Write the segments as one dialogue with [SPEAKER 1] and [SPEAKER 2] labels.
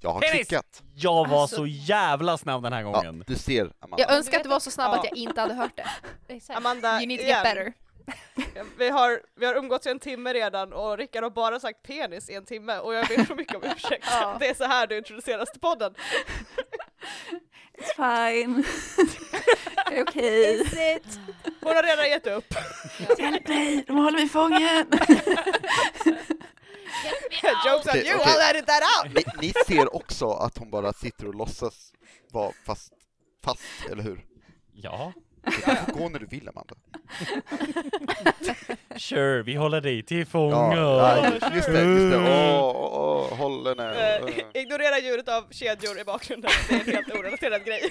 [SPEAKER 1] Jag har
[SPEAKER 2] Penis!
[SPEAKER 1] klickat!
[SPEAKER 2] Jag var
[SPEAKER 3] Alltså-
[SPEAKER 2] så jävla snabb den här
[SPEAKER 1] Ja,
[SPEAKER 2] gången.
[SPEAKER 1] du ser Amanda.
[SPEAKER 3] Jag önskar att det var så snabbt att jag inte hade hört det.
[SPEAKER 4] Exakt.
[SPEAKER 5] Amanda,
[SPEAKER 3] You need to
[SPEAKER 5] igen.
[SPEAKER 3] get better.
[SPEAKER 5] Vi, har, vi har umgåtts i en timme redan och Rickard har bara sagt penis i en timme och jag ber så mycket om ursäkt.
[SPEAKER 3] Ja.
[SPEAKER 5] Det är så här du introduceras till podden.
[SPEAKER 3] It's fine. det är okej.
[SPEAKER 5] Hon har redan gett upp.
[SPEAKER 3] Hjälp mig, de håller mig i fången.
[SPEAKER 5] Jokes on
[SPEAKER 1] Okej,
[SPEAKER 5] you,
[SPEAKER 1] okej.
[SPEAKER 5] I'll edit that out!
[SPEAKER 1] Ni, ni ser också att hon bara sitter och låtsas vara fast, fast eller hur?
[SPEAKER 2] Ja,
[SPEAKER 1] Du får gå när du vill Amanda.
[SPEAKER 2] sure, vi håller dig till
[SPEAKER 1] Ja,
[SPEAKER 2] fånga.
[SPEAKER 1] ja, just det, just det. Åh, åh, åh, håll henne.
[SPEAKER 5] Eh, ignorera ljudet av kedjor i bakgrunden, det är en helt orelaterad grej.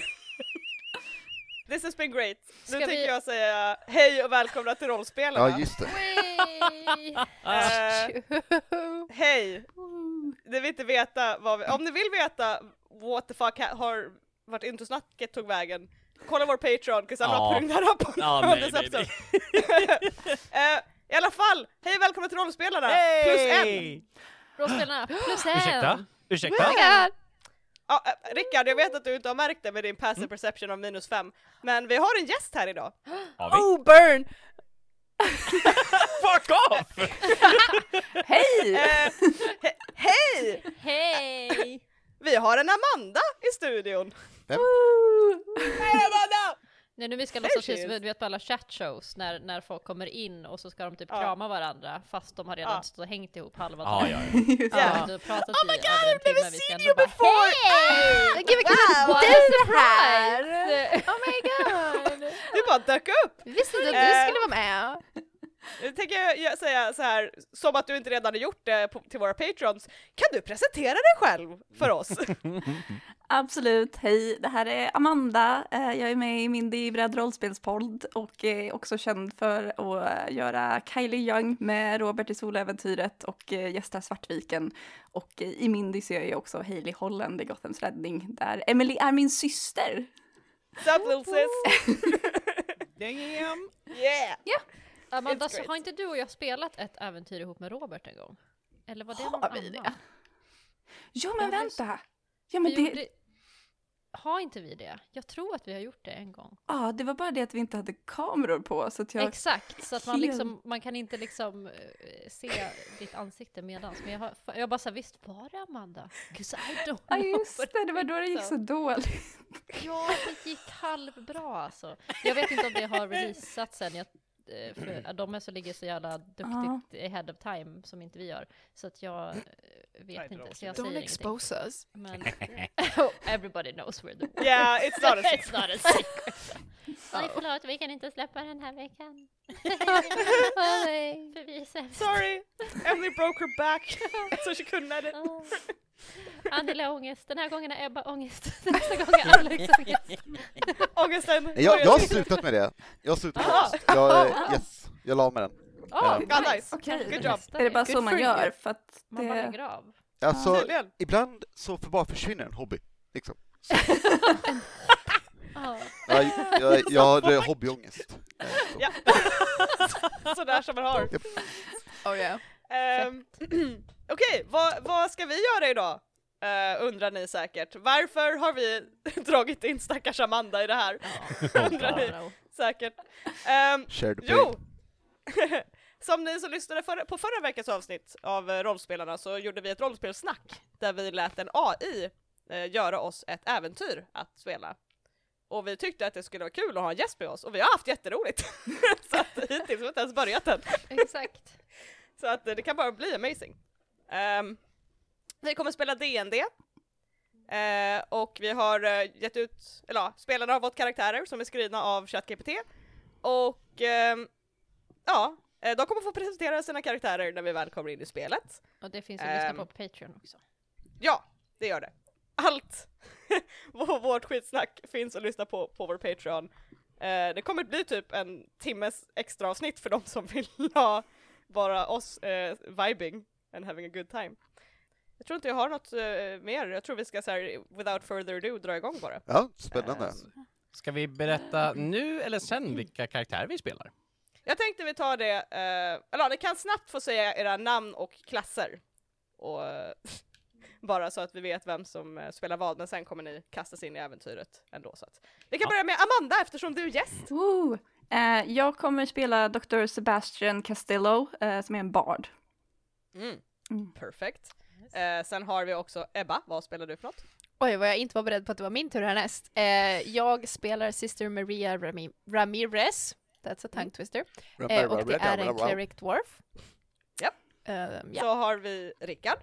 [SPEAKER 5] This has been great. nu
[SPEAKER 4] Ska vi-
[SPEAKER 5] tänker jag säga hej och välkomna till rollspelarna.
[SPEAKER 1] Ja, just det.
[SPEAKER 5] Eh, Hej!
[SPEAKER 2] Mm.
[SPEAKER 5] Ni vill inte veta vad vi, om ni vill veta what the fuck ha, har vart introsnacket tog vägen, kolla vår Patreon, 'cause I'm
[SPEAKER 2] Ja.
[SPEAKER 5] not putting that up on,
[SPEAKER 2] Ja,
[SPEAKER 5] on
[SPEAKER 2] nej,
[SPEAKER 5] this
[SPEAKER 2] nej,
[SPEAKER 5] episode.
[SPEAKER 2] nej.
[SPEAKER 5] Eh, I alla fall, hej och välkomna till Rollspelarna! Plus en!
[SPEAKER 2] Hey!
[SPEAKER 4] Rollspelarna plus en!
[SPEAKER 2] Ursäkta? Ursäkta?
[SPEAKER 4] Oh my god!
[SPEAKER 5] Ja, eh, Rickard, jag vet att du inte har märkt det med din passive
[SPEAKER 2] Mm.
[SPEAKER 5] perception av minus fem, men vi har en gäst här idag.
[SPEAKER 2] Har vi?
[SPEAKER 5] Oh, burn!
[SPEAKER 2] Fuck off!
[SPEAKER 3] Hej!
[SPEAKER 5] Eh, he- hej!
[SPEAKER 4] Hej!
[SPEAKER 5] Vi har en Amanda i studion!
[SPEAKER 4] Nej nu vi ska
[SPEAKER 5] There
[SPEAKER 4] låtsas
[SPEAKER 5] she
[SPEAKER 4] precis som
[SPEAKER 5] is.
[SPEAKER 4] du vet på alla chattshows när, när folk kommer in och så ska de typ
[SPEAKER 5] Ja.
[SPEAKER 4] krama varandra fast de har redan
[SPEAKER 5] Ja.
[SPEAKER 4] stått och hängt ihop halva
[SPEAKER 2] Ja,
[SPEAKER 4] dagen.
[SPEAKER 2] ja,
[SPEAKER 4] Ja. Du pratat oh my god, I've never seen you
[SPEAKER 5] Before!
[SPEAKER 3] Gud vad kul!
[SPEAKER 4] What
[SPEAKER 3] Du
[SPEAKER 4] a
[SPEAKER 3] är här!
[SPEAKER 4] before!
[SPEAKER 3] Oh my god!
[SPEAKER 5] Du bara dök upp!
[SPEAKER 3] Vi visste inte
[SPEAKER 5] Eh.
[SPEAKER 3] att du skulle vara med.
[SPEAKER 5] Nu tänker jag gö- säga så här, som att du inte redan har gjort det på, till våra patrons, kan du presentera dig själv för oss?
[SPEAKER 6] Absolut, hej. Det här är Amanda. Eh, Jag är med i Mindy Bredd rollspelspodd och är också känd för att eh, göra Kylie Young med Robert i Soläventyret och eh, gästar Svartviken. Och eh, i Mindy så gör jag också Hailey Holland i Gothams räddning där Emily är min syster.
[SPEAKER 5] Sup little sis! Yeah!
[SPEAKER 4] Amanda,
[SPEAKER 5] It's
[SPEAKER 4] så
[SPEAKER 5] great.
[SPEAKER 4] har inte du och jag spelat ett äventyr ihop med Robert en gång? Eller var det någon
[SPEAKER 6] Har vi
[SPEAKER 4] annan?
[SPEAKER 6] det? Jo
[SPEAKER 4] Ja,
[SPEAKER 6] men
[SPEAKER 4] men-
[SPEAKER 6] vänta! Ja
[SPEAKER 4] Vi
[SPEAKER 6] men det,
[SPEAKER 4] gjorde... Har inte vi det? Jag tror att vi har gjort det en gång.
[SPEAKER 6] ja, det var bara det att vi inte hade kameror på så att jag...
[SPEAKER 4] Exakt, så att man,
[SPEAKER 6] Helt-
[SPEAKER 4] liksom, man kan inte liksom eh, se ditt ansikte medans. Men jag, har, jag bara såhär, visst var det Amanda? 'Cause I don't
[SPEAKER 6] Ja
[SPEAKER 4] know
[SPEAKER 6] just
[SPEAKER 4] what
[SPEAKER 6] det, det var då det gick
[SPEAKER 4] it's
[SPEAKER 6] så dåligt.
[SPEAKER 4] Ja, det gick halvbra alltså. Jag vet inte om det har releasats sen. Jag, eh, för de är så ligger så jävla duktigt ahead of time som inte vi gör. Så att jag eh, vet inte, så jag säger ingenting.
[SPEAKER 3] us.
[SPEAKER 4] Men oh, everybody knows we're the worst.
[SPEAKER 5] Yeah, it's not a
[SPEAKER 4] It's not a secret. Oj, förlåt, vi kan inte släppa den här veckan. För vi är sämst.
[SPEAKER 5] Sorry! Emily broke her back, so she couldn't edit.
[SPEAKER 4] Oh. Anneli har ångest, den här gången har Ebba ångest, nästa gång har Alex
[SPEAKER 6] Liksom,
[SPEAKER 4] ångest.
[SPEAKER 5] Ångesten!
[SPEAKER 1] Nej, jag, jag har
[SPEAKER 5] Sorry.
[SPEAKER 1] slutat med det. Jag har slutat
[SPEAKER 5] Aha.
[SPEAKER 1] med det. Jag, eh, yes, jag la med den.
[SPEAKER 4] Oh,
[SPEAKER 1] Ehm,
[SPEAKER 5] God nice!
[SPEAKER 6] Okej.
[SPEAKER 5] Good job.
[SPEAKER 6] Är det bara så
[SPEAKER 3] Good
[SPEAKER 6] man
[SPEAKER 3] for
[SPEAKER 6] gör?
[SPEAKER 3] you.
[SPEAKER 6] För att
[SPEAKER 4] Man bara
[SPEAKER 6] det...
[SPEAKER 4] lägger av.
[SPEAKER 1] Alltså,
[SPEAKER 5] Tydligen.
[SPEAKER 1] ibland så för bara försvinner en hobby. Liksom.
[SPEAKER 4] Ja.
[SPEAKER 1] Jag, jag, jag har eh, hobbyångest. Eh, så.
[SPEAKER 5] Ja. Sådär som man har.
[SPEAKER 1] Japp.
[SPEAKER 3] Oh yeah.
[SPEAKER 5] Ehm, Okej, vad, vad ska vi göra idag? Eh, undrar ni säkert. Varför har vi dragit in stackars Amanda i det här? Undrar ni säkert. Ehm,
[SPEAKER 1] Share the pain.
[SPEAKER 5] Jo! som ni som lyssnade förra, på förra veckans avsnitt av eh, Rollspelarna så gjorde vi ett rollspelssnack där vi lät en AI eh, göra oss ett äventyr att spela. Och vi tyckte att det skulle vara kul att ha en gäst med oss och vi har haft jätteroligt! så att hittills har vi inte ens börjat än.
[SPEAKER 4] Exakt.
[SPEAKER 5] Så att eh, det kan bara bli amazing. Ehm, vi kommer spela D&D eh, och vi har eh, gett ut, eller ja, spelarna har fått karaktärer som är skrivna av ChatGPT och ehm, ja, eh, de kommer få presentera sina karaktärer när vi väl kommer in i spelet.
[SPEAKER 4] Och det finns att lyssna
[SPEAKER 5] Ehm.
[SPEAKER 4] på på Patreon också.
[SPEAKER 5] Ja, det gör det. Allt vår- vårt skitsnack finns att lyssna på på vår Patreon. Eh, det kommer bli typ en timmes extra avsnitt för de som vill ha bara oss eh, vibing and having a good time. Jag tror inte jag har något eh, mer, jag tror vi ska så här, without further ado dra igång bara.
[SPEAKER 1] Ja, spännande.
[SPEAKER 2] Ska vi berätta nu eller sen vilka karaktärer vi spelar?
[SPEAKER 5] Jag tänkte vi tar det, eh, eller ja, ni kan snabbt få säga era namn och klasser. Och eh, Bara så att vi vet vem som eh, spelar vad, men sen kommer ni kastas in i äventyret ändå. Så att. Vi kan börja med Amanda eftersom du är gäst.
[SPEAKER 6] Woo! Eh, jag kommer spela Dr. Sebastian Castillo eh, som är en bard. Mm.
[SPEAKER 5] Perfekt. Eh, sen har vi också Ebba, vad spelar du för något?
[SPEAKER 3] Oj, vad jag inte var beredd på att det var min tur härnäst. Eh, jag spelar Sister Maria Rami- Ramirez. That's a tongue twister. Eh, och det är en cleric dwarf.
[SPEAKER 5] Japp.
[SPEAKER 3] Ehm, ja.
[SPEAKER 5] Så har vi Rickard.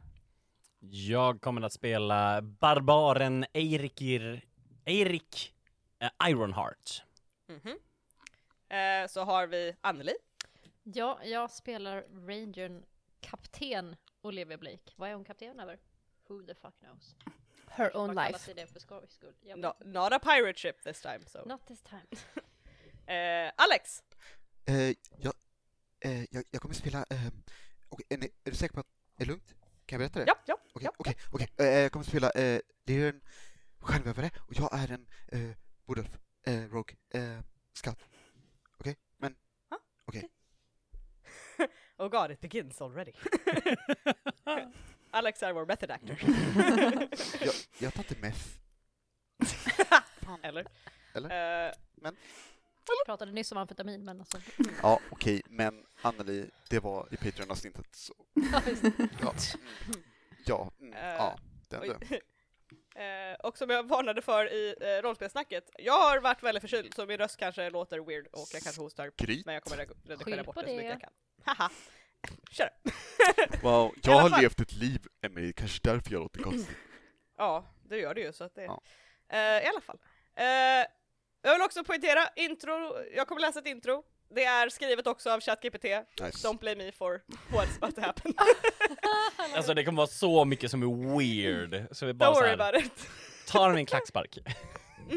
[SPEAKER 2] Jag kommer att spela barbaren Eirikir... Eirik eh, Ironheart.
[SPEAKER 5] Mhm. Eh, så har vi Anneli.
[SPEAKER 4] Ja, jag spelar Rangern Kapten Olivia Blake. Vad är hon kapten över? Who the fuck knows?
[SPEAKER 3] Her own
[SPEAKER 4] Vad kallas
[SPEAKER 3] life.
[SPEAKER 4] det för skojs skull? Jag
[SPEAKER 5] No,
[SPEAKER 4] vet inte.
[SPEAKER 5] not a pirate ship this time. So.
[SPEAKER 4] Not this time.
[SPEAKER 5] Eh, Alex.
[SPEAKER 1] Eh, jag, eh, jag, jag kommer spela... Eh, okej, är, ni, är du säker på att det är lugnt? Kan jag berätta det?
[SPEAKER 5] Ja, ja.
[SPEAKER 1] Okej, okej, okej. Eh, jag kommer spela eh, Liren Stjärnbävare och jag är en eh, Bodulf, eh, Rogue, eh, Scout. Okej, men
[SPEAKER 5] Oh god, it begins already. Alex är vår method actor.
[SPEAKER 1] jag, jag tar inte meth.
[SPEAKER 5] Eller? Eh,
[SPEAKER 4] Pratade nyss om amfetamin men alltså.
[SPEAKER 1] Ja, okej, men Anneli, det var i Patreon-avsnittet så...
[SPEAKER 4] Ja, visst.
[SPEAKER 1] Ja, mm, ja, mm, ja den
[SPEAKER 5] Oj.
[SPEAKER 1] du.
[SPEAKER 5] Eh, och som jag varnade för i eh, rollspelssnacket, jag har varit väldigt förkyld så min röst kanske låter weird och jag kanske hostar.
[SPEAKER 1] Gryt.
[SPEAKER 5] Men jag kommer reg- redigera
[SPEAKER 4] Skyll
[SPEAKER 5] bort
[SPEAKER 4] på
[SPEAKER 5] det så mycket jag
[SPEAKER 4] det.
[SPEAKER 5] kan. Haha! Kör!
[SPEAKER 1] Wow,
[SPEAKER 5] alla
[SPEAKER 1] jag har
[SPEAKER 5] fall-
[SPEAKER 1] levt ett liv, Emily, kanske därför jag låter konstigt.
[SPEAKER 5] Ja, det gör det ju så att det...
[SPEAKER 1] Ja.
[SPEAKER 5] Eh, I alla fall. Eh, jag vill också poängtera, intro, jag kommer läsa ett intro. Det är skrivet också av ChatGPT.
[SPEAKER 1] Nice.
[SPEAKER 5] Don't blame me for what's about to happen.
[SPEAKER 2] Alltså det kommer vara så mycket som är weird. Så vi bara
[SPEAKER 5] Don't
[SPEAKER 2] så
[SPEAKER 5] worry
[SPEAKER 2] här,
[SPEAKER 5] about it.
[SPEAKER 2] tar en klackspark.
[SPEAKER 5] Eh,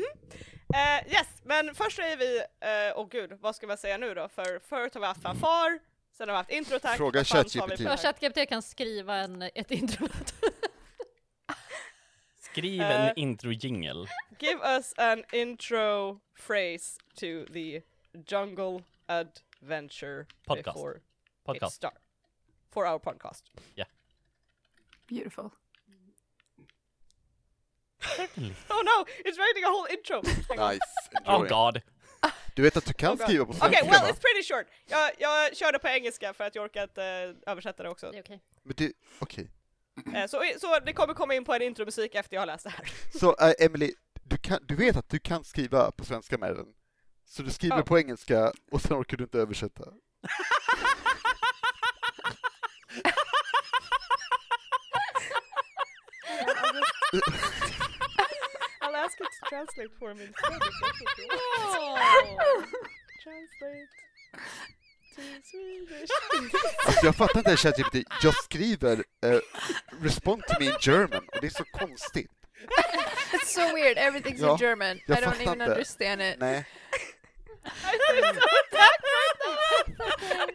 [SPEAKER 5] yes, men först säger vi, eh, åh gud, vad ska man säga nu då? För förut har vi haft fanfar, sen har vi haft intro tack.
[SPEAKER 1] Fråga
[SPEAKER 5] vad fan sa vi
[SPEAKER 1] ChatGPT.
[SPEAKER 5] för-
[SPEAKER 4] Ja, ChatGPT kan skriva en, ett intro.
[SPEAKER 2] Skriv en
[SPEAKER 5] Eh.
[SPEAKER 2] introjingel.
[SPEAKER 5] Give us an intro phrase to the jungle adventure
[SPEAKER 2] Podcast.
[SPEAKER 5] before it
[SPEAKER 2] Podcast.
[SPEAKER 5] starts. For our podcast.
[SPEAKER 6] Beautiful.
[SPEAKER 5] Oh no, it's writing a whole intro! Hang on.
[SPEAKER 1] Nice,
[SPEAKER 2] Oh
[SPEAKER 1] enjoy.
[SPEAKER 2] god.
[SPEAKER 1] Du vet att du kan
[SPEAKER 5] Oh god.
[SPEAKER 1] skriva på
[SPEAKER 5] Okej,
[SPEAKER 1] svenska
[SPEAKER 5] well
[SPEAKER 1] va?
[SPEAKER 5] it's pretty short! Jag, jag körde på engelska för att jag orkade inte eh, översätta det också.
[SPEAKER 4] Det är okej.
[SPEAKER 1] Men du, okej.
[SPEAKER 5] Eh, så, så det kommer komma in på en intromusik efter jag har läst det här.
[SPEAKER 1] Så eh, Emily, du, kan, du vet att du kan skriva på svenska med den? Så du skriver
[SPEAKER 5] Ja.
[SPEAKER 1] på engelska och sen orkar du inte översätta?
[SPEAKER 5] I'll ask it to translate for me. translate to Swedish.
[SPEAKER 1] Alltså jag fattar inte ChatGPT, jag skriver eh, ”respond to me in German” och det är så konstigt.
[SPEAKER 3] It's so weird, everything's
[SPEAKER 1] Ja,
[SPEAKER 3] in German. I
[SPEAKER 1] jag
[SPEAKER 3] don't
[SPEAKER 1] fattar
[SPEAKER 3] even
[SPEAKER 1] inte.
[SPEAKER 3] understand it.
[SPEAKER 1] Nej,
[SPEAKER 5] I feel so attacked right now.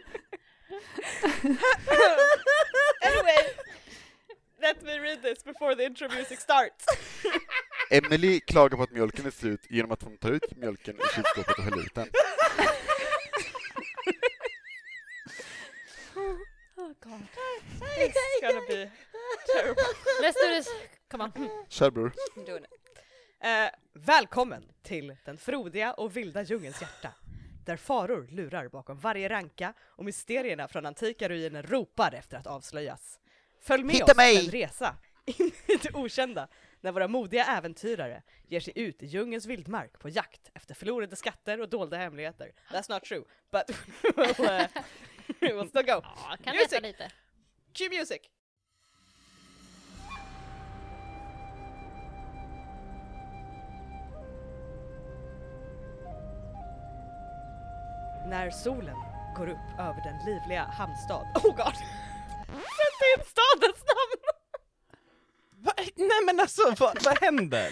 [SPEAKER 5] anyway, let me read this before the intro music starts.
[SPEAKER 1] Emily klagar på att mjölken är slut genom att hon tar ut mjölken ur kylskåpet och häller ut den.
[SPEAKER 4] Oh, God.
[SPEAKER 5] It's gonna be terrible.
[SPEAKER 4] Let's do this! Come on. Mm.
[SPEAKER 1] Kör bror.
[SPEAKER 5] Eh, välkommen till den frodiga och vilda djungelns hjärta, där faror lurar bakom varje ranka och mysterierna från antika ruiner ropar efter att avslöjas. Följ med
[SPEAKER 1] Hitta
[SPEAKER 5] oss
[SPEAKER 1] mig!
[SPEAKER 5] en resa in i det okända, när våra modiga äventyrare ger sig ut i djungelns vildmark på jakt efter förlorade skatter och dolda hemligheter. That's not true, but we'll, uh, we'll still go.
[SPEAKER 4] Ja, kan
[SPEAKER 5] Music.
[SPEAKER 4] veta lite.
[SPEAKER 5] Cue music! När solen går upp över den livliga hamnstad... Oh god! Sätt in stadens namn!
[SPEAKER 2] Va? Nej men alltså vad, vad händer?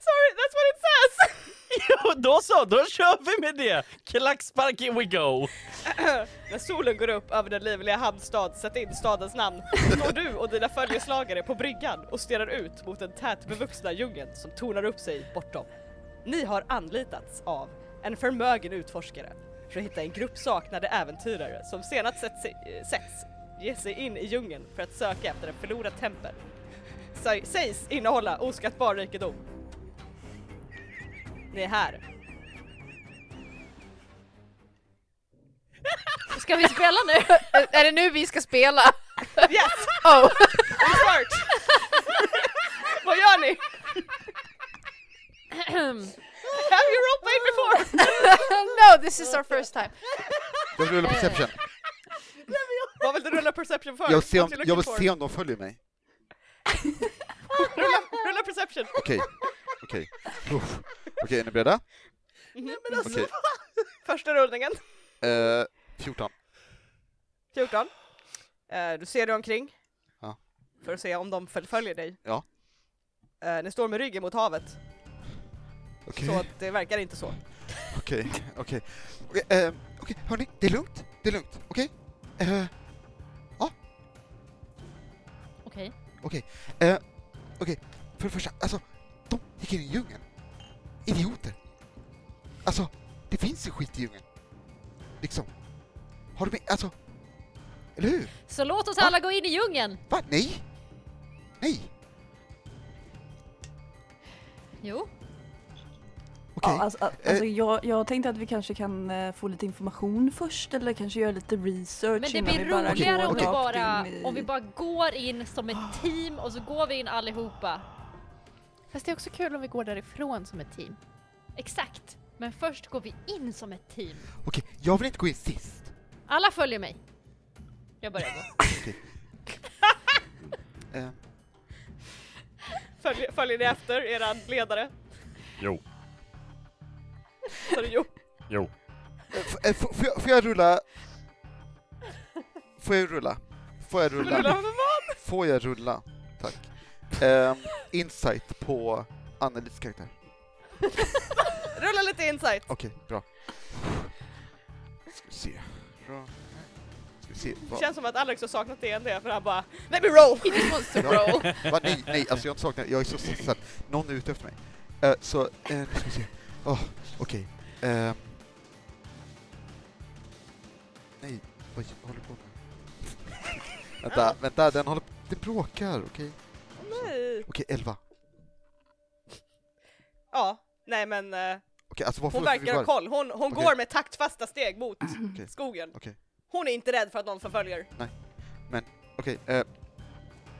[SPEAKER 5] Sorry, that's what it says!
[SPEAKER 2] Jo, då så, då kör vi med det! Klackspark, here we go!
[SPEAKER 5] När solen går upp över den livliga hamnstad, sätt in stadens namn. Står du och dina följeslagare på bryggan och stirrar ut mot den tätbevuxna djungeln som tornar upp sig bortom. Ni har anlitats av en förmögen utforskare för att hitta en grupp saknade äventyrare som senast sett sig, eh, setts ge sig in i djungeln för att söka efter en förlorad tempel. Sa- sig, sägs innehålla oskattbar rikedom. Ni är här.
[SPEAKER 3] Ska vi spela nu? är det nu vi ska spela?
[SPEAKER 5] Yes!
[SPEAKER 3] Oh!
[SPEAKER 5] It's worked! Vad gör ni? Have you roleplayed before?
[SPEAKER 3] no, this is our first time.
[SPEAKER 1] Jag vill rulla perception.
[SPEAKER 5] Vad vill du rulla perception för?
[SPEAKER 1] Jag vill se om,
[SPEAKER 5] What you
[SPEAKER 1] jag vill
[SPEAKER 5] looking for?
[SPEAKER 1] se om de följer mig.
[SPEAKER 5] Rulla, rulla perception!
[SPEAKER 1] Okej, okej. Uff. Okej, är ni beredda? Okej,
[SPEAKER 5] Mhm. Första rullningen,
[SPEAKER 1] eh, 14.
[SPEAKER 5] 14. Eh, du ser dig omkring.
[SPEAKER 1] Ja.
[SPEAKER 5] För att se om de föl- följer dig.
[SPEAKER 1] Ja.
[SPEAKER 5] Eh, ni står med ryggen mot havet,
[SPEAKER 1] Okej,
[SPEAKER 5] så att det verkar inte så.
[SPEAKER 1] okej, okej. Okej, eh, okej, hörni, det är lugnt, det är lugnt, okej? Eh,
[SPEAKER 4] Okej.
[SPEAKER 1] För det första, alltså, de gick in i djungeln. Idioter. Alltså, det finns ju skit i djungeln. Liksom. Har du med, alltså, eller hur?
[SPEAKER 4] Så låt oss alla gå in i djungeln!
[SPEAKER 1] Va? Nej! Nej!
[SPEAKER 4] Jo.
[SPEAKER 1] Okej.
[SPEAKER 6] Ja, alltså, alltså, jag, jag tänkte att vi kanske kan eh, få lite information först eller kanske göra lite research
[SPEAKER 4] Men det
[SPEAKER 6] innan
[SPEAKER 4] blir
[SPEAKER 6] vi bara
[SPEAKER 4] roligare
[SPEAKER 6] går
[SPEAKER 4] om, vi
[SPEAKER 1] okej.
[SPEAKER 6] rakt
[SPEAKER 4] bara,
[SPEAKER 6] in i-
[SPEAKER 4] om vi bara går in som ett team och så går vi in allihopa.
[SPEAKER 3] Fast det är också kul om vi går därifrån som ett team.
[SPEAKER 4] Exakt. Men först går vi in som ett team.
[SPEAKER 1] Okej, jag vill inte gå in sist.
[SPEAKER 4] Alla följer mig. Jag börjar gå.
[SPEAKER 1] Eh,
[SPEAKER 5] Följ, följer ni efter eran ledare?
[SPEAKER 2] Jo.
[SPEAKER 5] Så det, jo.
[SPEAKER 2] Jo.
[SPEAKER 1] f- eh, f- får, jag, får jag rulla? Får jag rulla? Får jag
[SPEAKER 5] Rulla
[SPEAKER 1] rulla?
[SPEAKER 5] med vad?
[SPEAKER 1] Får jag rulla? Tack. Ehm, insight på Annelies karaktär.
[SPEAKER 5] Rulla lite insight!
[SPEAKER 1] Okej, bra. Ska vi se. Bra. Ska vi se.
[SPEAKER 5] Det
[SPEAKER 1] Vad,
[SPEAKER 5] känns som att Alex har saknat DND för han bara Let me roll!
[SPEAKER 1] ja, va, nej, nej, alltså jag har inte saknat, jag är så stressad. Någon är ute efter mig. Eh, så, eh, nu ska vi se. Åh, okej. Ehm. nej, vad jag håller på med? vänta, vänta, den håller Den bråkar, okej?
[SPEAKER 5] Nej.
[SPEAKER 1] Okej, 11. Okej,
[SPEAKER 5] Ja, nej men eh,
[SPEAKER 1] alltså varför
[SPEAKER 5] hon verkar ha
[SPEAKER 1] var-
[SPEAKER 5] koll. Hon, hon
[SPEAKER 1] Okej.
[SPEAKER 5] går med taktfasta steg mot
[SPEAKER 1] Okej.
[SPEAKER 5] skogen.
[SPEAKER 1] Okej.
[SPEAKER 5] Hon är inte rädd för att någon förföljer.
[SPEAKER 1] Okej, eh,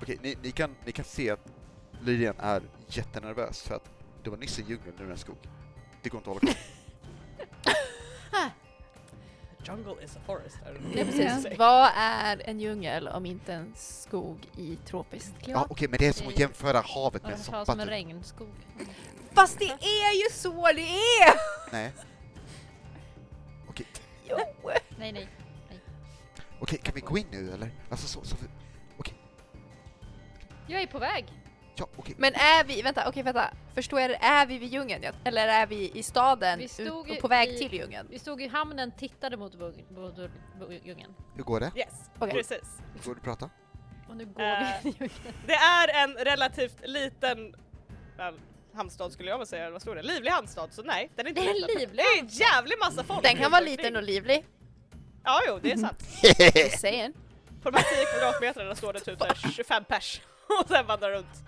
[SPEAKER 1] okej ni, ni, kan, ni kan se att Lydian är jättenervös för att det var nyss en djungel, nu är det en skog. Det går inte att hålla koll.
[SPEAKER 5] Jungle is a forest. I don't know
[SPEAKER 3] Nej,
[SPEAKER 5] what to say.
[SPEAKER 3] precis. Vad är en djungel om inte en skog i tropiskt
[SPEAKER 1] Ja,
[SPEAKER 3] klimat?
[SPEAKER 1] okej, men det är som att jämföra havet med en
[SPEAKER 4] Ungefär
[SPEAKER 1] soppa.
[SPEAKER 4] som en
[SPEAKER 1] typ.
[SPEAKER 4] regnskog.
[SPEAKER 3] Fast det är ju så det är!
[SPEAKER 1] Nej. Okej,
[SPEAKER 3] Jo.
[SPEAKER 4] Nej, nej.
[SPEAKER 1] okej, kan vi gå in nu eller? Alltså så, så vi-
[SPEAKER 4] Jag är på väg.
[SPEAKER 1] ja, okej.
[SPEAKER 3] Men är vi, vänta, okej vänta, förstår jag det, är vi vid djungeln ja? eller är vi i staden
[SPEAKER 4] Vi
[SPEAKER 3] ut-
[SPEAKER 4] stod
[SPEAKER 3] och
[SPEAKER 4] ju
[SPEAKER 3] på väg
[SPEAKER 4] i-
[SPEAKER 3] till djungeln?
[SPEAKER 4] Vi stod i hamnen, tittade mot bug- mot bu- djungeln.
[SPEAKER 1] Hur går det?
[SPEAKER 5] Yes,
[SPEAKER 3] Okej.
[SPEAKER 5] precis.
[SPEAKER 1] Går det att prata?
[SPEAKER 4] Och nu går vi
[SPEAKER 5] Äh.
[SPEAKER 4] in i djungeln.
[SPEAKER 5] Det är en relativt liten väl, hamnstad skulle jag väl säga, eller vad stod det? Livlig hamnstad, så nej, den är inte
[SPEAKER 4] Det är en
[SPEAKER 5] jätteliten.
[SPEAKER 4] livlig
[SPEAKER 5] Det är en jävlig massa folk!
[SPEAKER 3] Den kan
[SPEAKER 5] runt
[SPEAKER 3] vara
[SPEAKER 5] omkring.
[SPEAKER 3] liten och livlig,
[SPEAKER 5] Ja, jo, det är sant.
[SPEAKER 3] just saying.
[SPEAKER 5] På de här 10 kvadratmetrarna står det typ så här 25 pers och sen vandrar runt.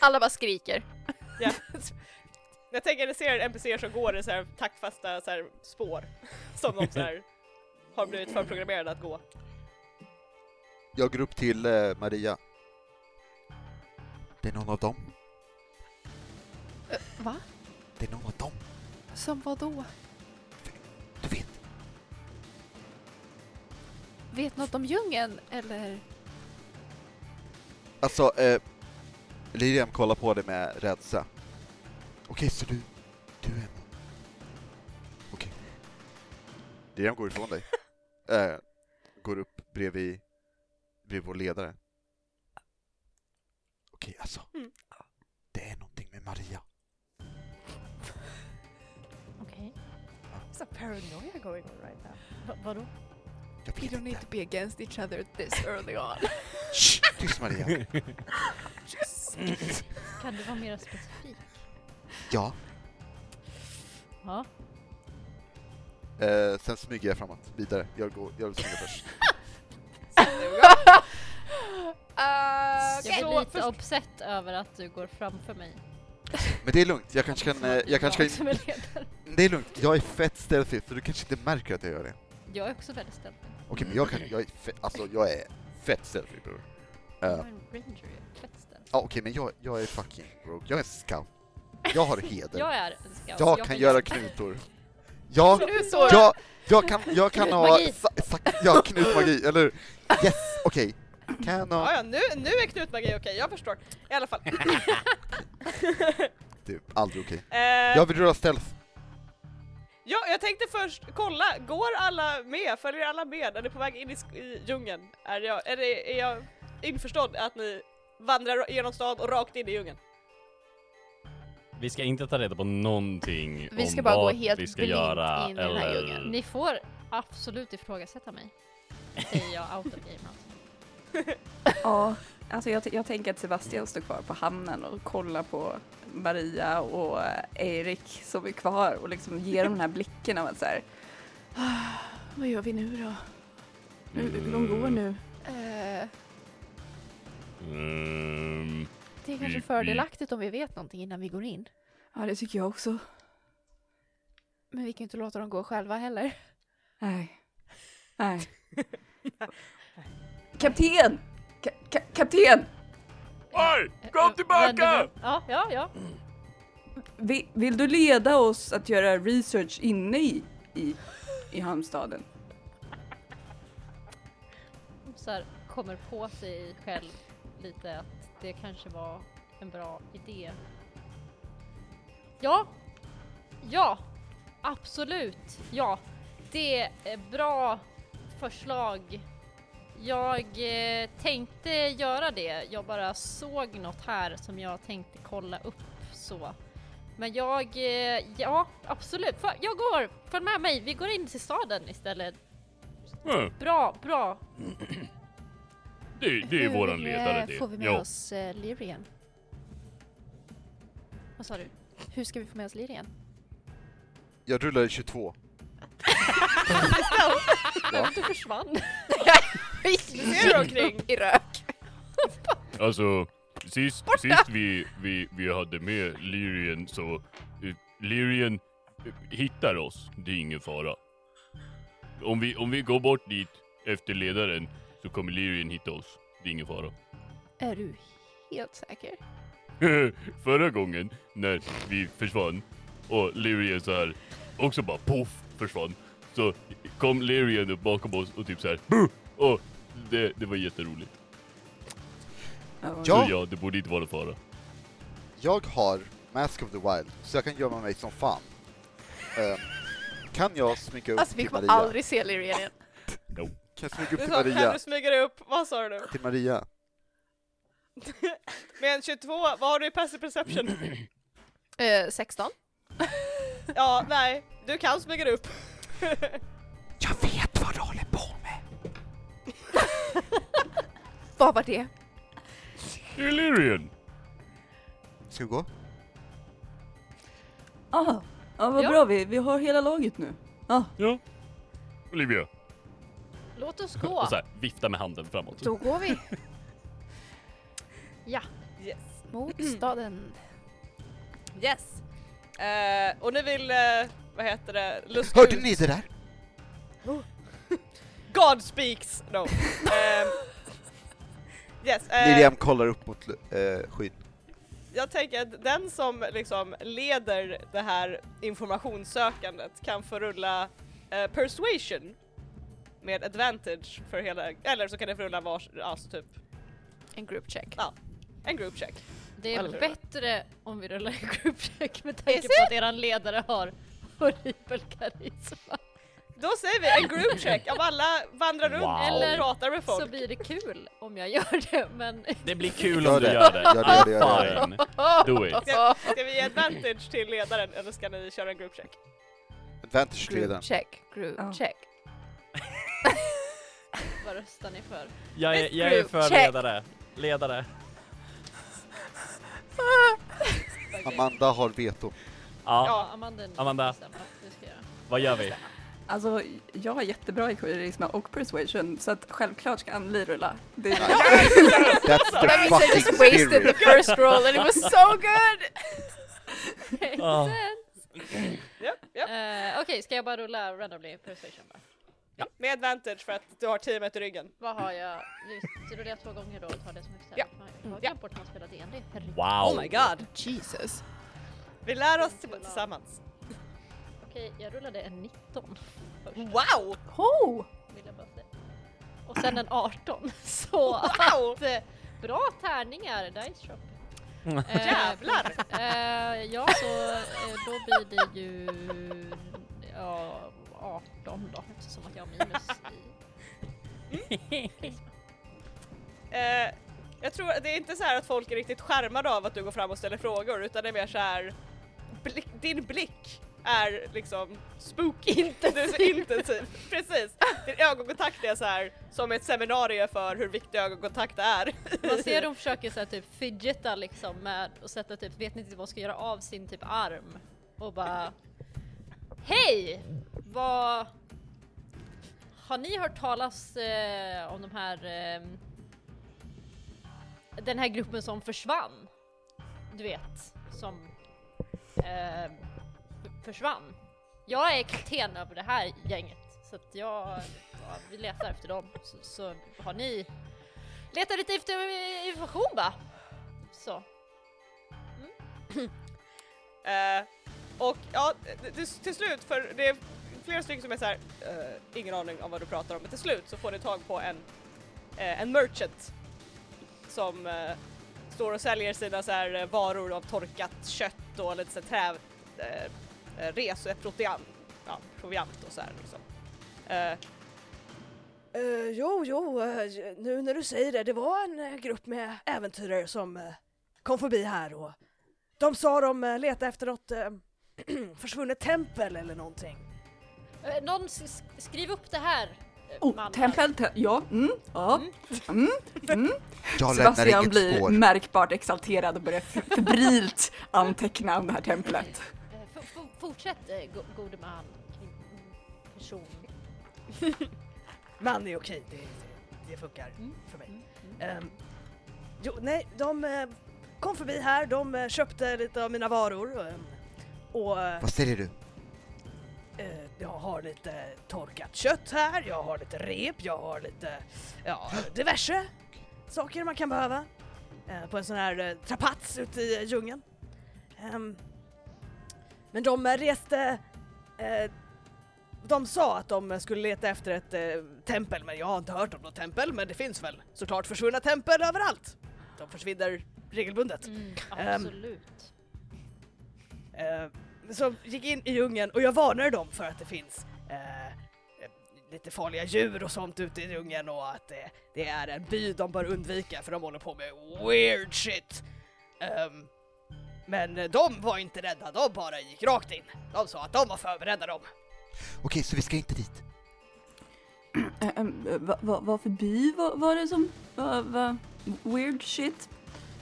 [SPEAKER 3] Alla bara skriker.
[SPEAKER 5] Jag tänker ni ser NPCer som går i så här taktfasta så här spår som de så här har blivit förprogrammerade att gå.
[SPEAKER 1] Jag går upp till eh, Maria. Det är någon av dem.
[SPEAKER 3] Eh, Va?
[SPEAKER 1] Det är någon av dem.
[SPEAKER 3] Som vad då?
[SPEAKER 1] Du vet.
[SPEAKER 3] Vet något om djungeln eller?
[SPEAKER 1] Alltså, eh, Liriam kollar på dig med rädsla. Okej, så du, du är en... Okej. Liriam går ifrån dig. eh, går upp bredvid, bredvid vår ledare. Okej, alltså.
[SPEAKER 5] Mm.
[SPEAKER 1] Det är någonting med Maria.
[SPEAKER 4] Okej.
[SPEAKER 5] It's a paranoia going on right now.
[SPEAKER 4] Va- vadå?
[SPEAKER 1] Jag vet inte.
[SPEAKER 3] be against each other this early on.
[SPEAKER 1] Shh, tyst Maria.
[SPEAKER 4] Kan du vara mer specifik?
[SPEAKER 1] ja.
[SPEAKER 4] Ja.
[SPEAKER 1] Eh, sen smyger jag framåt, vidare. Jag, går, jag smyger först.
[SPEAKER 3] Uh,
[SPEAKER 4] Jag
[SPEAKER 5] Okej.
[SPEAKER 4] blir lite
[SPEAKER 5] Så först-
[SPEAKER 4] obsett över att du går framför mig.
[SPEAKER 1] Men det är lugnt, jag kanske kan... eh, Jag kanske kan
[SPEAKER 4] som är ledare.
[SPEAKER 1] det är lugnt, jag är fett stealthy så du kanske inte märker att jag gör det.
[SPEAKER 4] Jag är också väldigt
[SPEAKER 1] Eh.
[SPEAKER 4] ställd.
[SPEAKER 1] Okej, men jag kan... Jag är fett, alltså, jag är fett stealthy bror. Eh,
[SPEAKER 4] Jag
[SPEAKER 1] Ja,
[SPEAKER 4] är en ranger, jag är fett ställd.
[SPEAKER 1] okej, men jag, jag är fucking broke. Jag är en scout. Jag har heder.
[SPEAKER 4] Jag är en scout.
[SPEAKER 1] Alltså, Jag kan göra knutor. Ja,
[SPEAKER 3] Knutor!
[SPEAKER 1] jag, jag kan, jag kan ha...
[SPEAKER 4] Knutmagi.
[SPEAKER 1] sa- sa- Ja, knutmagi, eller hur? Yes, okej. Kan ha...
[SPEAKER 5] Ja, ja, nu, nu är knutmagi okej, jag förstår. I alla fall.
[SPEAKER 1] Det är typ, aldrig okej.
[SPEAKER 5] Eh,
[SPEAKER 1] Jag vill rulla stealth.
[SPEAKER 5] ja, jag tänkte först kolla, går alla med? Följer alla med? Är ni på väg in i, sk- i djungeln? Är jag, är, det, är jag införstådd att ni vandrar genom stan och rakt in i djungeln?
[SPEAKER 7] Vi ska inte ta reda på någonting
[SPEAKER 3] Vi ska
[SPEAKER 7] om
[SPEAKER 3] bara gå
[SPEAKER 7] vad
[SPEAKER 3] helt
[SPEAKER 7] vi ska
[SPEAKER 3] blint
[SPEAKER 7] göra.
[SPEAKER 3] in i den här
[SPEAKER 7] eller...
[SPEAKER 3] djungeln.
[SPEAKER 4] Ni får absolut ifrågasätta mig. Säger jag out of game alltså.
[SPEAKER 6] Ja, alltså jag, t- jag tänker att Sebastian står kvar på hamnen och kollar på Maria och eh, Erik som är kvar och liksom ger dem den här blicken av att så här. "Ah, Vad gör vi nu då? Hur, hur de går nu?
[SPEAKER 3] Eh,
[SPEAKER 7] Mm. Vi-
[SPEAKER 3] det är
[SPEAKER 7] vi-
[SPEAKER 3] kanske fördelaktigt om vi vet någonting innan vi går in.
[SPEAKER 6] Ja, det tycker jag också.
[SPEAKER 3] Men vi kan ju inte låta dem gå själva heller.
[SPEAKER 6] Nej. Nej. Kapten! Ka- ka- kapten!
[SPEAKER 7] Oj!
[SPEAKER 4] Eh,
[SPEAKER 7] Kom
[SPEAKER 4] eh, vänder
[SPEAKER 7] tillbaka!
[SPEAKER 4] vi- Ja, ja, ja.
[SPEAKER 6] Vi, vill du leda oss att göra research inne i, i, i hamnstaden?
[SPEAKER 4] Så här, kommer på sig själv lite att det kanske var en bra idé. Ja. Ja. Absolut. Ja. Det är bra förslag. Jag eh, tänkte göra det. Jag bara såg något här som jag tänkte kolla upp så. Men jag, eh, ja absolut. Fa- Jag går, följ med mig. Vi går in till staden istället.
[SPEAKER 7] Mm,
[SPEAKER 4] Bra, bra.
[SPEAKER 7] Det, det är
[SPEAKER 3] Hur,
[SPEAKER 7] våran
[SPEAKER 3] eh,
[SPEAKER 7] ledare det.
[SPEAKER 3] får vi med
[SPEAKER 7] Ja.
[SPEAKER 3] oss eh, Lirian?
[SPEAKER 4] Vad sa du?
[SPEAKER 3] Hur ska vi få med oss Lirian?
[SPEAKER 1] Jag rullade 22. ja.
[SPEAKER 4] Du försvann.
[SPEAKER 5] Du ser er omkring.
[SPEAKER 3] I rök!
[SPEAKER 7] Alltså, sist, sist vi, vi, vi hade med Lyrian så... eh, Lyrian eh, hittar oss, det är ingen fara. Om vi, om vi går bort dit efter ledaren så kommer Lyrian hitta oss, det är ingen fara.
[SPEAKER 3] Är du helt säker?
[SPEAKER 7] Förra gången när vi försvann och Lyrian så här också bara poff försvann så kom Lyrian upp bakom oss och typ så här "Buh!" och det, det var jätteroligt.
[SPEAKER 1] Ja.
[SPEAKER 7] Så ja, det borde inte vara någon fara.
[SPEAKER 1] Jag har Mask of the Wild, så jag kan gömma mig som fan. Ehm, kan jag smyga upp
[SPEAKER 3] Alltså vi
[SPEAKER 1] till
[SPEAKER 3] kommer
[SPEAKER 1] Maria?
[SPEAKER 3] aldrig se Lirian igen.
[SPEAKER 1] Kan jag smyga upp
[SPEAKER 5] Du
[SPEAKER 1] till
[SPEAKER 5] sa själv,
[SPEAKER 1] Maria?
[SPEAKER 5] du smyger dig upp. Vad sa du?
[SPEAKER 1] Till Maria?
[SPEAKER 5] Med en 22, vad har du i passive perception?
[SPEAKER 3] Eh, 16.
[SPEAKER 5] Ja, nej, du kan smyga dig upp.
[SPEAKER 1] Jag vet vad du håller på med!
[SPEAKER 3] Vad var det?
[SPEAKER 7] Det är Lyrian!
[SPEAKER 1] Ska vi gå?
[SPEAKER 6] Ah, ja, vad
[SPEAKER 4] Ja.
[SPEAKER 6] bra vi, vi har hela laget nu. Ah,
[SPEAKER 7] Ja. Olivia.
[SPEAKER 4] Låt oss gå.
[SPEAKER 7] här, vifta med handen framåt.
[SPEAKER 3] Då går vi
[SPEAKER 4] Ja.
[SPEAKER 5] Yes.
[SPEAKER 3] mot staden.
[SPEAKER 5] Yes. Eh, och ni vill, eh, vad heter det, lust
[SPEAKER 1] Hörde ni det där?
[SPEAKER 5] God speaks! No. Ehm, yes, eh,
[SPEAKER 1] Lilian kollar upp mot uh, skyn.
[SPEAKER 5] jag tänker att den som liksom leder det här informationssökandet kan få rulla eh, persuasion med advantage för hela, eller så kan det få rulla vars, alltså typ
[SPEAKER 3] En group check.
[SPEAKER 5] en group check.
[SPEAKER 4] Det är
[SPEAKER 5] Eller hur?
[SPEAKER 4] bättre om vi rullar en gruppcheck med tanke
[SPEAKER 3] Is
[SPEAKER 4] på att eran ledare har horribel karisma.
[SPEAKER 5] Då säger vi en group check av alla vandrar runt
[SPEAKER 7] Wow.
[SPEAKER 5] och
[SPEAKER 4] Eller
[SPEAKER 5] pratar med
[SPEAKER 4] Så
[SPEAKER 5] folk.
[SPEAKER 4] blir det kul om jag gör det men
[SPEAKER 7] Det blir kul
[SPEAKER 1] Gör
[SPEAKER 7] om du
[SPEAKER 1] det.
[SPEAKER 7] gör det.
[SPEAKER 1] Gör det, gör det, gör det.
[SPEAKER 7] Fine. Do it.
[SPEAKER 5] Ska, ska vi ge advantage till ledaren eller ska ni köra en group check?
[SPEAKER 1] Advantage till ledaren.
[SPEAKER 3] Group check, group
[SPEAKER 6] Ja.
[SPEAKER 3] check.
[SPEAKER 4] vad röstar ni för?
[SPEAKER 7] Jag är, jag är
[SPEAKER 3] group
[SPEAKER 7] för
[SPEAKER 3] check.
[SPEAKER 7] ledare. Ledare.
[SPEAKER 1] Amanda har veto.
[SPEAKER 7] Ja,
[SPEAKER 5] Ja.
[SPEAKER 4] Amanda, är ny.
[SPEAKER 7] Amanda.
[SPEAKER 4] Bestämma. Du ska göra. Oh
[SPEAKER 7] vad gör vi?
[SPEAKER 6] Alltså, jag är jättebra i karisma och persuasion, så att självklart ska Anneli rulla. Det är...
[SPEAKER 1] That's the
[SPEAKER 3] But I
[SPEAKER 1] fucking
[SPEAKER 3] just wasted the
[SPEAKER 1] spirit.
[SPEAKER 3] first roll and it was so good!
[SPEAKER 4] Eh,
[SPEAKER 5] Japp, japp.
[SPEAKER 4] Okej, ska jag bara rulla randomly persuasion bara?
[SPEAKER 5] Med advantage för att du har teamet i ryggen.
[SPEAKER 4] Vad har jag? Just, rullar jag två gånger då och tar det som extra?
[SPEAKER 5] Ja.
[SPEAKER 4] Jag har
[SPEAKER 5] Ja.
[SPEAKER 4] glömt bort att man spelar D&D. Herregud.
[SPEAKER 2] Wow!
[SPEAKER 5] Oh god!
[SPEAKER 3] Jesus.
[SPEAKER 5] Vi lär oss till- tillsammans.
[SPEAKER 4] Okej, jag rullade en 19.
[SPEAKER 5] Wow!
[SPEAKER 3] Oh!
[SPEAKER 4] Vill jag bara säga. Och sen en 18. Så
[SPEAKER 5] Wow!
[SPEAKER 4] att, eh, bra tärningar, Dice Shop. Eh,
[SPEAKER 5] Jävlar!
[SPEAKER 4] eh, ja, så eh, då blir det ju ja, 18 då eftersom att jag har minus i...
[SPEAKER 5] Eh, jag tror det är inte så här att folk är riktigt skärmade av att du går fram och ställer frågor utan det är mer så här blick, din blick är liksom spooky. Intensiv. Du är så intensiv. Precis. Din ögonkontakt är så här som ett seminarium för hur viktig ögonkontakt är.
[SPEAKER 4] Man ser de försöker så här, typ fidgeta liksom med och sätta typ, vet ni inte vad de ska göra av sin typ arm? Och bara Hej! Vad... Har ni hört talas eh, om de här... Eh, den här gruppen som försvann? Du vet, som... Eh, f- försvann. Jag är kapten över det här gänget så att jag... Ja, vi letar efter dem. Så, så har ni Leta lite efter eh, information bara. Så.
[SPEAKER 5] Eh, och ja, det- det- till slut, för det är flera stycken som är så här, eh, ingen aning om vad du pratar om, men till slut så får ni tag på en, eh, en merchant som eh, står och säljer sina så här eh, varor av torkat kött och lite så här träv, eh, eh, res och ett protean, ja, proviant och så här liksom. Eh,
[SPEAKER 8] Eh, jo, jo, eh, j- nu när du säger det, det var en eh, grupp med äventyrare som eh, kom förbi här och de sa de uh, letade efter något eh, försvunnet tempel eller någonting.
[SPEAKER 4] Eh, Någon s- s- skriv upp det här. eh,
[SPEAKER 6] Oh,
[SPEAKER 4] mannen.
[SPEAKER 6] tempel, te- ja, mm, ja.
[SPEAKER 1] Jag lämnar
[SPEAKER 6] Sebastian
[SPEAKER 1] inget
[SPEAKER 6] blir
[SPEAKER 1] spår.
[SPEAKER 6] märkbart exalterad och börjar f- febrilt anteckna om det här templet.
[SPEAKER 4] Eh, f- f- Fortsätt eh, go- gode man. kvin- Person.
[SPEAKER 8] Man är okej, det, det funkar för mig. Ehm, jo, nej, de eh, kom förbi här, de eh, köpte lite av mina varor ehm, och eh,
[SPEAKER 1] Vad säger du?
[SPEAKER 8] eh, jag har lite torkat kött här, jag har lite rep, jag har lite, ja, diverse saker man kan behöva eh, på en sån här eh, trapats ute i eh, djungeln. Ehm, men de eh, reste, eh, de sa att de eh, skulle leta efter ett eh, tempel, men jag har inte hört om något tempel, men det finns väl såklart försvunna tempel överallt. De försvinner regelbundet.
[SPEAKER 4] absolut.
[SPEAKER 8] Eh, som gick in i djungeln och jag varnade dem för att det finns eh, eh, lite farliga djur och sånt ute i djungeln och att det, det är en by de bör undvika för de håller på med weird shit. Ehm, men de var inte rädda, de bara gick rakt in. De sa att de var förberedda dem.
[SPEAKER 1] Okej, så vi ska inte dit.
[SPEAKER 6] Eh, eh, va- va- Vad för by var var det som... va- va- Weird shit.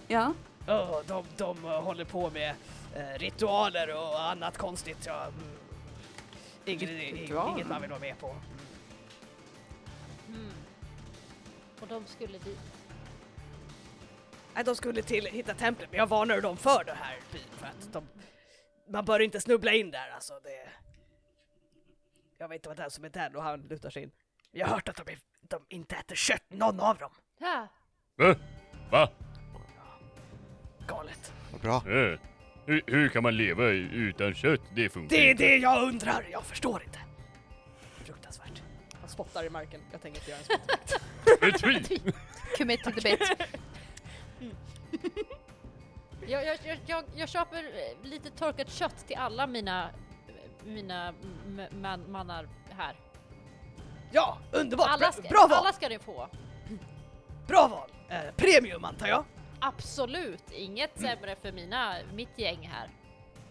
[SPEAKER 6] Ja.
[SPEAKER 8] Oh, de, de eh, håller på med eh, ritualer och annat konstigt. Ja, mm, inget,
[SPEAKER 6] Ritualer?
[SPEAKER 8] inget man vill vara med på. Ehm.
[SPEAKER 4] Mm. Och de skulle dit.
[SPEAKER 8] Nej, de skulle till hitta templet, men jag varnade dem för den här byn för att de... Man bör inte snubbla in där alltså, det... Jag vet inte vad den som är den och han lutar sig in. Jag har hört att de, är, de inte äter kött, någon av dem.
[SPEAKER 4] Ja.
[SPEAKER 2] Va? Va?
[SPEAKER 8] Galet.
[SPEAKER 1] Vad bra.
[SPEAKER 2] Eh, Hur, hur kan man leva utan kött? Det funkar
[SPEAKER 8] Det är
[SPEAKER 2] inte.
[SPEAKER 8] det jag undrar, jag förstår inte. Fruktansvärt.
[SPEAKER 5] han spottar i marken, jag tänker inte göra en spott.
[SPEAKER 2] Ett svin!
[SPEAKER 3] Commit to the bit.
[SPEAKER 4] Jag, jag, jag, jag, jag köper eh, lite torkat kött till alla mina, mina m- man, mannar här.
[SPEAKER 8] Ja, underbart!
[SPEAKER 4] Alla
[SPEAKER 8] Bra-
[SPEAKER 4] ska,
[SPEAKER 8] bra val!
[SPEAKER 4] alla ska ni få.
[SPEAKER 8] Bra val! Eh, premium antar jag?
[SPEAKER 4] Absolut, inget sämre för mina, mitt gäng här.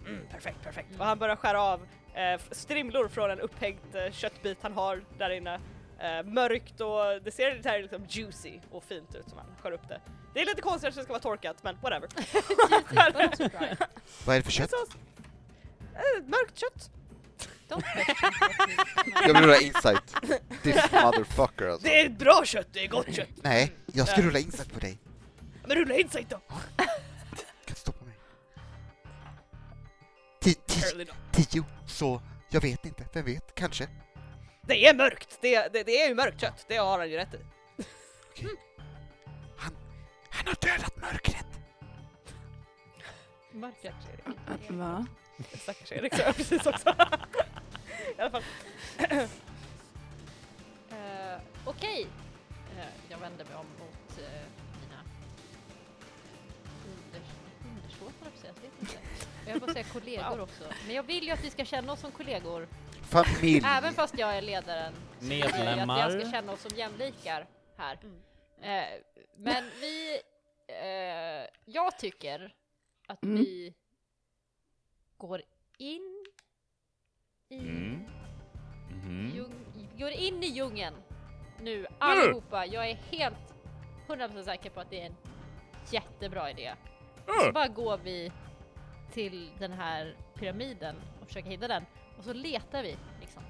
[SPEAKER 8] Mm, perfekt, perfekt.
[SPEAKER 5] Och han börjar skära av eh, strimlor från en upphängd eh, köttbit han har där inne. Eh, mörkt och det ser lite här liksom juicy och fint ut som han skär upp det. Det är lite konstigt att det ska vara torkat men whatever.
[SPEAKER 4] Precis, but it's right.
[SPEAKER 1] Vad är det för kött?
[SPEAKER 5] Så, eh, mörkt kött.
[SPEAKER 4] Don't question what you-
[SPEAKER 1] Jag vill rulla insight. This motherfucker alltså.
[SPEAKER 8] Det är bra kött, det är gott kött.
[SPEAKER 1] Nej, jag ska rulla insight på dig.
[SPEAKER 8] Men rulla insight då.
[SPEAKER 1] Kan du stoppa mig? Ti- ti-
[SPEAKER 8] Apparently not.
[SPEAKER 1] Tio, så jag vet inte. Vem vet? Kanske.
[SPEAKER 5] Det är mörkt, det, det, det är ju mörkt kött, det har han ju rätt i.
[SPEAKER 1] Han har dödat mörkret!
[SPEAKER 4] Mörkret.
[SPEAKER 6] äh, Va?
[SPEAKER 5] Stackars Erik sa jag precis också. I alla fall.
[SPEAKER 4] Eh, Okej. Eh, jag vänder mig om mot eh, mina unders undersåtar, höll jag på att säga. jag vet inte. Och Jag får säga kollegor också. Men jag vill ju att vi ska känna oss som kollegor.
[SPEAKER 1] Familj!
[SPEAKER 4] Även fast jag är ledaren så vill jag ju att jag ska
[SPEAKER 7] Medlemmar.
[SPEAKER 4] känna oss som jämlikar här. Eh, men vi... Eh, jag tycker att
[SPEAKER 6] Mm.
[SPEAKER 4] vi går in i
[SPEAKER 2] Mm.
[SPEAKER 7] Mm.
[SPEAKER 2] Mhm.
[SPEAKER 4] djung, går in i djungeln nu allihopa. Jag är helt 100% säker på att det är en jättebra idé. Så
[SPEAKER 2] Ah,
[SPEAKER 4] bara går vi till den här pyramiden och försöker hitta den och så letar vi liksom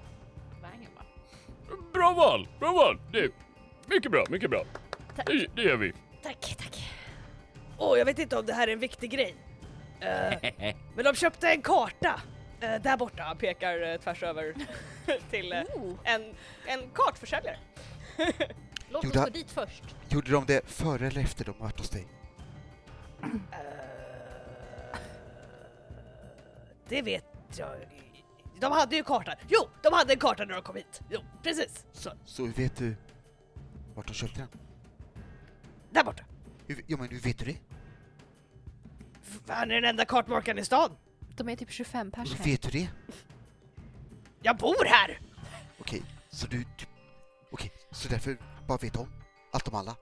[SPEAKER 4] vägen bara.
[SPEAKER 2] Bra val, bra val! Det är mycket bra, mycket bra. Det, det gör vi.
[SPEAKER 4] Tack, tack.
[SPEAKER 8] Åh, jag vet inte om det här är en viktig grej. Eh, men de köpte en karta. eh, där borta.
[SPEAKER 5] Han pekar eh, tvärs över till eh, en, en kartförsäljare.
[SPEAKER 4] Låt
[SPEAKER 1] Gjorde
[SPEAKER 4] oss gå
[SPEAKER 1] han-
[SPEAKER 4] dit först.
[SPEAKER 1] Gjorde de det före eller efter de varit hos dig?
[SPEAKER 8] Eh, Det vet jag. De hade ju kartan. Jo, de hade en karta när de kom hit. Jo, precis. Så,
[SPEAKER 1] Så hur vet du vart de köpte den?
[SPEAKER 8] där borta.
[SPEAKER 1] Hur, ja men hur vet du det?
[SPEAKER 8] F- Han är den enda kartmakaren i stan.
[SPEAKER 3] De är typ 25 pers
[SPEAKER 1] Hur
[SPEAKER 3] här.
[SPEAKER 1] vet du det?
[SPEAKER 8] Jag bor här!
[SPEAKER 1] Okej, så du... du Okej, så därför bara vet om allt om alla?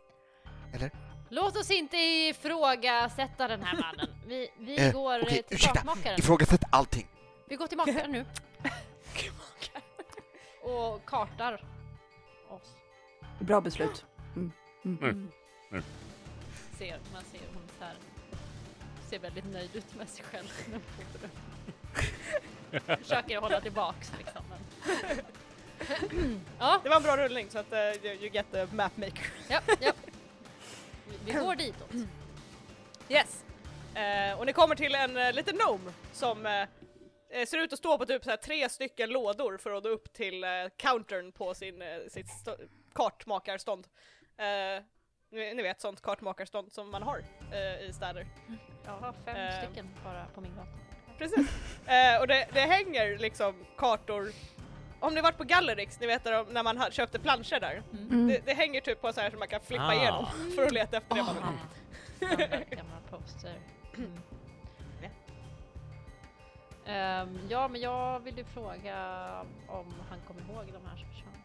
[SPEAKER 4] Låt oss inte ifrågasätta den här mannen. Vi, vi
[SPEAKER 1] Eh,
[SPEAKER 4] går eh,
[SPEAKER 1] okej,
[SPEAKER 4] till
[SPEAKER 1] ursäkta.
[SPEAKER 4] kartmakaren.
[SPEAKER 1] Ifrågasätt allting!
[SPEAKER 4] Vi går till makaren nu. och kartar oss.
[SPEAKER 6] Bra beslut.
[SPEAKER 4] Ser, man ser hon så här, ser väldigt nöjd ut med sig själv. när hon går runt. Försöker hålla tillbaks liksom. Men. ja,
[SPEAKER 5] Det var en bra rullning så att eh, you, you get the map maker.
[SPEAKER 4] ja, ja. Vi- Vi går ditåt.
[SPEAKER 5] Yes! Eh, och ni kommer till en eh, liten gnome som eh, eh, ser ut att stå på typ så här tre stycken lådor för att nå upp till eh, countern på sin, eh, sitt st- kartmakarstånd. Eh, ni, ni vet sånt kartmakarstånd som man har eh, i städer.
[SPEAKER 4] Jag har fem
[SPEAKER 5] Ehm.
[SPEAKER 4] stycken bara på min gata.
[SPEAKER 5] Precis. Eh, och det, det hänger liksom kartor. Om ni varit på Gallerix, ni vet där de- när man ha- köpte planscher där.
[SPEAKER 4] Mm.
[SPEAKER 6] Mm.
[SPEAKER 8] Mm.
[SPEAKER 5] Det, det hänger typ på så här som man kan flippa
[SPEAKER 7] Ah.
[SPEAKER 5] igenom för att leta efter det man vill.
[SPEAKER 4] Äh, standard gamla poster. Mm.
[SPEAKER 5] Ja.
[SPEAKER 4] Ehm, ja, men jag vill ju fråga om han kommer ihåg de här som försvann.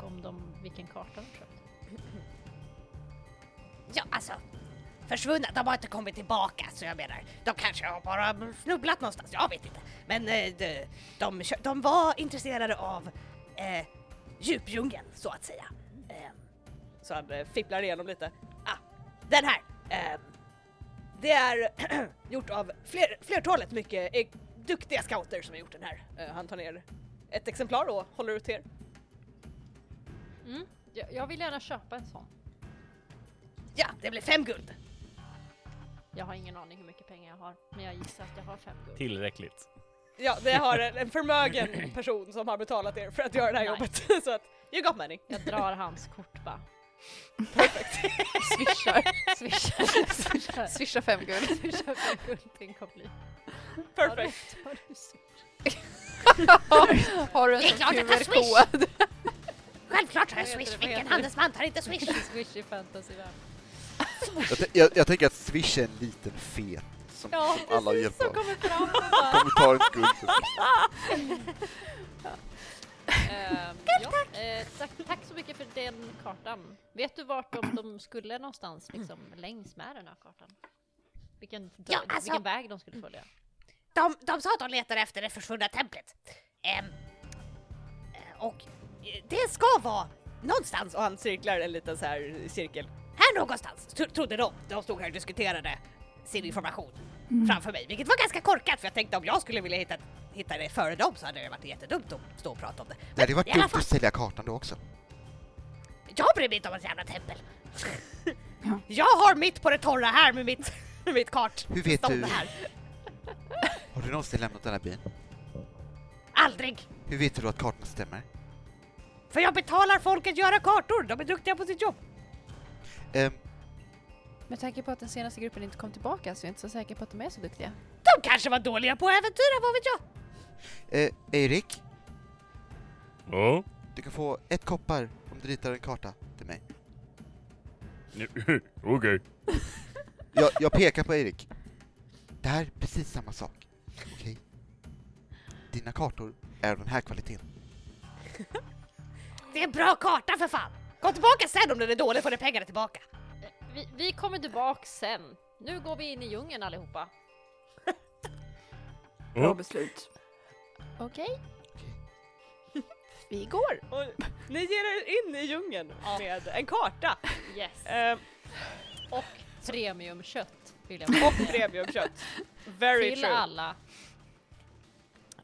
[SPEAKER 4] Och om de, vilken karta de köpte.
[SPEAKER 8] Ja, alltså. Försvunna, de har inte kommit tillbaka så jag menar, de kanske har bara snubblat någonstans, jag vet inte. Men eh, de, de, kö- de var intresserade av eh, djupdjungeln så att säga. Eh,
[SPEAKER 5] Så han eh, fipplar igenom lite.
[SPEAKER 8] ah, den här!
[SPEAKER 5] Ehm,
[SPEAKER 8] Eh, det är gjort av fler, flertalet mycket eh, duktiga scouter som har gjort den här.
[SPEAKER 5] Eh, han tar ner ett exemplar och håller ut till er.
[SPEAKER 4] Mm. Jag, jag vill gärna köpa en sån.
[SPEAKER 8] Ja, det blir fem guld!
[SPEAKER 4] Jag har ingen aning hur mycket pengar jag har, men jag gissar att jag har fem guld.
[SPEAKER 7] Tillräckligt.
[SPEAKER 5] Ja, det har en, en förmögen person som har betalat er för att göra det här
[SPEAKER 4] Nice.
[SPEAKER 5] jobbet. så att, you got money.
[SPEAKER 4] Jag drar hans kort bara. Swishar, swishar, swishar.
[SPEAKER 3] Swisha fem guld.
[SPEAKER 4] Swishar fem guld till en koppling.
[SPEAKER 5] Perfect.
[SPEAKER 4] Har du, har du swishat?
[SPEAKER 3] Har du en
[SPEAKER 6] Det är
[SPEAKER 3] sån
[SPEAKER 6] klart att jag
[SPEAKER 3] QR-kod?
[SPEAKER 6] Självklart har
[SPEAKER 4] jag Vad heter Swish. det? Vad Vilken heter det?
[SPEAKER 6] handelsman tar inte Swish?
[SPEAKER 4] Swish i fantasyvärlden.
[SPEAKER 1] Jag, t- jag, jag tänker att Swish är en liten fet som,
[SPEAKER 4] Ja,
[SPEAKER 1] som alla
[SPEAKER 4] precis,
[SPEAKER 1] hjälper
[SPEAKER 4] som
[SPEAKER 1] av.
[SPEAKER 4] kommer fram och bara...
[SPEAKER 1] Kommer ta ett guld.
[SPEAKER 4] Ehm, ja, eh, tack, tack så mycket för den kartan. Vet du vart de, de skulle någonstans liksom, längs med den här kartan? Vilken, dö-
[SPEAKER 6] Ja, alltså-
[SPEAKER 4] vilken väg de skulle följa?
[SPEAKER 6] De, de sa att de letar efter det försvunna templet. Ehm, och eh, det ska vara någonstans
[SPEAKER 5] Och han cirklar en liten så här cirkel.
[SPEAKER 6] här någonstans, tro- trodde de. De stod här och diskuterade sin information framför mig, vilket var ganska korkat för jag tänkte om jag skulle vilja hitta ett
[SPEAKER 5] hittat det före dem så hade det varit jättedumt att stå och prata om det.
[SPEAKER 1] Det hade
[SPEAKER 5] i
[SPEAKER 1] varit
[SPEAKER 5] alla
[SPEAKER 1] dumt att sälja kartan då också.
[SPEAKER 5] Jag bryr mig inte om ett jävla tempel. Jag har mitt på det torra här med mitt, med mitt kart.
[SPEAKER 1] Hur vet
[SPEAKER 5] Stånd
[SPEAKER 1] du?
[SPEAKER 5] Här.
[SPEAKER 1] Har du någonsin lämnat den här byn?
[SPEAKER 5] Aldrig!
[SPEAKER 1] Hur vet du då att kartan stämmer?
[SPEAKER 5] För jag betalar folk att göra kartor, de är duktiga på sitt jobb.
[SPEAKER 1] Ehm,
[SPEAKER 3] Med tanke på att den senaste gruppen inte kom tillbaka så är jag inte så säker på att de är så duktiga.
[SPEAKER 5] De kanske var dåliga på att äventyra, vad vet jag?
[SPEAKER 1] eh, Erik,
[SPEAKER 2] Ja?
[SPEAKER 1] du kan få ett koppar om du ritar en karta till mig.
[SPEAKER 2] Okej.
[SPEAKER 1] Jag, jag pekar på Erik. Det här är precis samma sak. Okej? Dina kartor är av den här kvaliteten.
[SPEAKER 5] Det är en bra karta för fan! Kom tillbaka sen om den är dålig får ni pengarna tillbaka.
[SPEAKER 4] Vi, vi kommer tillbaka sen. Nu går vi in i djungeln allihopa.
[SPEAKER 6] Bra beslut.
[SPEAKER 3] Okej? Vi går!
[SPEAKER 5] Och ni ger er in i djungeln med en karta
[SPEAKER 4] Yes.
[SPEAKER 5] eh,
[SPEAKER 4] Och premiumkött vill jag
[SPEAKER 5] och
[SPEAKER 4] säga.
[SPEAKER 5] premiumkött. Very
[SPEAKER 4] Till
[SPEAKER 5] true.
[SPEAKER 4] alla.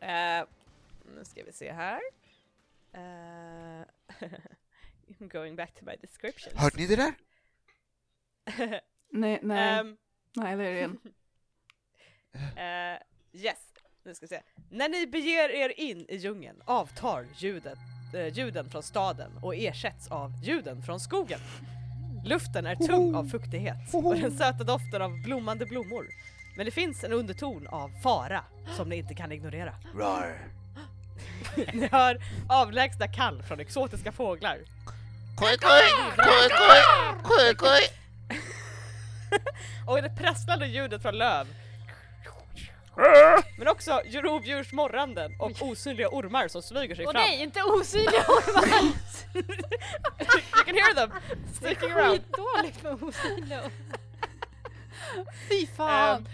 [SPEAKER 5] Eh, nu ska vi se här. Eh, going back to my description.
[SPEAKER 1] Hörde ni det där?
[SPEAKER 6] Nej, nej,
[SPEAKER 5] Ehm,
[SPEAKER 6] nej det är det igen.
[SPEAKER 5] Eh, yes, nu ska vi se. När ni beger er in i djungeln avtar ljudet, eh, ljuden från staden och ersätts av ljuden från skogen. Luften är tung av fuktighet och den söta doften av blommande blommor. Men det finns en underton av fara som ni inte kan ignorera.
[SPEAKER 1] Rar.
[SPEAKER 5] Ni hör avlägsna kall från exotiska fåglar. Och det prasslande ljudet från löv. Men också rovdjurs morranden och osynliga ormar som smyger sig
[SPEAKER 4] Och
[SPEAKER 5] fram.
[SPEAKER 4] nej, inte osynliga ormar!
[SPEAKER 5] You can hear them sneaking around.
[SPEAKER 4] Skitdåligt med osynliga ormar.
[SPEAKER 3] Fy fan!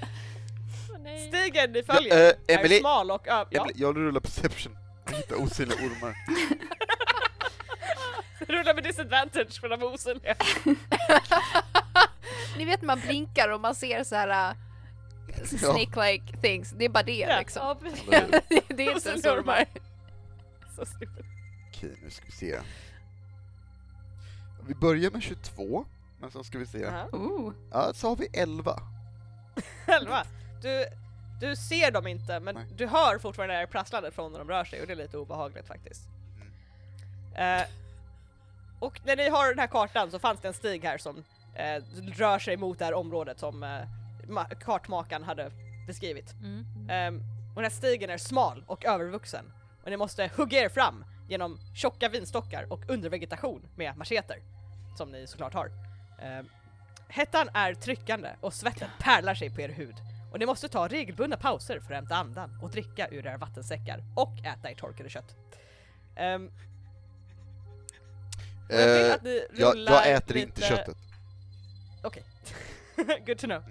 [SPEAKER 4] Åh, nej.
[SPEAKER 5] Ehm, Stigen ni
[SPEAKER 1] Ja, eh,
[SPEAKER 5] följer är
[SPEAKER 1] Emily.
[SPEAKER 5] smal och öv... Ja,
[SPEAKER 1] Jag, jag rullar perception. Jag hittar osynliga ormar.
[SPEAKER 5] rullar med disadvantage för de är osynliga.
[SPEAKER 3] Ni vet man blinkar och man ser så här uh, snake-like things. Det är bara det
[SPEAKER 5] Ja.
[SPEAKER 3] liksom.
[SPEAKER 4] Ja, precis.
[SPEAKER 3] det är inte ens ormar.
[SPEAKER 5] Så stupid.
[SPEAKER 1] Okej, nu ska vi se. Vi börjar med 22, men sen ska vi se.
[SPEAKER 5] Aha.
[SPEAKER 6] Ooh.
[SPEAKER 1] Ja, så har vi 11.
[SPEAKER 5] Elva. Du, du ser dem inte men
[SPEAKER 1] Nej.
[SPEAKER 5] du hör fortfarande det här prasslandet från när de rör sig och det är lite obehagligt faktiskt.
[SPEAKER 1] Mm.
[SPEAKER 5] Eh, och när ni har den här kartan så fanns det en stig här som eh, rör sig mot det här området som eh, ma- kartmakaren hade beskrivit.
[SPEAKER 4] Mm.
[SPEAKER 5] Ehm, och den här stigen är smal och övervuxen och ni måste hugga er fram genom tjocka vinstockar och undervegetation med macheter. Som ni såklart har. Ehm, hettan är tryckande och svetten pärlar sig på er hud och ni måste ta regelbundna pauser för att hämta andan och dricka ur era vattensäckar och äta ert torkade kött. Ehm, och jag vill
[SPEAKER 1] Eh,
[SPEAKER 5] att ni
[SPEAKER 1] jag,
[SPEAKER 5] rullar
[SPEAKER 1] jag äter
[SPEAKER 5] lite-
[SPEAKER 1] inte köttet.
[SPEAKER 5] Okej. Good to know.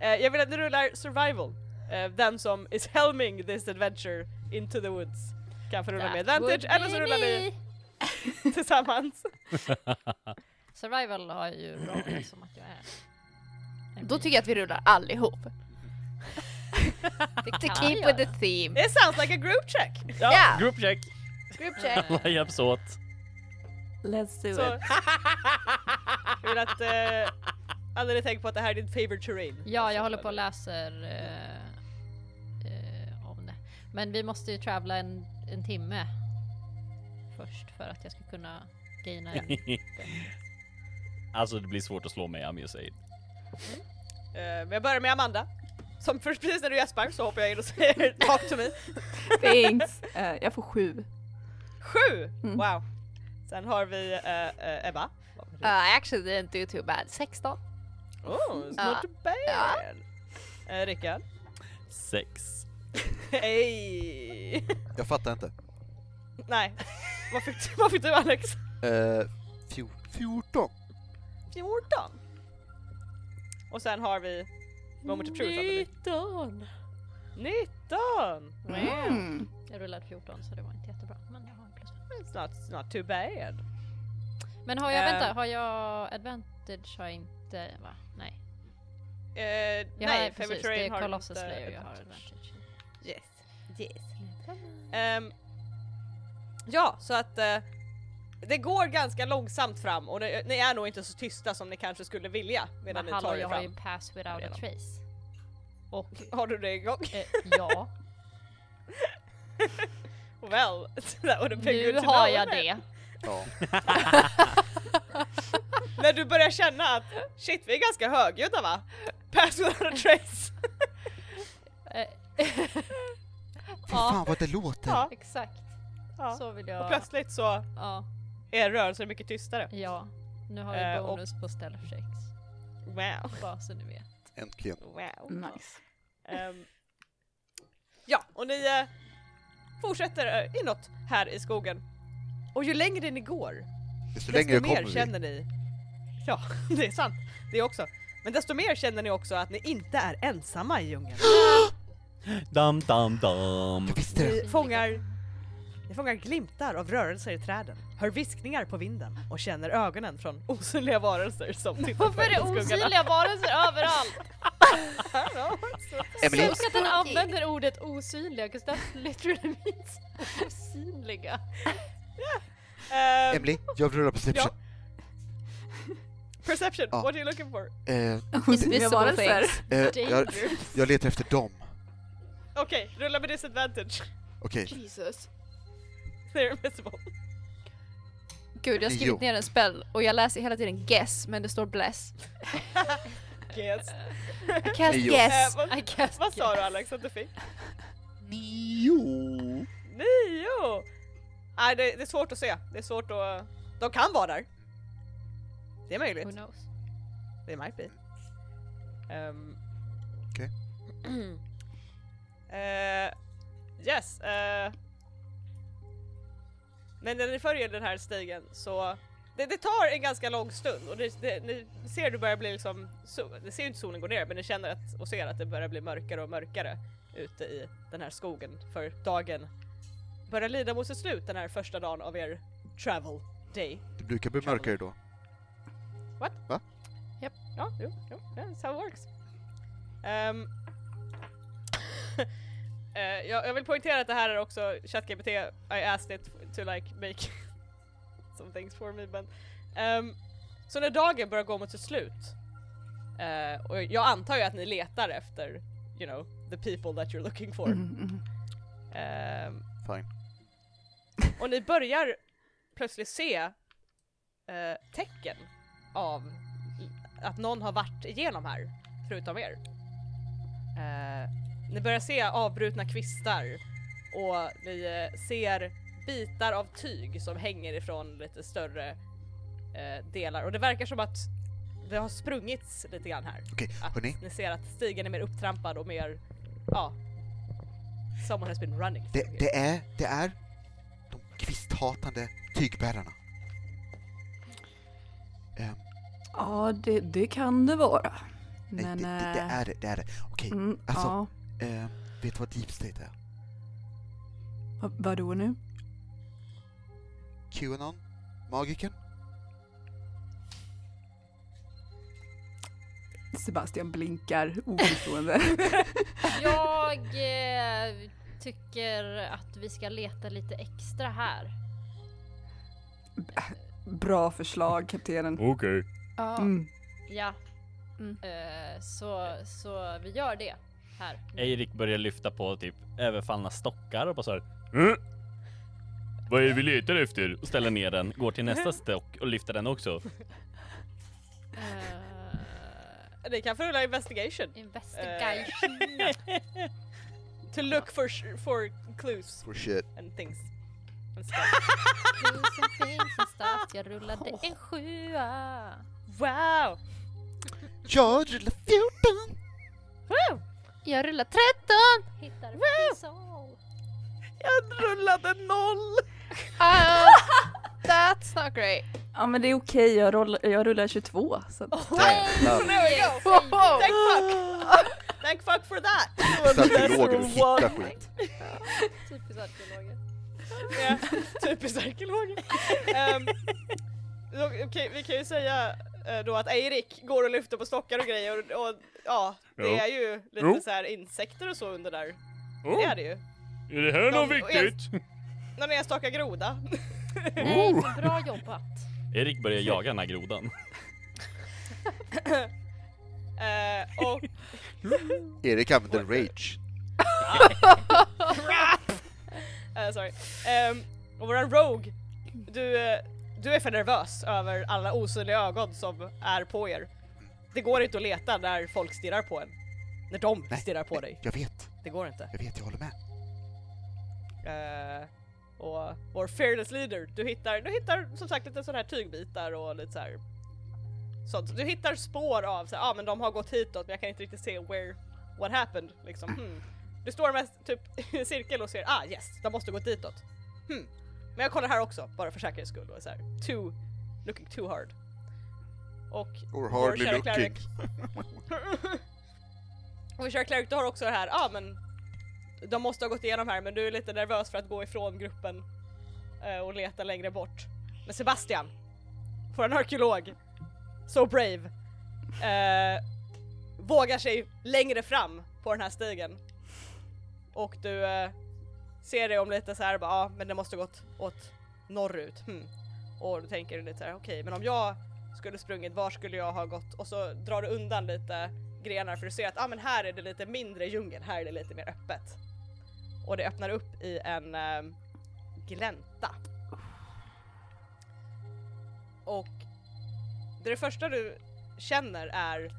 [SPEAKER 5] Eh, jag vill att ni rullar survival. Eh, den som is helming this adventure into the woods kan få rulla med advantage, eller så rullar ni tillsammans.
[SPEAKER 4] Survival har jag ju bra som att jag är.
[SPEAKER 3] Då tycker jag att vi rullar allihop.
[SPEAKER 4] jag
[SPEAKER 3] To keep with the theme.
[SPEAKER 5] It sounds like a group check!
[SPEAKER 3] Ja, yeah.
[SPEAKER 7] Group check.
[SPEAKER 3] group check.
[SPEAKER 7] Alla hjälps åt.
[SPEAKER 6] Let's do
[SPEAKER 5] Så,
[SPEAKER 6] it.
[SPEAKER 5] jag vill att eh, alla ni tänker på att det här är din favorite terrain.
[SPEAKER 4] Ja, jag håller på och läser eh, eh, om det. Men vi måste ju travla en, en timme först för att jag ska kunna gaina en.
[SPEAKER 7] alltså det blir svårt att slå mig, I'm just saying.
[SPEAKER 5] Eh, Men jag börjar med Amanda. Som först precis när du gäspar så hoppar jag in och säger talk to me.
[SPEAKER 6] Thanks. Eh, jag får sju.
[SPEAKER 5] Sju!
[SPEAKER 6] Mm.
[SPEAKER 5] Wow. Sen har vi eh, eh, Ebba.
[SPEAKER 3] Uh, actually didn't do too bad. 16.
[SPEAKER 5] Oh, it's not bad! Eh, Rickard.
[SPEAKER 7] Sex.
[SPEAKER 5] Hej!
[SPEAKER 1] Jag fattar inte.
[SPEAKER 5] Nej. Vad fick, du- vad fick du Alex?
[SPEAKER 1] Eh, fjor- 14.
[SPEAKER 5] 14. Och sen har vi Moment of Truth. hade
[SPEAKER 4] 19!
[SPEAKER 5] vi. 19!
[SPEAKER 6] Mm.
[SPEAKER 4] Jag rullade 14 så det var inte jättebra. Men jag har en plus fem.
[SPEAKER 5] It's not, it's not too bad.
[SPEAKER 4] Men har jag,
[SPEAKER 5] Eh.
[SPEAKER 4] vänta, har jag advantage har jag inte va? Nej.
[SPEAKER 5] Eh,
[SPEAKER 4] Jag
[SPEAKER 5] nej,
[SPEAKER 4] har,
[SPEAKER 5] Favorite
[SPEAKER 4] precis, det
[SPEAKER 5] Terrain
[SPEAKER 4] är
[SPEAKER 5] har
[SPEAKER 4] Colossus
[SPEAKER 5] inte
[SPEAKER 4] Slayer jag har
[SPEAKER 5] advantage.
[SPEAKER 4] advantage.
[SPEAKER 5] Yes. Yes. Ehm, ja, så att eh, det går ganska långsamt fram och det, ni är nog inte så tysta som ni kanske skulle vilja medan
[SPEAKER 4] Men
[SPEAKER 5] ni
[SPEAKER 4] hallå,
[SPEAKER 5] tar
[SPEAKER 4] jag
[SPEAKER 5] er
[SPEAKER 4] har ju
[SPEAKER 5] fram.
[SPEAKER 4] pass without a
[SPEAKER 5] Redan.
[SPEAKER 4] trace. Och
[SPEAKER 5] Har du det igång?
[SPEAKER 4] eh, ja,
[SPEAKER 5] Well, that would have been
[SPEAKER 4] nu
[SPEAKER 5] good to
[SPEAKER 4] har
[SPEAKER 5] know,
[SPEAKER 4] jag
[SPEAKER 5] eller?
[SPEAKER 4] det.
[SPEAKER 1] Ja.
[SPEAKER 5] När du börjar känna att shit, vi är ganska högljudda va? Pass without a trace.
[SPEAKER 4] Eh,
[SPEAKER 1] Fy
[SPEAKER 4] ja,
[SPEAKER 1] fan vad det låter!
[SPEAKER 5] Ja.
[SPEAKER 4] exakt.
[SPEAKER 5] Ja.
[SPEAKER 4] Så vill
[SPEAKER 5] Och
[SPEAKER 4] jag.
[SPEAKER 5] plötsligt så
[SPEAKER 4] Ja,
[SPEAKER 5] är rörelsen mycket tystare.
[SPEAKER 4] ja. Nu har
[SPEAKER 5] Eh,
[SPEAKER 4] jag
[SPEAKER 5] och-
[SPEAKER 4] bonus på stealth checks.
[SPEAKER 5] Wow.
[SPEAKER 4] Bara så ni vet.
[SPEAKER 1] Äntligen.
[SPEAKER 5] wow.
[SPEAKER 6] Nice.
[SPEAKER 5] Ehm, ja, och ni eh, fortsätter eh, inåt här i skogen. Och ju längre ni går,
[SPEAKER 1] Desto
[SPEAKER 5] desto
[SPEAKER 1] längre kommer
[SPEAKER 5] mer
[SPEAKER 1] vi.
[SPEAKER 5] känner ni... Ja, det är sant. Det också. Men desto mer känner ni också att ni inte är ensamma i djungeln.
[SPEAKER 7] Dam, dam, dam.
[SPEAKER 1] Jag visste det!
[SPEAKER 5] Ni fångar, ni fångar glimtar av rörelser i träden, hör viskningar på vinden och känner ögonen från osynliga varelser som tittar på
[SPEAKER 4] Varför är
[SPEAKER 5] er
[SPEAKER 4] det
[SPEAKER 5] i skuggorna.
[SPEAKER 4] osynliga varelser överallt?
[SPEAKER 1] Emily.
[SPEAKER 4] Så att den använder ordet osynliga, 'cause that literally means osynliga.
[SPEAKER 5] Ehm,
[SPEAKER 1] Emily, jag rullar perception.
[SPEAKER 5] Eh, perception,
[SPEAKER 1] Ja.
[SPEAKER 5] what are you looking for?
[SPEAKER 1] Eh,
[SPEAKER 6] Osynliga varelser.
[SPEAKER 1] eh, jag,
[SPEAKER 4] Dangerous.
[SPEAKER 1] jag letar efter dem.
[SPEAKER 5] Okej, rulla med disadvantage.
[SPEAKER 1] Okej,
[SPEAKER 3] Jesus.
[SPEAKER 5] They're invisible.
[SPEAKER 3] Gud, jag har skrivit
[SPEAKER 1] Jo.
[SPEAKER 3] ner en spell och jag läser hela tiden guess, men det står bless.
[SPEAKER 5] Yes.
[SPEAKER 3] I cast
[SPEAKER 1] Nio.
[SPEAKER 5] Eh,
[SPEAKER 3] guess!
[SPEAKER 5] vad,
[SPEAKER 4] I guess.
[SPEAKER 5] vad sa du Alex att du fick?
[SPEAKER 1] Nio!
[SPEAKER 5] Nio! Nej, det, det är svårt att se. Det är svårt att... De kan vara där. Det är möjligt.
[SPEAKER 4] Who knows?
[SPEAKER 5] Det might be. Um,
[SPEAKER 1] Okej.
[SPEAKER 5] Eh, yes. eh. men när ni följer den här stigen så det, det tar en ganska lång stund och det, det, ni ser hur det börjar bli liksom, so, ni ser ju inte solen gå ner men ni känner att, och ser att det börjar bli mörkare och mörkare ute i den här skogen för dagen börjar lida mot sitt slut den här första dagen av er travel day.
[SPEAKER 1] Det brukar bli mörkare då.
[SPEAKER 5] Ja, jo, jo, that's how it works. Ehm, eh, jag, jag vill poängtera att det här är också ChatGPT, I asked it to like make some things for me men. ehm, så när dagen börjar gå mot sitt slut eh, och jag antar ju att ni letar efter you know the people that you're looking for.
[SPEAKER 6] Mm, mm.
[SPEAKER 5] Ehm,
[SPEAKER 1] Fine.
[SPEAKER 5] och ni börjar plötsligt se eh, tecken av att någon har varit igenom här, förutom er. Eh, ni börjar se avbrutna kvistar och ni eh, ser bitar av tyg som hänger ifrån lite större eh, delar och det verkar som att det har sprungits lite grann här.
[SPEAKER 1] Okej,
[SPEAKER 5] Att
[SPEAKER 1] hörni.
[SPEAKER 5] ni ser att stigen är mer upptrampad och mer, ja, someone has been running.
[SPEAKER 1] Det,
[SPEAKER 5] through here.
[SPEAKER 1] det är, det är de kvisthatande tygbärarna. Ehm,
[SPEAKER 6] Ja, det, det kan det vara.
[SPEAKER 1] nej,
[SPEAKER 6] Men...
[SPEAKER 1] det, det, det
[SPEAKER 6] eh,
[SPEAKER 1] är det, det är det. Okej,
[SPEAKER 6] Mm,
[SPEAKER 1] alltså-
[SPEAKER 6] Ja,
[SPEAKER 1] ehm, vet du vad deep state är?
[SPEAKER 6] Va- vadå nu?
[SPEAKER 1] Qanon? Magiken?
[SPEAKER 6] Sebastian blinkar oförstående.
[SPEAKER 4] Jag eh, tycker att vi ska leta lite extra här.
[SPEAKER 6] Bra förslag, kaptenen.
[SPEAKER 2] Okej.
[SPEAKER 3] Ja.
[SPEAKER 6] Mm.
[SPEAKER 4] Ja.
[SPEAKER 3] Mm.
[SPEAKER 4] Eh, så, så vi gör det här.
[SPEAKER 7] Erik börjar lyfta på typ överfallna stockar och bara så här,
[SPEAKER 2] Mm. Vad är det vi letar efter?
[SPEAKER 7] och ställer ner den, går till nästa stock och lyfter den också.
[SPEAKER 4] Eh,
[SPEAKER 5] Ni kan få rulla investigation.
[SPEAKER 4] investigation.
[SPEAKER 5] to look for sh- for clues
[SPEAKER 1] For shit.
[SPEAKER 5] and things. And stuff.
[SPEAKER 4] Tusen things and stuff. Jag rullade en sjua.
[SPEAKER 5] wow!
[SPEAKER 1] Jag rullar 14!
[SPEAKER 3] Jag rullar 13!
[SPEAKER 4] Hittar en sol.
[SPEAKER 5] Jag rullade noll!
[SPEAKER 3] Uh, that's not great.
[SPEAKER 6] Ja, men det är okej. Jag, roll, jag rullar 22. Så att,
[SPEAKER 1] Jävlar.
[SPEAKER 5] There we go!
[SPEAKER 3] Wow.
[SPEAKER 5] Thank fuck! Thank fuck for that!
[SPEAKER 1] Arkeologer och hitta skit.
[SPEAKER 4] Typiskt arkeologer.
[SPEAKER 5] Ja, Typiskt arkeologer. Ehm, då- Okej, vi kan ju säga eh, då att Erik går och lyfter på stockar och grejer och, och ja, det
[SPEAKER 2] Jo.
[SPEAKER 5] är ju lite
[SPEAKER 2] Jo.
[SPEAKER 5] så här insekter och så under där.
[SPEAKER 2] Oh,
[SPEAKER 5] Det är det ju.
[SPEAKER 2] Är det här något
[SPEAKER 5] De- och jag-
[SPEAKER 2] viktigt?
[SPEAKER 5] Någon enstaka groda.
[SPEAKER 4] Nej, men bra jobbat.
[SPEAKER 7] Erik börjar jaga den här grodan.
[SPEAKER 5] Eh, och
[SPEAKER 1] Erik använder rage.
[SPEAKER 5] Eh, sorry. Ehm, och våran Rogue, du, eh, du är för nervös över alla osynliga ögon som är på er. Det går inte att leta när folk stirrar på en. När de
[SPEAKER 1] Nej,
[SPEAKER 5] stirrar på
[SPEAKER 1] nej,
[SPEAKER 5] dig.
[SPEAKER 1] Jag vet,
[SPEAKER 5] Det går inte.
[SPEAKER 1] jag vet, jag håller med.
[SPEAKER 5] Eh, och vår fearless leader, du hittar, du hittar som sagt lite sådana här tygbitar och lite så här. Sånt. Du hittar spår av så här, ah, men de har gått hitåt men jag kan inte riktigt se where, what happened liksom. Hmm. Du står mest typ i en cirkel och ser, ah yes, de måste gått ditåt. Hmm. Men jag kollar här också, bara för säkerhets skull och så här, too, looking too hard. Och
[SPEAKER 1] Or
[SPEAKER 5] vår
[SPEAKER 1] hardly
[SPEAKER 5] kära
[SPEAKER 1] looking.
[SPEAKER 5] cleric- och vi kör Cleric, du har också det här, ja ah, men de måste ha gått igenom här men du är lite nervös för att gå ifrån gruppen eh, och leta längre bort. Men Sebastian, våran arkeolog, so brave, eh, vågar sig längre fram på den här stigen. Och du eh, ser det om lite så här, bara, ja ah, men det måste gått åt norrut. Hmm. Och du tänker lite så här, okej men om jag skulle sprungit, var skulle jag ha gått? Och så drar du undan lite grenar för du ser att ah, men här är det lite mindre djungel, här är det lite mer öppet. Och det öppnar upp i en eh, glänta. Och det första du känner är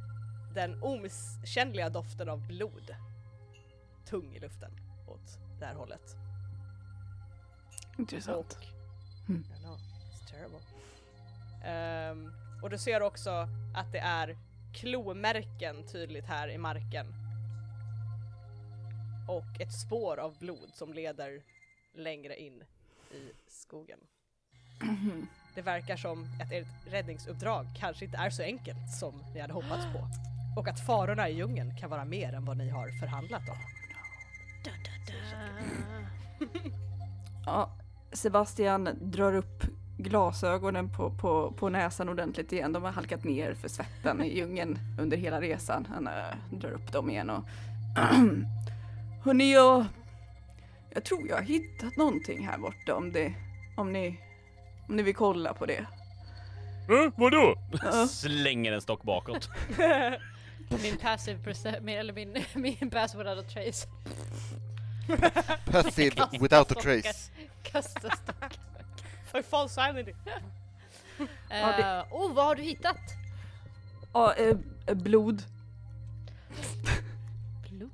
[SPEAKER 5] den omisskännliga doften av blod. Tung i luften åt det här hållet.
[SPEAKER 6] Intressant.
[SPEAKER 5] Och,
[SPEAKER 6] Mm.
[SPEAKER 5] I know, it's terrible. Ehm, och du ser också att det är klomärken tydligt här i marken. Och ett spår av blod som leder längre in i skogen.
[SPEAKER 6] Mm-hmm.
[SPEAKER 5] Det verkar som att ert räddningsuppdrag kanske inte är så enkelt som ni hade hoppats på. Och att farorna i djungeln kan vara mer än vad ni har förhandlat om.
[SPEAKER 6] Ja, Sebastian drar upp glasögonen på, på, på näsan ordentligt igen. De har halkat ner för svetten i djungeln under hela resan. Han eh, drar upp dem igen och... Hörni, jag... Jag tror jag har hittat någonting här borta om det... Om ni... Om ni vill kolla på det.
[SPEAKER 2] Eh, vadå?
[SPEAKER 6] Ja.
[SPEAKER 7] Slänger en stock bakåt.
[SPEAKER 4] Min passive perce- min, eller min, min passive without a trace.
[SPEAKER 1] Passive without a trace.
[SPEAKER 4] Kasta stock.
[SPEAKER 5] För false sanity!
[SPEAKER 6] Ja, det-
[SPEAKER 4] Eh, oh, vad har du hittat?
[SPEAKER 6] Ja, eh, eh, blod.
[SPEAKER 4] Blod.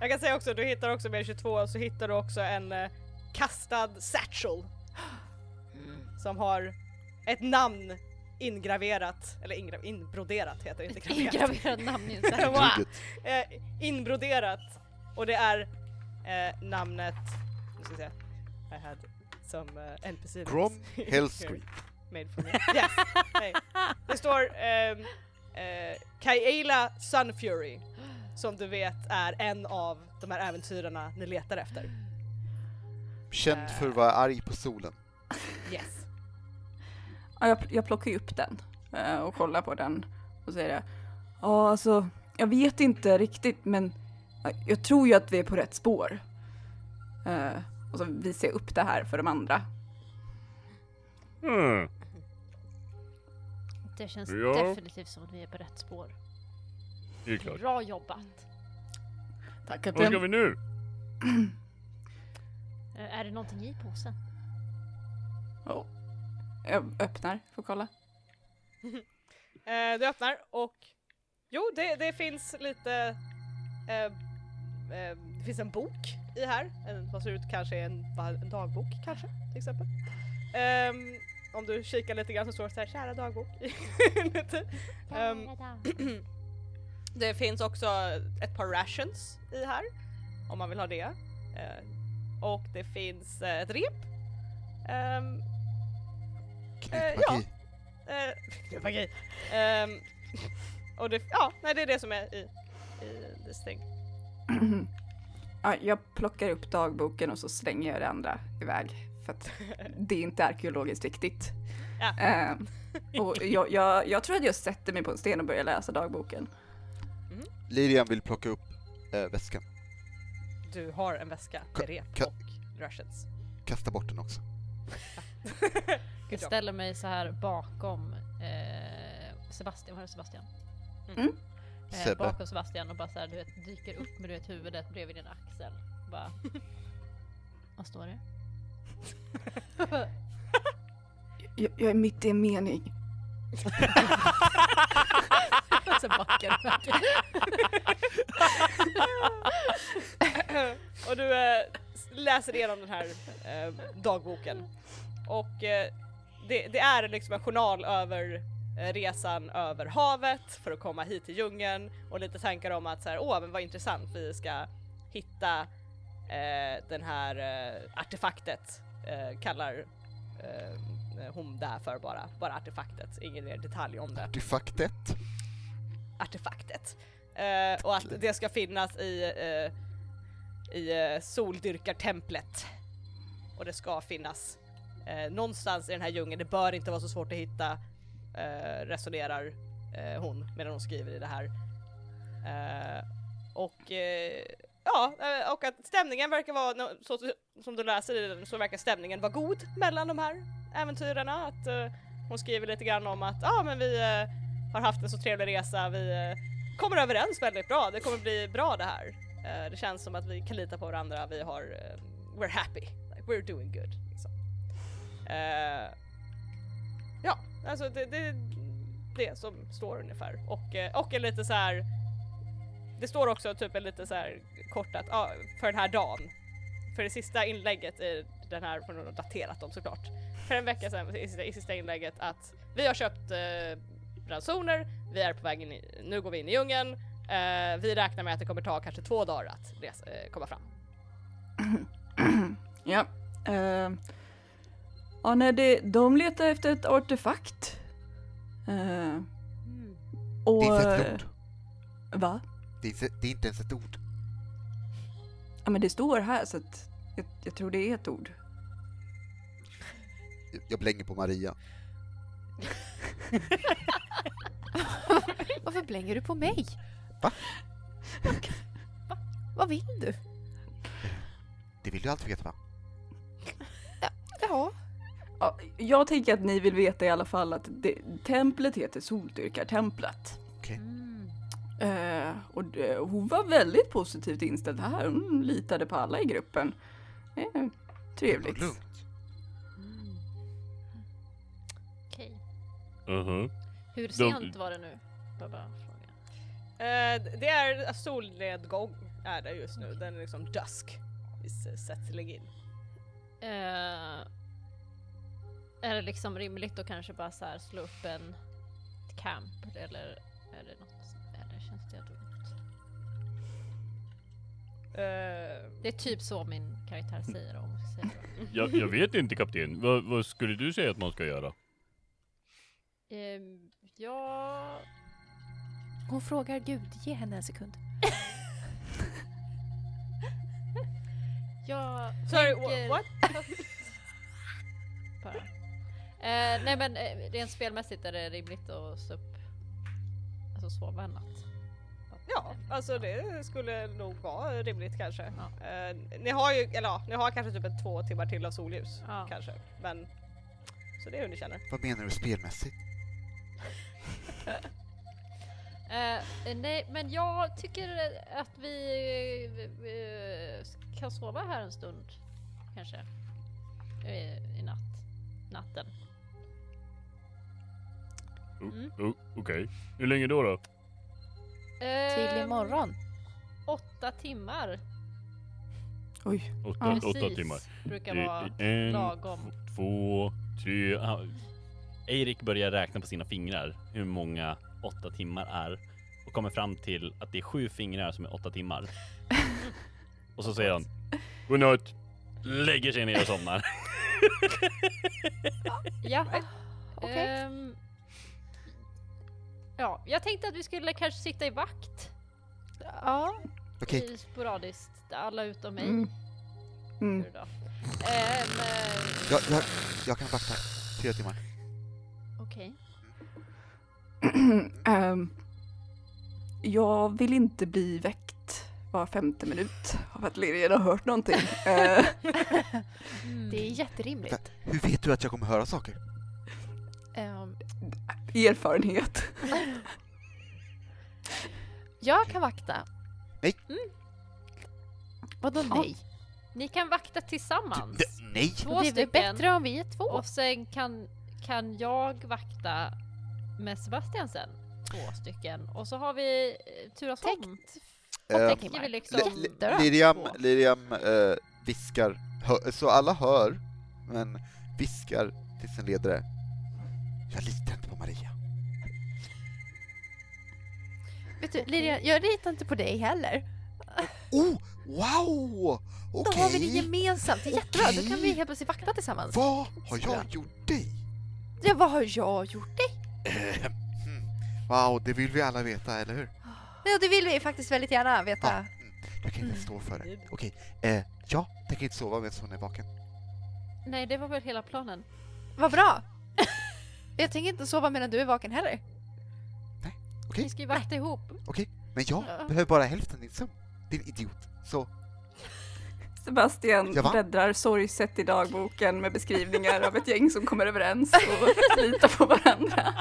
[SPEAKER 5] Jag kan säga också, du hittar också med 22 och så hittar du också en eh, kastad satchel. Som har ett namn ingraverat, eller ingra- inbroderat heter det inte graverat.
[SPEAKER 4] Ingraverat namn i en typ. säck.
[SPEAKER 5] Wow.
[SPEAKER 1] Trycket.
[SPEAKER 5] eh, inbroderat och det är eh, namnet, nu ska vi se, I had some eh, NPC names
[SPEAKER 1] Grom
[SPEAKER 5] here
[SPEAKER 1] Hellscream.
[SPEAKER 5] Made for me. Yes! Nej. Det står ehm, eh, Kaela Sunfury som du vet är en av de här äventyrarna ni letar efter.
[SPEAKER 1] Känd för att vara arg på solen.
[SPEAKER 5] Yes.
[SPEAKER 6] Ja, jag, pl- jag plockar ju upp den eh, och kollar på den och säger det. Ja, alltså, jag vet inte riktigt, men ja, jag tror ju att vi är på rätt spår. Eh, och så visar jag upp det här för de andra.
[SPEAKER 2] Hmm.
[SPEAKER 4] Det känns
[SPEAKER 2] Ja.
[SPEAKER 4] definitivt som att vi är på rätt spår.
[SPEAKER 2] Det är klart.
[SPEAKER 4] Bra jobbat.
[SPEAKER 6] Tack
[SPEAKER 2] Vad ska vi nu?
[SPEAKER 4] Eh, är det någonting i påsen?
[SPEAKER 6] Jag öppnar, får kolla.
[SPEAKER 5] Eh, du öppnar och jo, det, det finns lite... Eh, eh, det finns en bok i här. En, vad ser ut kanske en, bara en dagbok kanske till exempel. Ehm, om du kikar lite grann så står det så här, kära dagbok. Ehm, det finns också ett par rations i här om man vill ha det. Eh, och det finns eh, ett rep. Ehm,
[SPEAKER 1] Knutmagi.
[SPEAKER 5] Eh, det var grej. Ehm, och det, ja, nej det är det som är i, i this thing.
[SPEAKER 6] ja, jag plockar upp dagboken och så slänger jag det andra iväg. För att det är inte arkeologiskt riktigt.
[SPEAKER 5] Ja.
[SPEAKER 6] Eh, och jag, jag, jag tror att jag sätter mig på en sten och börjar läsa dagboken.
[SPEAKER 1] Lilian vill plocka upp eh, väskan.
[SPEAKER 5] du har en väska med rep
[SPEAKER 1] ka-
[SPEAKER 5] och rations.
[SPEAKER 1] Kasta bort den också.
[SPEAKER 5] jobb.
[SPEAKER 4] Jag ställer mig så här bakom eh, Sebastian, var det Sebastian?
[SPEAKER 6] Mm.
[SPEAKER 4] Eh,
[SPEAKER 1] Sebbe.
[SPEAKER 4] bakom Sebastian och bara så här, du vet, dyker upp med du vet, huvudet bredvid din axel. Bara, vad står det?
[SPEAKER 6] Jag, jag är mitt i en mening.
[SPEAKER 4] Och så backar du verkligen.
[SPEAKER 5] och du eh, läser igenom den här eh, dagboken. Och eh, det, det är liksom en journal över eh, resan över havet för att komma hit till djungeln och lite tankar om att så här, åh men vad intressant, vi ska hitta eh, den här eh, artefaktet, eh, kallar eh, hon där för bara, bara artefaktet, ingen mer detalj om det
[SPEAKER 1] Artefaktet.
[SPEAKER 5] artefaktet. Eh, och att det ska finnas i, eh, i eh, soldyrkartemplet. Och det ska finnas eh, någonstans i den här djungeln, det bör inte vara så svårt att hitta, eh, resonerar eh, hon medan hon skriver i det här. Eh, och eh, ja, eh, och att stämningen verkar vara, nå- så, som du läser i den, så verkar stämningen vara god mellan de här äventyren. Att eh, hon skriver lite grann om att ja, men vi eh, har haft en så trevlig resa. Vi eh, kommer överens väldigt bra. Det kommer bli bra det här. Eh, det känns som att vi kan lita på varandra. Vi har, eh, we're happy. Like, we're doing good. Liksom. Eh, ja, alltså det, det är det som står ungefär. Och, eh, och en lite så här. Det står också typ en lite så här kort att ja, för den här dagen. För det sista inlägget i den här, för de har daterat dem såklart. För en vecka sedan i sista, i sista inlägget att vi har köpt eh, ransoner, vi är på väg in i, nu går vi in i djungeln, eh, vi räknar med att det kommer ta kanske två dagar att resa, eh, komma fram.
[SPEAKER 6] Ja. Eh, ja, nej, det, de letar efter ett artefakt. Eh, och, eh,
[SPEAKER 1] Det är inte ens ett ord.
[SPEAKER 6] Va?
[SPEAKER 1] Det är, inte- det är inte ens ett ord.
[SPEAKER 6] Ja, men det står här så att jag, jag tror det är ett ord.
[SPEAKER 1] Jag- Jag blänger på Maria.
[SPEAKER 3] Varför blänger du på mig?
[SPEAKER 1] Va?
[SPEAKER 3] Va? Vad vill du?
[SPEAKER 1] Det vill du alltid veta va?
[SPEAKER 3] Ja.
[SPEAKER 6] Ja, jag tänker att ni vill veta i alla fall att det, templet heter Soldyrkartemplet.
[SPEAKER 4] Mm.
[SPEAKER 6] Eh, och det, hon var väldigt positivt inställd här. Hon litade på alla i gruppen. Eh, trevligt.
[SPEAKER 1] Lugnt.
[SPEAKER 4] Okej.
[SPEAKER 7] Uh-huh.
[SPEAKER 2] Mhm.
[SPEAKER 4] Hur
[SPEAKER 2] De-
[SPEAKER 4] sent var det nu? Bara, bara fråga.
[SPEAKER 5] Eh, det är solnedgång är det just nu, den är liksom dusk i s- settling in.
[SPEAKER 4] Eh, är det liksom rimligt att kanske bara så här slå upp en camp eller är det något? Eller känns det dumt?
[SPEAKER 5] Eh,
[SPEAKER 4] Det är typ så min karaktär säger om. jag säger så.
[SPEAKER 2] Jag, jag vet inte kapten, vad, vad skulle du säga att man ska göra?
[SPEAKER 4] Ehm, ja,
[SPEAKER 3] Hon frågar Gud, ge henne en sekund.
[SPEAKER 4] jag
[SPEAKER 5] sorry,
[SPEAKER 4] tänker-
[SPEAKER 5] wha- what?
[SPEAKER 4] Bara. Eh, nej men eh, rent spelmässigt är det rimligt att stå upp, alltså sova en natt.
[SPEAKER 5] Ja, alltså det skulle nog vara rimligt kanske.
[SPEAKER 4] Ja.
[SPEAKER 5] Eh, ni har ju, eller ja, ni har kanske typ en två timmar till av solljus
[SPEAKER 4] Ja.
[SPEAKER 5] kanske, men så det är hur ni känner.
[SPEAKER 1] Vad menar du spelmässigt?
[SPEAKER 4] Eh, nej, men jag tycker att vi eh, kan sova här en stund. Kanske. Eh, I natt. Natten.
[SPEAKER 2] O-
[SPEAKER 4] Mm.
[SPEAKER 2] o- Okej, hur länge då då?
[SPEAKER 4] Eh,
[SPEAKER 3] Till imorgon.
[SPEAKER 4] Åtta timmar.
[SPEAKER 6] Oj,
[SPEAKER 2] Åtta,
[SPEAKER 6] Ja.
[SPEAKER 2] åtta
[SPEAKER 4] precis,
[SPEAKER 2] timmar?
[SPEAKER 4] Brukar
[SPEAKER 2] Det är
[SPEAKER 4] vara
[SPEAKER 2] en,
[SPEAKER 4] lagom.
[SPEAKER 2] två, tre, ah,
[SPEAKER 7] Eirik börjar räkna på sina fingrar hur många åtta timmar är och kommer fram till att det är sju fingrar som är åtta timmar. och så säger han
[SPEAKER 2] godnatt!
[SPEAKER 7] lägger sig ner och somnar.
[SPEAKER 4] Ja.
[SPEAKER 3] Okej.
[SPEAKER 4] Ehm, ja, jag tänkte att vi skulle kanske sitta i vakt.
[SPEAKER 3] Ja.
[SPEAKER 1] Okej,
[SPEAKER 4] i- Sporadiskt. Alla utom mig.
[SPEAKER 6] Mm. Mm.
[SPEAKER 4] Hur då? Ehm, eh,
[SPEAKER 1] jag, jag, jag kan vakta. Fyra timmar.
[SPEAKER 4] Okej.
[SPEAKER 6] Ehm, jag vill inte bli väckt var femte minut av att Lirien har hört någonting. Eh,
[SPEAKER 3] Ehm.
[SPEAKER 4] mm.
[SPEAKER 3] Det är jätterimligt.
[SPEAKER 1] Hur vet du att jag kommer höra saker?
[SPEAKER 3] Ehm,
[SPEAKER 6] erfarenhet.
[SPEAKER 3] jag kan vakta.
[SPEAKER 1] Nej.
[SPEAKER 3] Mm. Vadå
[SPEAKER 6] Ja.
[SPEAKER 3] nej?
[SPEAKER 4] Ni kan vakta tillsammans.
[SPEAKER 1] Du, nej!
[SPEAKER 4] Två
[SPEAKER 3] det är väl
[SPEAKER 4] stycken.
[SPEAKER 3] bättre om vi är två?
[SPEAKER 4] Och sen kan, kan jag vakta med Sebastian sen. Två stycken. Och så har vi eh, turas om.
[SPEAKER 3] Täckt.
[SPEAKER 1] Eh,
[SPEAKER 4] Täcker
[SPEAKER 3] timmar.
[SPEAKER 4] vi liksom.
[SPEAKER 1] Li- li-
[SPEAKER 3] Jättebra.
[SPEAKER 1] Liriam,
[SPEAKER 4] Två.
[SPEAKER 1] Liriam eh, viskar, hö- så alla hör, men viskar till sin ledare. Jag litar inte på Maria.
[SPEAKER 3] Vet du, Lilian, jag litar inte på dig heller.
[SPEAKER 1] Oh, wow!
[SPEAKER 3] Då har vi det
[SPEAKER 1] Okej!
[SPEAKER 3] gemensamt, det är jättebra. Då kan vi
[SPEAKER 1] Okej.
[SPEAKER 3] helt plötsligt vakta tillsammans.
[SPEAKER 1] Vad har jag gjort dig?
[SPEAKER 3] Ja, vad har jag gjort dig?
[SPEAKER 1] Eh, hmm. Wow, det vill vi alla veta, eller hur?
[SPEAKER 3] Ja, det vill vi faktiskt väldigt gärna veta.
[SPEAKER 1] Ja. Jag kan
[SPEAKER 3] Mm.
[SPEAKER 1] inte stå för det. Okej, eh, jag tänker inte sova medan hon är vaken.
[SPEAKER 4] Nej, det var väl hela planen.
[SPEAKER 3] Vad bra! Jag tänker inte sova medan du är vaken heller.
[SPEAKER 4] Ni ska ju vakta ihop.
[SPEAKER 1] Men jag
[SPEAKER 3] Ja.
[SPEAKER 1] behöver bara hälften din sömn. Din idiot. Så,
[SPEAKER 6] Sebastian
[SPEAKER 1] Ja, va?
[SPEAKER 6] bläddrar sorgset i dagboken med beskrivningar av ett gäng som kommer överens och litar på varandra.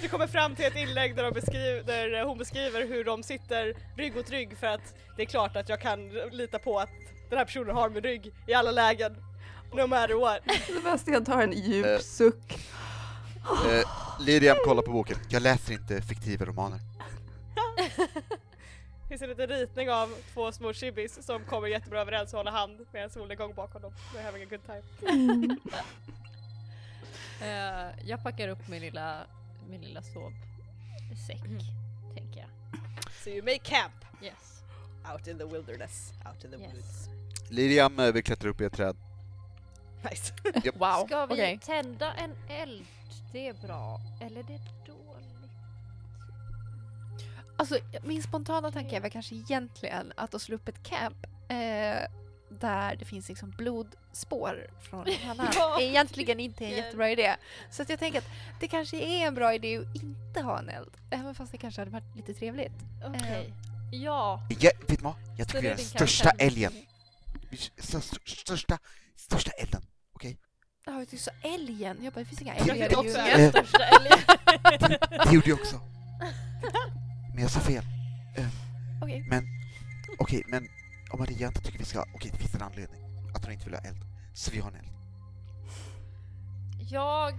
[SPEAKER 5] Vi kommer fram till ett inlägg där, de beskriver, där hon beskriver hur de sitter rygg mot rygg för att det är klart att jag kan lita på att den här personen har min rygg i alla lägen. No matter what.
[SPEAKER 6] Sebastian tar en
[SPEAKER 1] Eh.
[SPEAKER 6] djup suck.
[SPEAKER 1] eh, Liriam kollar på boken. Jag läser inte fiktiva romaner.
[SPEAKER 5] Det finns en liten ritning av två små chibis som kommer jättebra överens och håller hand med en solnedgång bakom dem. They're having a good time.
[SPEAKER 4] Eh, jag packar upp min lilla, min lilla sovsäck, tänker jag.
[SPEAKER 5] So you may camp
[SPEAKER 4] Yes.
[SPEAKER 5] out in the wilderness, out in the
[SPEAKER 4] Yes.
[SPEAKER 5] woods.
[SPEAKER 1] Liriam eh, vill klättra upp i ett träd.
[SPEAKER 5] Nice.
[SPEAKER 3] Wow,
[SPEAKER 4] Ska vi
[SPEAKER 3] okej.
[SPEAKER 4] tända en eld? Det är bra. Eller det är dåligt.
[SPEAKER 3] Alltså, min spontana tanke är väl kanske egentligen att då slå upp ett camp eh, där det finns liksom blodspår från en annan.
[SPEAKER 4] Ja.
[SPEAKER 3] är egentligen inte en
[SPEAKER 4] Vilken-
[SPEAKER 3] jättebra idé. Så att jag tänker att det kanske är en bra idé att inte ha en eld. Även fast det kanske hade varit lite trevligt. Eh,
[SPEAKER 4] Okej. eh, Ja.
[SPEAKER 1] Jag, vet du vad? Jag
[SPEAKER 4] Så
[SPEAKER 1] tycker
[SPEAKER 4] det
[SPEAKER 1] vi
[SPEAKER 4] är
[SPEAKER 1] är den
[SPEAKER 4] din
[SPEAKER 1] största
[SPEAKER 4] karaktär.
[SPEAKER 1] älgen. Vi- st- st- Största, största elden.
[SPEAKER 3] Ja, jag tyckte så älgen. Jag bara, det finns inga
[SPEAKER 5] Jag
[SPEAKER 3] älgar i
[SPEAKER 5] tyckte också
[SPEAKER 3] djungeln.
[SPEAKER 5] älg.
[SPEAKER 1] Eh,
[SPEAKER 4] Största älgen.
[SPEAKER 1] det gjorde jag också. Men jag sa fel.
[SPEAKER 3] Okej.
[SPEAKER 1] Okej, men om Maria inte tycker vi ska... Okej, det finns en anledning att hon inte vill ha eld. Så vi har en eld.
[SPEAKER 4] Jag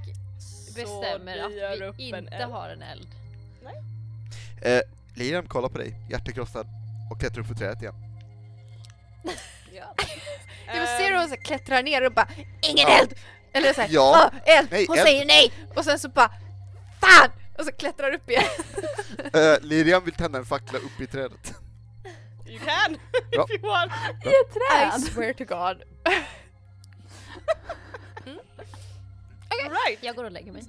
[SPEAKER 4] bestämmer
[SPEAKER 5] vi
[SPEAKER 4] att
[SPEAKER 5] gör upp
[SPEAKER 4] vi
[SPEAKER 5] en
[SPEAKER 4] inte
[SPEAKER 5] eld.
[SPEAKER 4] har en eld.
[SPEAKER 1] Eh, Liriam kollar på dig, hjärtekrossad, och klättrar upp för trädet igen.
[SPEAKER 3] Jag bara
[SPEAKER 5] Ehm,
[SPEAKER 3] ser hur hon så här klättrar ner och bara ingen
[SPEAKER 1] Ja.
[SPEAKER 3] eld! Eller såhär
[SPEAKER 1] Ja.
[SPEAKER 3] "Åh, eld!
[SPEAKER 1] Nej,
[SPEAKER 3] hon
[SPEAKER 1] eld.
[SPEAKER 3] säger nej! Och sen så bara fan! Och så klättrar upp igen.
[SPEAKER 1] Eh, Liriam vill tända en fackla upp i trädet.
[SPEAKER 5] You can
[SPEAKER 1] Ja.
[SPEAKER 5] if you want.
[SPEAKER 3] I swear to God.
[SPEAKER 5] Right.
[SPEAKER 4] Jag går och lägger mig.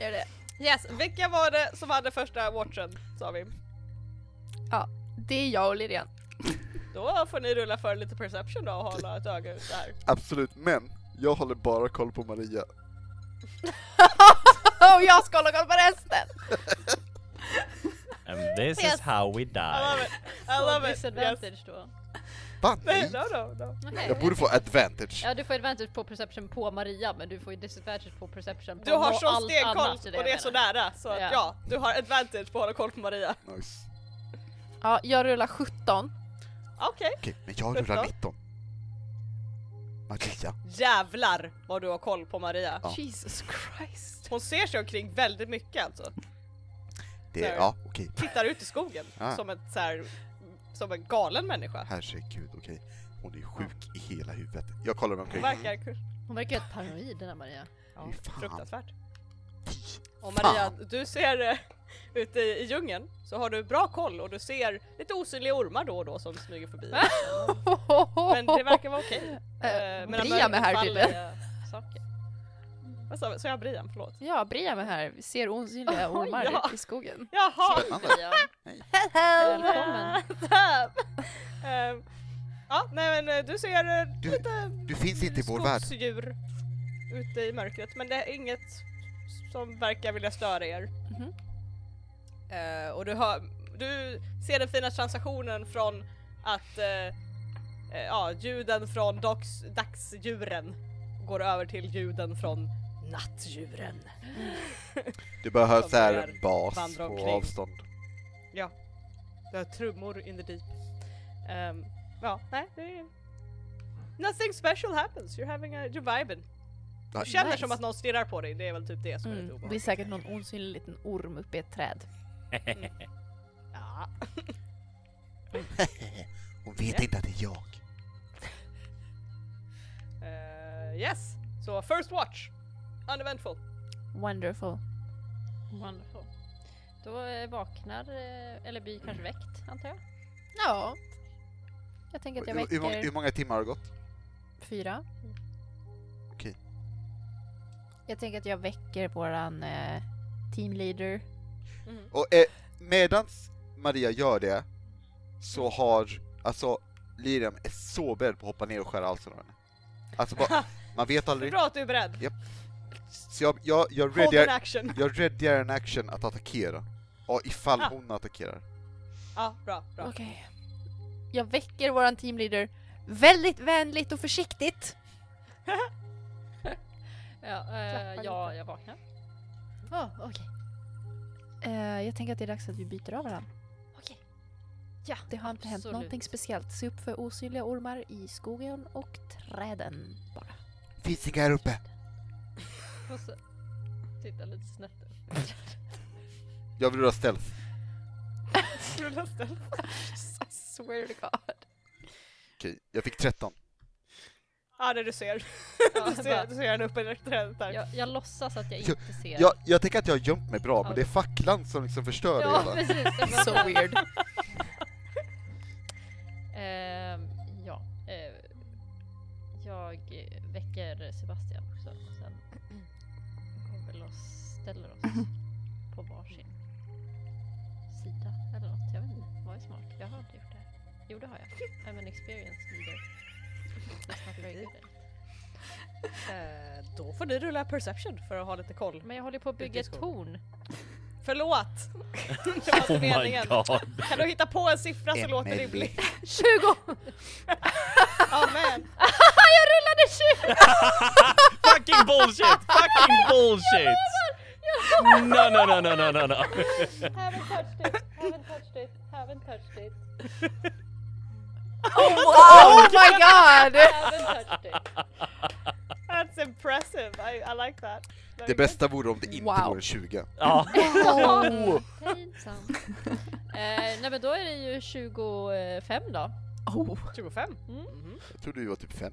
[SPEAKER 3] Gör det.
[SPEAKER 5] Yes, vilka var det som hade första watchen sa vi?
[SPEAKER 3] det är jag och Lilian.
[SPEAKER 5] Då får ni rulla för lite perception då och hålla ett öga ut där.
[SPEAKER 1] Absolut, men jag håller bara koll på Maria.
[SPEAKER 3] och jag ska hålla koll på resten!
[SPEAKER 7] And this is
[SPEAKER 4] Yes.
[SPEAKER 7] how we
[SPEAKER 5] I love
[SPEAKER 7] die.
[SPEAKER 5] it, I love it! Yes.
[SPEAKER 4] disadvantage då.
[SPEAKER 1] Fan,
[SPEAKER 5] Nej,
[SPEAKER 1] nej!
[SPEAKER 5] no, no, no.
[SPEAKER 4] Okej.
[SPEAKER 1] Jag borde få advantage.
[SPEAKER 4] Ja du får advantage på perception på Maria men du får ju disadvantage på perception på
[SPEAKER 5] Du har
[SPEAKER 4] nå-
[SPEAKER 5] sån
[SPEAKER 4] allt annat,
[SPEAKER 5] stenkoll och
[SPEAKER 4] jag
[SPEAKER 5] det är så
[SPEAKER 4] menar.
[SPEAKER 5] nära så att
[SPEAKER 4] Ja.
[SPEAKER 5] ja, du har advantage på att hålla koll på Maria.
[SPEAKER 1] Nice.
[SPEAKER 3] Ja, jag rullar 17.
[SPEAKER 5] Okej.
[SPEAKER 1] Okej, men jag rullar 19. Maria.
[SPEAKER 5] Jävlar vad du har koll på Maria.
[SPEAKER 1] Ja.
[SPEAKER 3] Jesus Christ.
[SPEAKER 5] Hon ser sig omkring väldigt mycket alltså.
[SPEAKER 1] Det
[SPEAKER 5] Där.
[SPEAKER 1] är, ja, okej.
[SPEAKER 5] Tittar ut i skogen
[SPEAKER 1] Ah.
[SPEAKER 5] som ett så här, som en galen människa.
[SPEAKER 1] Herregud, okej. Hon är ju sjuk i hela huvudet. Jag kollar mig
[SPEAKER 5] Hon
[SPEAKER 1] omkring.
[SPEAKER 5] verkar kul.
[SPEAKER 4] Hon verkar ju helt paranoid den här Maria.
[SPEAKER 5] Ja,
[SPEAKER 1] Fan.
[SPEAKER 5] fruktansvärt.
[SPEAKER 1] Fy.
[SPEAKER 5] Och Maria, du ser eh, ute i, i djungeln så har du bra koll och du ser lite osynliga ormar då och då som smyger förbi. Men det verkar vara okej. Eh, medan
[SPEAKER 3] Briam är här
[SPEAKER 5] mörkret
[SPEAKER 3] tydligen.
[SPEAKER 5] faller, eh, saker. Vad sa sa jag Brian? Förlåt.
[SPEAKER 3] Ja, Briam är här. Vi ser osynliga
[SPEAKER 5] Oj,
[SPEAKER 3] ormar
[SPEAKER 5] ja.
[SPEAKER 3] i skogen.
[SPEAKER 5] Jaha!
[SPEAKER 1] Spännande.
[SPEAKER 4] Maria, välkommen.
[SPEAKER 5] Ehm, ja, nej men eh, du ser eh,
[SPEAKER 1] Du-
[SPEAKER 5] lite
[SPEAKER 1] Du finns inte i vår värld.
[SPEAKER 5] skogsdjur ute i mörkret men det är inget som verkar vilja störa er.
[SPEAKER 3] Mhm.
[SPEAKER 5] Eh, och du hör, du ser den fina transaktionen från att eh, eh, ja, ljuden från dags, dagsdjuren går över till ljuden från nattdjuren.
[SPEAKER 1] Du bara hör
[SPEAKER 5] Som
[SPEAKER 1] så här
[SPEAKER 5] börjar
[SPEAKER 1] bas
[SPEAKER 5] vandra
[SPEAKER 1] på
[SPEAKER 5] omkring.
[SPEAKER 1] avstånd.
[SPEAKER 5] Du har trummor in the deep. Ehm, ja, nej, det är... Nothing special happens, you're having a... You're vibing. Du
[SPEAKER 1] Nice.
[SPEAKER 5] känner
[SPEAKER 3] Nice.
[SPEAKER 5] som att någon stirrar på dig, det är väl typ det som är lite
[SPEAKER 3] Mm. Det blir
[SPEAKER 5] obehagligt.
[SPEAKER 3] säkert någon osynlig liten orm uppe i ett träd.
[SPEAKER 5] Ja.
[SPEAKER 1] Hon vet
[SPEAKER 5] Ja.
[SPEAKER 1] inte att det är jag.
[SPEAKER 5] Eh, yes, så first watch. Uneventful.
[SPEAKER 3] Wonderful.
[SPEAKER 4] Wonderful. Då eh, vaknar, eh, eller blir
[SPEAKER 5] Mm.
[SPEAKER 4] kanske väckt antar jag.
[SPEAKER 3] Ja. Jag tänker att jag
[SPEAKER 1] Hur, hur, många, hur
[SPEAKER 3] väcker
[SPEAKER 1] många timmar har gått?
[SPEAKER 3] fyra.
[SPEAKER 1] Okej.
[SPEAKER 3] Jag tänker att jag väcker våran eh, teamleader.
[SPEAKER 1] Och eh, medans Maria gör det så har, alltså Liriam är så beredd på att hoppa ner och skära halsen av henne. Alltså bara, man vet
[SPEAKER 5] Det är
[SPEAKER 1] aldrig.
[SPEAKER 5] bra att du är beredd.
[SPEAKER 1] Så jag, jag, jag
[SPEAKER 5] Hold an
[SPEAKER 1] readyar,
[SPEAKER 5] action.
[SPEAKER 1] jag readyar en action att attackera. Ja, ifall
[SPEAKER 5] Ah.
[SPEAKER 1] hon attackerar.
[SPEAKER 5] Ja, bra, bra.
[SPEAKER 3] Okej. Jag väcker våran teamleader väldigt vänligt och försiktigt.
[SPEAKER 4] Ja, eh,
[SPEAKER 3] Klappar
[SPEAKER 4] ja
[SPEAKER 3] lite.
[SPEAKER 4] jag vaknar.
[SPEAKER 3] Ja, okej. Eh, jag tänker att det är dags att vi byter av varandra.
[SPEAKER 4] Okej.
[SPEAKER 3] Ja, det har inte hänt
[SPEAKER 4] absolut.
[SPEAKER 3] någonting speciellt. Se upp för osynliga ormar i skogen och träden bara.
[SPEAKER 1] Finns inga här uppe.
[SPEAKER 4] Och så tittar lite snett upp.
[SPEAKER 1] Jag vill rulla stealth.
[SPEAKER 5] Rulla stealth.
[SPEAKER 3] I swear to God.
[SPEAKER 1] Okej, jag fick 13.
[SPEAKER 5] Ja, det du ser.
[SPEAKER 4] Ja,
[SPEAKER 5] Du
[SPEAKER 4] jag,
[SPEAKER 5] ser,
[SPEAKER 4] bara,
[SPEAKER 5] du ser henne uppe i trädet där.
[SPEAKER 4] jag, jag låtsas att jag
[SPEAKER 1] Ja,
[SPEAKER 4] inte ser.
[SPEAKER 1] Jag, jag tänker att jag har gömt mig bra, men det är facklan som liksom förstör det
[SPEAKER 4] ja
[SPEAKER 1] hela.
[SPEAKER 4] precis. Jag bara
[SPEAKER 3] So
[SPEAKER 4] så här,
[SPEAKER 3] weird.
[SPEAKER 4] ehm, ja. eh, jag eh, väcker Sebastian också. och Sen går vi väl och ställer oss på varsin sida eller något. Jag vet inte. Vad är smart? Jag har inte gjort det här. Jo det har jag. I'm an experienced leader. That's not very good.
[SPEAKER 5] Eh, då får du rulla perception för att ha lite koll.
[SPEAKER 4] Men jag håller på att bygga ett torn.
[SPEAKER 5] Förlåt! Det var inte
[SPEAKER 2] Oh my
[SPEAKER 5] meningen.
[SPEAKER 2] god.
[SPEAKER 5] Kan du hitta på en siffra som låter
[SPEAKER 1] Emily.
[SPEAKER 5] rimlig?
[SPEAKER 3] 20!
[SPEAKER 5] Amen!
[SPEAKER 3] jag rullade 20!
[SPEAKER 2] Fucking bullshit! Fucking bullshit! No, no, no, no, no, no, no.
[SPEAKER 4] Haven't touched it, haven't touched it, haven't touched it,
[SPEAKER 3] Oh my god!
[SPEAKER 4] haven't touched it.
[SPEAKER 5] That's impressive, I, I like that. Very
[SPEAKER 1] Det bästa vore om det inte
[SPEAKER 3] Wow.
[SPEAKER 1] vore 20.
[SPEAKER 2] Ja.
[SPEAKER 4] Oh. Pinsamt. Eh, nej men då är det ju 25 då.
[SPEAKER 6] Oh.
[SPEAKER 5] good. 25.
[SPEAKER 1] Jag trodde du var typ 5.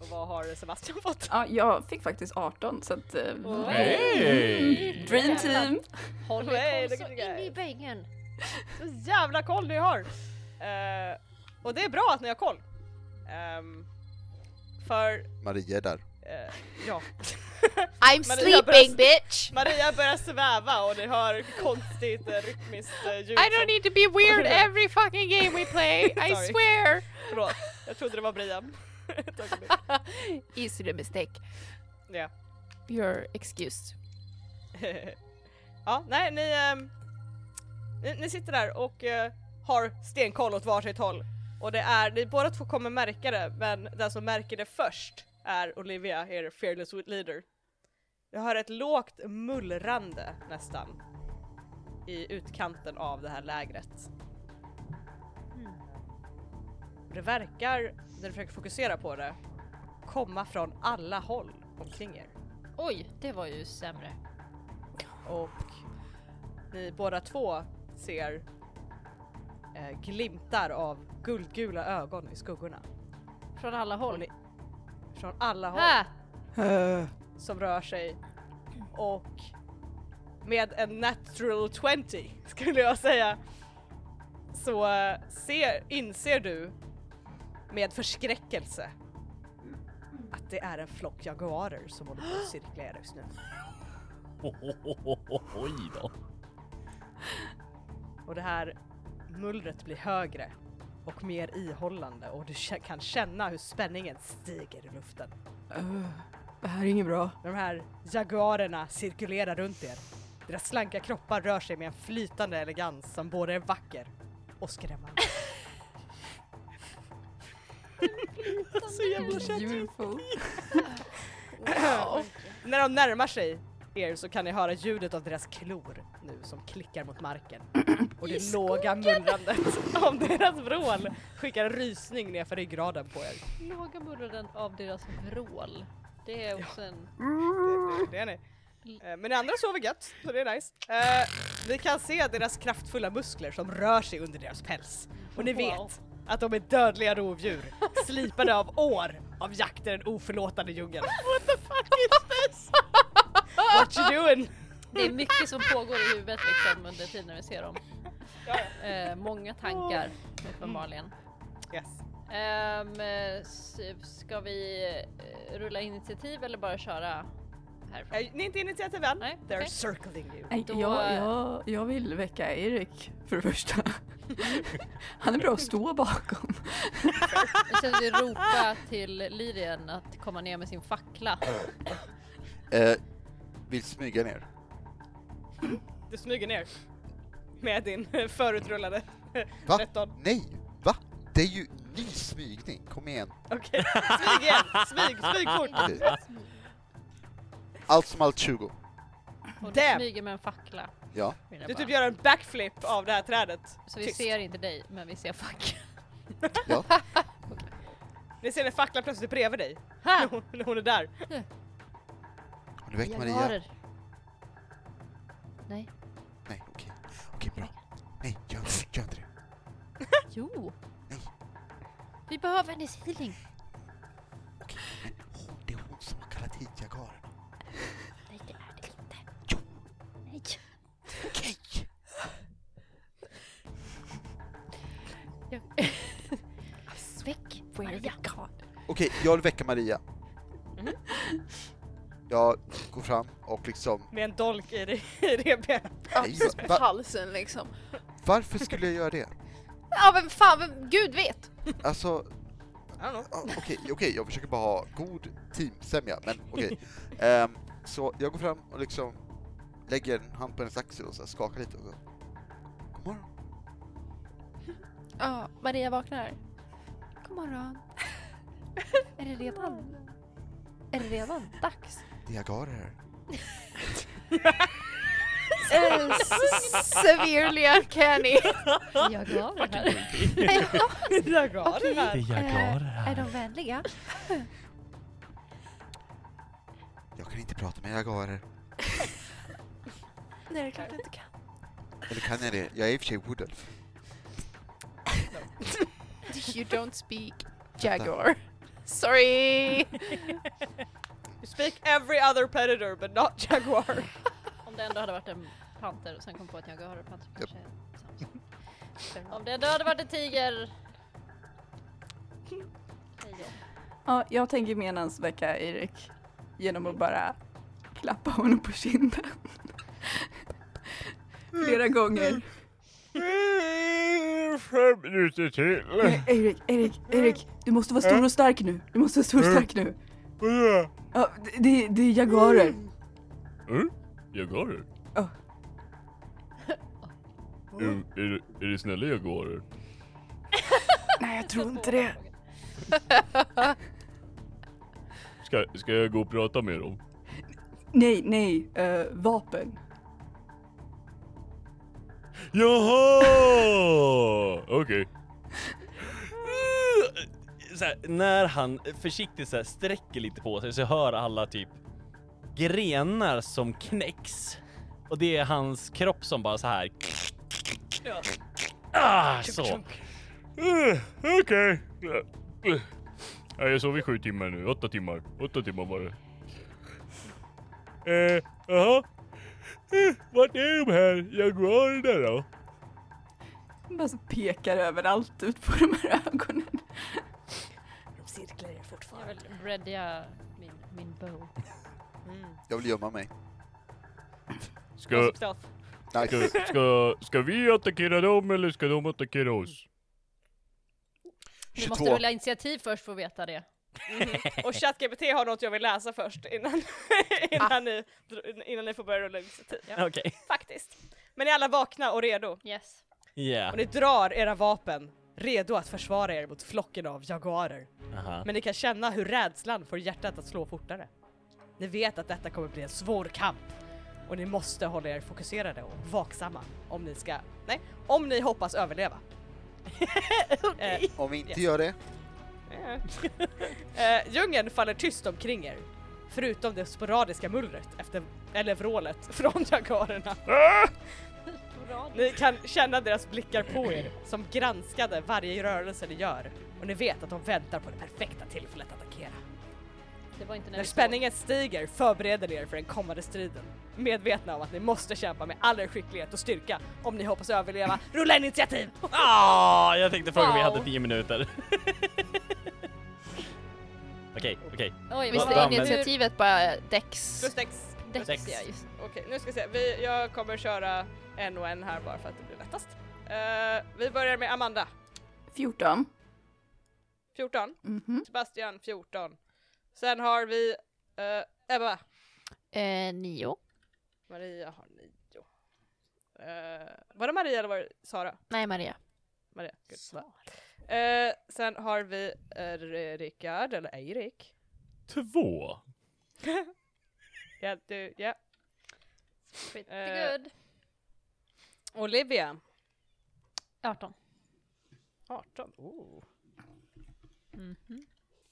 [SPEAKER 5] Och vad har Sebastian fått?
[SPEAKER 6] Ja, jag fick faktiskt 18 så att... eh,
[SPEAKER 2] Hey!
[SPEAKER 6] Dream team!
[SPEAKER 4] Håll
[SPEAKER 5] Hey,
[SPEAKER 4] er
[SPEAKER 5] look
[SPEAKER 4] koll så
[SPEAKER 5] at the
[SPEAKER 4] in
[SPEAKER 5] guy.
[SPEAKER 4] i bängen.
[SPEAKER 5] Så jävla koll ni har! Eh, och det är bra att ni har koll. Ehm, för,
[SPEAKER 1] Maria är där.
[SPEAKER 5] eh, ja.
[SPEAKER 3] I'm
[SPEAKER 5] Men det bäst.
[SPEAKER 3] sleeping bitch!
[SPEAKER 5] Maria börjar sväva och ni hör konstigt eh, rytmiskt eh, ljud.
[SPEAKER 3] I don't
[SPEAKER 5] som-
[SPEAKER 3] need to be weird every fucking game we play, I
[SPEAKER 5] Sorry.
[SPEAKER 3] swear!
[SPEAKER 5] Förlåt, jag trodde det var Brian. Ett ögonblick.
[SPEAKER 3] Easy mistake.
[SPEAKER 5] Ja.
[SPEAKER 3] You're excused.
[SPEAKER 5] ja, nej, ni, ehm, ni, ni sitter där och eh, har stenkoll åt varsitt håll. Och det är, ni båda två kommer märka det, men den som märker det först är Olivia, er fearless leader. Jag hör ett lågt mullrande nästan i utkanten av det här lägret. Mm. Det verkar, när du försöker fokusera på det, komma från alla håll omkring er.
[SPEAKER 4] Oj, det var ju sämre.
[SPEAKER 5] Och ni båda två ser eh, glimtar av guldgula ögon i skuggorna.
[SPEAKER 4] Från alla
[SPEAKER 5] Och
[SPEAKER 4] håll.
[SPEAKER 5] ni, från alla håll
[SPEAKER 4] Ah,
[SPEAKER 5] som rör sig. Och med en natural 20 skulle jag säga så eh, ser, inser du med förskräckelse att det är en flock jaguarer som håller på att cirkla er just nu.
[SPEAKER 2] Oj då.
[SPEAKER 5] och det här mullret blir högre och mer ihållande och du kä- kan känna hur spänningen stiger i luften.
[SPEAKER 6] Äh, det här är inget bra.
[SPEAKER 5] När de här jaguarerna cirkulerar runt er Deras slanka kroppar rör sig med en flytande elegans som både är vacker och skrämmande. Så jävla kött.
[SPEAKER 6] Beautiful.
[SPEAKER 5] Och När de närmar sig er så kan ni höra ljudet av deras klor nu som klickar mot marken. Och det låga mullrandet av deras vrål skickar en rysning nerför ryggraden på er.
[SPEAKER 4] Låga mullraden av deras vrål. Det är också en...
[SPEAKER 5] Det- Det är ni. Eh, Men ni andra sover gött, så det är nice. Eh, ni kan se deras kraftfulla muskler som rör sig under deras päls. Och ni
[SPEAKER 4] Wow.
[SPEAKER 5] vet att de är dödliga rovdjur, slipade av år av jakt i den oförlåtande djungeln. What the fuck is this? What you doing?
[SPEAKER 4] Det är mycket som pågår i huvudet liksom under tiden när vi ser dem. Eh, många tankar uppenbarligen.
[SPEAKER 5] Yes.
[SPEAKER 4] Ehm, eh, s- ska vi eh, rulla initiativ eller bara köra härifrån?
[SPEAKER 5] Eh, ni är inte initiativ än.
[SPEAKER 4] Nej,
[SPEAKER 5] They're
[SPEAKER 4] okej.
[SPEAKER 5] circling you.
[SPEAKER 6] Nej,
[SPEAKER 4] Då-
[SPEAKER 6] Jag, jag, jag vill väcka Erik för det första. Han är bra att stå bakom.
[SPEAKER 4] Jag känner att vi ropa till Lyrien att komma ner med sin fackla.
[SPEAKER 1] Eh, vill smyga ner.
[SPEAKER 5] Du smyger ner med din förutrullade
[SPEAKER 1] Va?
[SPEAKER 5] 13.
[SPEAKER 1] Nej! Va? Det är ju ny smygning, kom igen.
[SPEAKER 5] Okej, smyg igen! Smyg, smyg fort!
[SPEAKER 1] Okej. Allt som allt 20.
[SPEAKER 4] Och du
[SPEAKER 5] Damn.
[SPEAKER 4] smyger med en fackla.
[SPEAKER 1] Ja.
[SPEAKER 4] vill jag
[SPEAKER 5] Du
[SPEAKER 4] bara-
[SPEAKER 5] typ gör en backflip av det här trädet.
[SPEAKER 4] Så vi
[SPEAKER 5] Tyst.
[SPEAKER 4] ser inte dig, men vi ser facklan.
[SPEAKER 5] Ni ser en fackla plötsligt bredvid dig.
[SPEAKER 4] Här!
[SPEAKER 5] När hon- när hon är där.
[SPEAKER 1] Och nu väck Maria.
[SPEAKER 4] Jaguarer. Nej,
[SPEAKER 1] Nej, okej. Okej, bra. Nej, gör, gör inte det.
[SPEAKER 4] jo.
[SPEAKER 1] Nej.
[SPEAKER 4] Vi behöver hennes healing.
[SPEAKER 1] Okej, men hon, det är hon som har kallat hit jagarerna.
[SPEAKER 4] Nej, det är det inte.
[SPEAKER 1] Jo.
[SPEAKER 4] Nej.
[SPEAKER 1] Okej!
[SPEAKER 4] Jag... Väck Maria.
[SPEAKER 1] Okej, jag vill väcka Maria.
[SPEAKER 5] Mm.
[SPEAKER 1] Jag går fram och liksom...
[SPEAKER 5] Med en dolk i, re- i revbenen.
[SPEAKER 1] Ja,
[SPEAKER 3] Ja, precis på
[SPEAKER 1] va-
[SPEAKER 3] halsen liksom.
[SPEAKER 1] Varför skulle jag göra det?
[SPEAKER 3] Ja vem fan, vem, gud vet!
[SPEAKER 1] Alltså,
[SPEAKER 5] I don't know.
[SPEAKER 1] Ja, Okej, okej, jag försöker bara ha god teamsämja, men okej. Ehm, så jag går fram och liksom lägger en hand på hennes axel och så här skakar lite och så. God morgon.
[SPEAKER 3] Ja, Maria vaknar. God morgon. Är det redan? Är det redan dags?
[SPEAKER 1] Det är Agara här.
[SPEAKER 3] Eh, s- Severely uncanny.
[SPEAKER 4] Jag gav det här.
[SPEAKER 5] Jagar den
[SPEAKER 7] Det
[SPEAKER 5] här.
[SPEAKER 7] är jaguarer
[SPEAKER 3] Är de
[SPEAKER 7] här.
[SPEAKER 3] vänliga?
[SPEAKER 1] Jag kan inte prata med Agarer.
[SPEAKER 3] Nej, det är klart du inte kan.
[SPEAKER 1] Eller kan jag det? Jag är i och för sig Woodulf.
[SPEAKER 3] You don't speak Jaguar. Sorry!
[SPEAKER 5] You speak every other predator but not jaguar.
[SPEAKER 4] Om det ändå hade varit en panter och sen kom på att jag har en panter
[SPEAKER 1] Japp.
[SPEAKER 4] kanske är samma sak. Om det ändå hade varit en tiger. Hej då.
[SPEAKER 6] Ja, jag tänker menans väcka Erik genom att bara klappa honom på kinden. Flera gånger.
[SPEAKER 2] Fem minuter till.
[SPEAKER 6] Nej, Erik, Erik, Erik, du måste vara stor och stark nu. Du måste vara stor och stark nu. Ja, det- det, det är jaguarer.
[SPEAKER 2] Mm? Jaguarer?
[SPEAKER 6] Ja.
[SPEAKER 2] Mm, är, det- är det snälla jaguarer?
[SPEAKER 6] Nej, jag tror inte det.
[SPEAKER 2] Ska, ska jag gå och prata med dem?
[SPEAKER 6] Nej, nej, eh, vapen.
[SPEAKER 2] Jaha! Okej.
[SPEAKER 7] Så här, när han försiktigt så här, sträcker lite på sig så hör alla typ grenar som knäcks. Och det är hans kropp som bara så här. Ah, så.
[SPEAKER 2] Eh, Okej. Eh, eh. Ja, Jag sov i sju timmar nu. Åtta timmar. Åtta timmar var det. Eh, jaha. Eh, vart är de här jaguarerna då?
[SPEAKER 6] Han bara så pekar överallt ut på de här ögonen.
[SPEAKER 8] De cirklar er
[SPEAKER 4] Jag
[SPEAKER 8] fortfarande.
[SPEAKER 4] vill readya min, min bow.
[SPEAKER 1] Jag vill gömma mig.
[SPEAKER 2] Ska,
[SPEAKER 5] Stealth.
[SPEAKER 1] Nice.
[SPEAKER 2] ska, ska, ska vi attackera dem eller ska de attackera oss?
[SPEAKER 4] Vi måste
[SPEAKER 1] 22.
[SPEAKER 4] rulla initiativ först för att veta det.
[SPEAKER 5] Och ChatGPT har något jag vill läsa först innan, innan,
[SPEAKER 4] Ah.
[SPEAKER 5] ni, dr- innan ni får börja rulla initiativ. Ja,
[SPEAKER 7] Okej.
[SPEAKER 5] faktiskt. Men ni är alla vakna och redo.
[SPEAKER 4] Yes.
[SPEAKER 7] Yeah.
[SPEAKER 5] Och ni drar era vapen, redo att försvara er mot flocken av jaguarer.
[SPEAKER 7] Aha.
[SPEAKER 5] Men ni kan känna hur rädslan får hjärtat att slå fortare. Ni vet att detta kommer bli en svår kamp och ni måste hålla er fokuserade och vaksamma om ni ska, nej, om ni hoppas överleva. eh,
[SPEAKER 1] Om vi inte
[SPEAKER 5] Yes.
[SPEAKER 1] gör det,
[SPEAKER 5] eh, djungeln faller tyst omkring er, förutom det sporadiska mullret efter, eller vrålet från jagarerna. Ni kan känna deras blickar på er som granskade varje rörelse ni gör och ni vet att de väntar på det perfekta tillfället att attackera.
[SPEAKER 4] Det var inte när
[SPEAKER 5] När
[SPEAKER 4] vi
[SPEAKER 5] spänningen stiger förbereder ni er för den kommande striden. Medvetna om att ni måste kämpa med all er skicklighet och styrka om ni hoppas överleva. Rulla initiativ!
[SPEAKER 7] Ah, jag tänkte fråga om vi
[SPEAKER 4] Wow.
[SPEAKER 7] hade 10 minuter. Okej, okej.
[SPEAKER 4] såg. Oj,
[SPEAKER 3] Visst
[SPEAKER 7] vad-
[SPEAKER 4] vad-
[SPEAKER 3] är
[SPEAKER 7] vad-
[SPEAKER 3] initiativet bara Dex?
[SPEAKER 5] Plus Dex.
[SPEAKER 4] Dex,
[SPEAKER 7] Dex.
[SPEAKER 4] ja, just.
[SPEAKER 5] Okej, nu ska vi se. Vi, jag kommer köra en och en här bara för att det blir lättast. Eh, vi börjar med Amanda,
[SPEAKER 6] 14.
[SPEAKER 5] 14.
[SPEAKER 6] Mhm.
[SPEAKER 5] Sebastian, 14. Sen har vi eh, Ebba.
[SPEAKER 3] Eh, nio.
[SPEAKER 5] Maria har 9. var det Maria eller var det Sara?
[SPEAKER 3] Nej, Maria.
[SPEAKER 5] Maria. Gud, va? Eh, sen har vi uh, Rickard, eller Erik.
[SPEAKER 2] Två.
[SPEAKER 5] Ja, du, ja.
[SPEAKER 4] Pretty
[SPEAKER 5] Eh.
[SPEAKER 4] good.
[SPEAKER 5] Olivia.
[SPEAKER 4] 18.
[SPEAKER 5] 18. Oh. Mhm.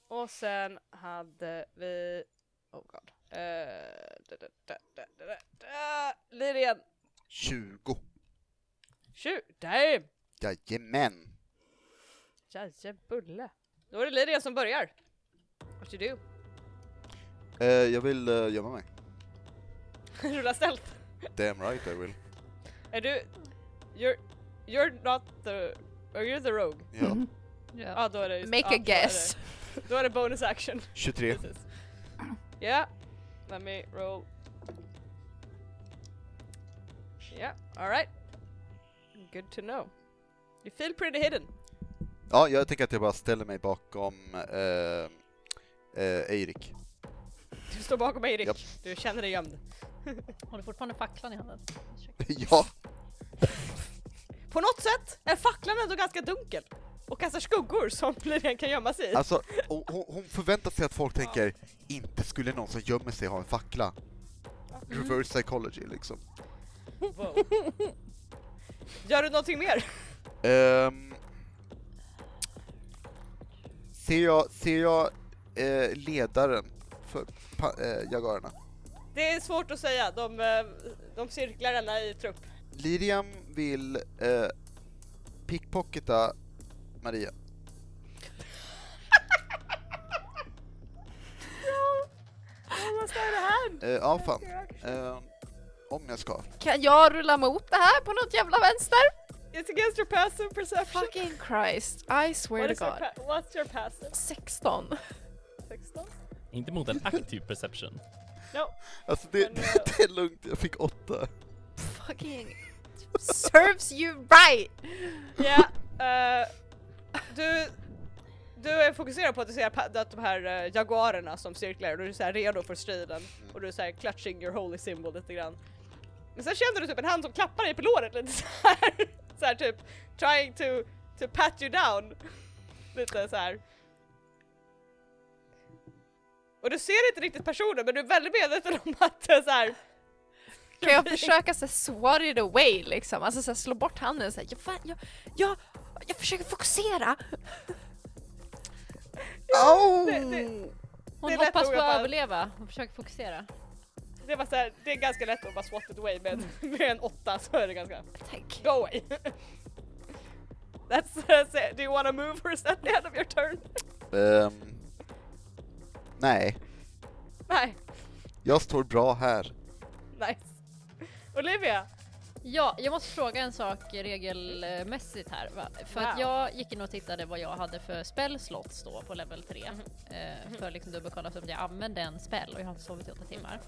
[SPEAKER 5] Och sen hade vi... Oh god. Uh, da, da, da, da, da, da, da. Lirian.
[SPEAKER 1] 20.
[SPEAKER 5] Tju! Damn!
[SPEAKER 1] Jajamän.
[SPEAKER 5] Jajebulle. Då är det Lirian som börjar. What you do?
[SPEAKER 1] Eh, jag vill uh, gömma mig.
[SPEAKER 5] Rulla stealth.
[SPEAKER 1] Damn right I will.
[SPEAKER 5] Är du... You're, you're not the... Are you the rogue?
[SPEAKER 1] Ja.
[SPEAKER 5] Ja, ah, då är det just,
[SPEAKER 3] Make
[SPEAKER 5] ah,
[SPEAKER 3] a guess.
[SPEAKER 5] Då är det, då är det bonus action.
[SPEAKER 1] 23.
[SPEAKER 5] Precis. Ja, let me roll. Yeah, alright. Good to know. You feel pretty hidden.
[SPEAKER 1] Ja, jag tänker att jag bara ställer mig bakom eh, eh, Eirik.
[SPEAKER 5] Du står bakom mig Erik.
[SPEAKER 1] Japp.
[SPEAKER 5] Du känner dig gömd.
[SPEAKER 4] Har du fortfarande facklan i handen?
[SPEAKER 1] ja,
[SPEAKER 5] På något sätt är facklan ändå ganska dunkel och kastar skuggor som Lilian kan gömma sig i.
[SPEAKER 1] alltså hon, hon- hon förväntar sig att folk tänker inte skulle någon som gömmer sig ha en fackla. Reverse psychology liksom.
[SPEAKER 5] Wow. Gör du någonting mer?
[SPEAKER 1] Ehm, ser jag, ser jag eh, ledaren för pa- eh, jagarerna?
[SPEAKER 5] Det är svårt att säga, de, eh, de cirklar denna i trupp.
[SPEAKER 1] Liriam vill eh, pickpocketa Maria. Eh, ja, fan. Eh, om jag ska.
[SPEAKER 3] Kan jag rulla mot det här på något jävla vänster?
[SPEAKER 5] It's against your passive perception.
[SPEAKER 3] Fucking Christ, I swear
[SPEAKER 5] What
[SPEAKER 3] to
[SPEAKER 5] is your
[SPEAKER 3] God.
[SPEAKER 5] pa- what's your passive?
[SPEAKER 3] 16.
[SPEAKER 5] 16?
[SPEAKER 7] Inte mot en aktiv perception.
[SPEAKER 5] No.
[SPEAKER 1] Alltså det,
[SPEAKER 5] Men, eh,
[SPEAKER 1] det är lugnt, jag fick åtta.
[SPEAKER 3] Fucking serves you right!
[SPEAKER 5] Ja. eh, du, du är fokuserad på att du ser pa- att de här eh, jaguarerna som cirklar och du är så här redo för striden och du är så här clutching your holy symbol lite grann. Men sen känner du typ en hand som klappar dig på låret lite så här. Så här typ trying to, to pat you down. Lite så här. Och du ser inte riktigt personen men du är väldigt medveten om att det är så här.
[SPEAKER 3] Kan jag försöka så här, swat it away liksom? Alltså så här, slå bort handen så här, jag, fan, jag, jag, jag försöker fokusera!
[SPEAKER 1] Au!
[SPEAKER 5] Det, det,
[SPEAKER 4] Hon
[SPEAKER 5] Det är lätt
[SPEAKER 4] hoppas på
[SPEAKER 5] att
[SPEAKER 4] att
[SPEAKER 5] bara-
[SPEAKER 4] överleva och försöker fokusera.
[SPEAKER 5] Det var så här, det är ganska lätt att bara swat it away men med en åtta så är det ganska
[SPEAKER 3] Tack.
[SPEAKER 5] go away. That's, that's it. Do you wanna move or is that the end of your turn?
[SPEAKER 1] Ehm, nej,
[SPEAKER 5] Nej,
[SPEAKER 1] jag står bra här.
[SPEAKER 5] nice. Olivia,
[SPEAKER 4] Ja, jag måste fråga en sak regelmässigt här. Va? För att
[SPEAKER 5] Wow.
[SPEAKER 4] jag gick in och tittade vad jag hade för spellslots då på level 3.
[SPEAKER 5] Mhm.
[SPEAKER 4] Eh, för att liksom dubbelkolla så om jag använde en spell och jag har inte sovit i åtta timmar.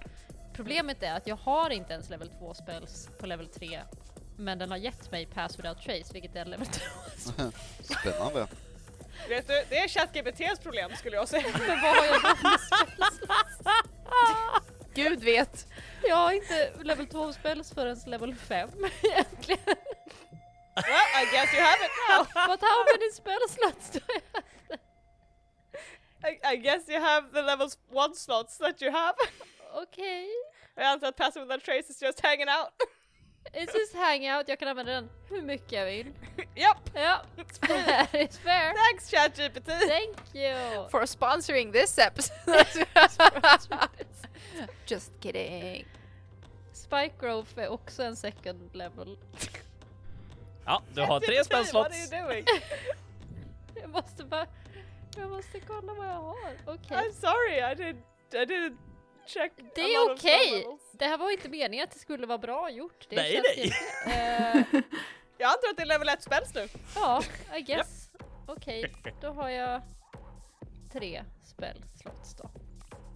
[SPEAKER 4] Problemet är att jag har inte ens level 2 spells på level 3. Men den har gett mig pass without trace, vilket är en level 2
[SPEAKER 1] Spännande.
[SPEAKER 5] Vet du, det är ChatGPTs problem skulle jag säga.
[SPEAKER 4] Men vad har jag då för spells?
[SPEAKER 3] Gud vet.
[SPEAKER 4] Jag har inte level 2 spells förrän level 5 egentligen.
[SPEAKER 5] Well, I guess you have it now!
[SPEAKER 4] But how many spell slots do I have?
[SPEAKER 5] I, I guess you have the level 1 slots that you have.
[SPEAKER 4] Okej.
[SPEAKER 5] Jag antar att passive without trace is just hanging out.
[SPEAKER 4] It's just hangout, jag kan använda den hur mycket jag vill.
[SPEAKER 5] Japp!
[SPEAKER 4] Ja, it's fair.
[SPEAKER 5] Thanks ChatGPT!
[SPEAKER 4] Thank you!
[SPEAKER 3] For sponsoring this episode. Just kidding.
[SPEAKER 4] Spike Growth är också en second level.
[SPEAKER 7] Ja, du har tre
[SPEAKER 5] ChatGPT, What are
[SPEAKER 7] spelslott.
[SPEAKER 5] you doing?
[SPEAKER 4] Jag måste bara... Jag måste kolla vad jag har. Okej.
[SPEAKER 5] I'm sorry, I didn't, I didn't check a
[SPEAKER 4] Det är
[SPEAKER 5] lot of spell
[SPEAKER 4] okej!
[SPEAKER 5] levels.
[SPEAKER 4] Det här var inte meningen att det skulle vara bra gjort. Det
[SPEAKER 7] Nej,
[SPEAKER 4] känns
[SPEAKER 7] nej.
[SPEAKER 4] Inte. Eh,
[SPEAKER 5] Jag antar att det är level 1 spells nu.
[SPEAKER 4] ja, I guess. Okej, då har jag tre spelslotts då.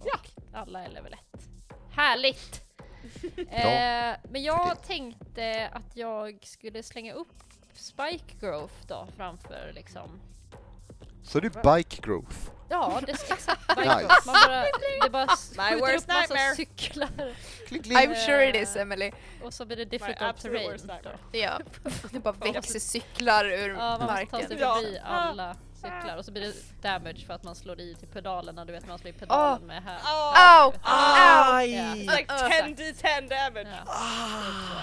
[SPEAKER 4] Och alla är level 1. Härligt! Eh, men jag tänkte att jag skulle slänga upp Spike Growth då framför liksom
[SPEAKER 1] Så du bike growth.
[SPEAKER 4] Ja, det ska exakt vara
[SPEAKER 1] Nice.
[SPEAKER 4] nice. Man bara, det bara skjuter upp
[SPEAKER 5] worst
[SPEAKER 4] massa
[SPEAKER 5] nightmare.
[SPEAKER 4] cyklar
[SPEAKER 1] Klick, klick.
[SPEAKER 3] I'm sure it is Emily.
[SPEAKER 4] och så blir det
[SPEAKER 5] My
[SPEAKER 4] difficult
[SPEAKER 5] absolute
[SPEAKER 4] terrain.
[SPEAKER 5] worst
[SPEAKER 4] Då.
[SPEAKER 5] nightmare.
[SPEAKER 3] Ja. Det bara växer cyklar ur
[SPEAKER 4] Ja, man måste ta sig
[SPEAKER 3] marken.
[SPEAKER 5] Ja.
[SPEAKER 4] förbi alla cyklar och så blir det damage för att man slår i till pedalerna, du vet man slår
[SPEAKER 5] Ah.
[SPEAKER 4] i pedalen med här.
[SPEAKER 5] Oh,
[SPEAKER 3] Au!
[SPEAKER 4] Ah.
[SPEAKER 3] Au!
[SPEAKER 5] it's
[SPEAKER 4] Ja,
[SPEAKER 5] like 10d10 damage.
[SPEAKER 4] Ja.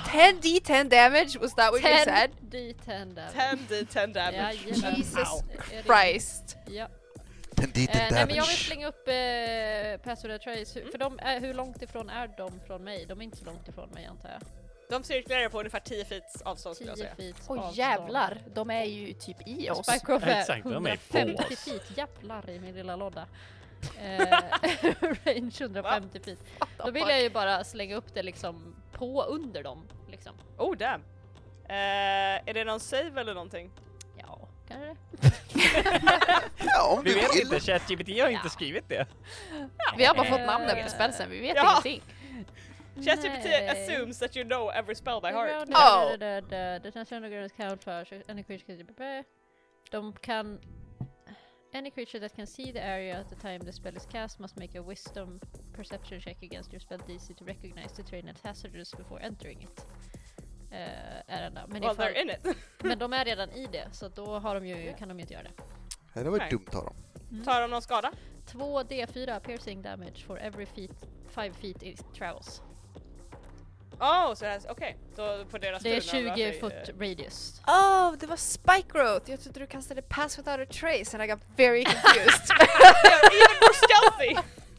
[SPEAKER 3] 10d10 damage, was that what you said?
[SPEAKER 4] 10d10 damage.
[SPEAKER 5] 10d10 damage.
[SPEAKER 4] Jajamän.
[SPEAKER 3] Jesus
[SPEAKER 4] Är det-
[SPEAKER 3] Christ.
[SPEAKER 4] Ja.
[SPEAKER 1] Den dit
[SPEAKER 4] Eh, nej men jag vill
[SPEAKER 1] damage.
[SPEAKER 4] slänga upp eh, Password and Trace,
[SPEAKER 5] Mm.
[SPEAKER 4] för de är, hur långt ifrån är de från mig? De är inte så långt ifrån mig antar jag.
[SPEAKER 5] De cirkulerar på ungefär 10 feet avstånd skulle
[SPEAKER 4] 10
[SPEAKER 5] jag säga.
[SPEAKER 4] feet
[SPEAKER 3] Oj
[SPEAKER 4] avstånd.
[SPEAKER 3] jävlar, de är ju typ i oss.
[SPEAKER 4] Spike Grove är
[SPEAKER 7] Exakt, de är på
[SPEAKER 4] 150
[SPEAKER 7] oss.
[SPEAKER 4] feet, jävlar i min lilla låda. Eh, range 150 feet. Då vill jag ju bara slänga upp det liksom på under dem. Liksom.
[SPEAKER 5] Oh damn! Eh, är det någon save eller någonting?
[SPEAKER 4] Ja, kanske det.
[SPEAKER 1] Ja, om
[SPEAKER 7] Vi
[SPEAKER 1] du
[SPEAKER 7] vet
[SPEAKER 1] vill.
[SPEAKER 7] inte, ChatGPT har inte
[SPEAKER 4] Ja.
[SPEAKER 7] skrivit det.
[SPEAKER 3] Vi har bara
[SPEAKER 4] Eh,
[SPEAKER 3] fått namnen på spelsen, vi vet
[SPEAKER 5] Ja.
[SPEAKER 3] ingenting.
[SPEAKER 5] ChatGPT
[SPEAKER 4] Nej.
[SPEAKER 5] typ assumes that you know every spell by heart.
[SPEAKER 3] Oh.
[SPEAKER 4] The national grounds count for any creature can prepare. De kan... Any creature that can see the area at the time the spell is cast must make a wisdom perception check against your spell DC to recognize the terrain as hazardous before entering it. Eh, är den där. Men,
[SPEAKER 5] Well
[SPEAKER 4] ifall-
[SPEAKER 5] they're in it.
[SPEAKER 4] men de är redan i det så då har de ju, kan de ju inte göra det.
[SPEAKER 1] Nej, Det var
[SPEAKER 5] Nej.
[SPEAKER 1] dumt av dem.
[SPEAKER 5] Tar de någon skada?
[SPEAKER 4] 2D4 piercing damage for every feet, 5 feet it travels.
[SPEAKER 5] Oh, så det här- okej. Då på deras
[SPEAKER 4] Alltså, Det är
[SPEAKER 5] tur när de rör
[SPEAKER 4] 20
[SPEAKER 5] sig,
[SPEAKER 4] foot
[SPEAKER 5] eh,
[SPEAKER 4] radius.
[SPEAKER 3] Oh, det var Spike Growth! Jag trodde du kastade Pass Without a Trace and I got very confused.
[SPEAKER 5] they're even more stealthy!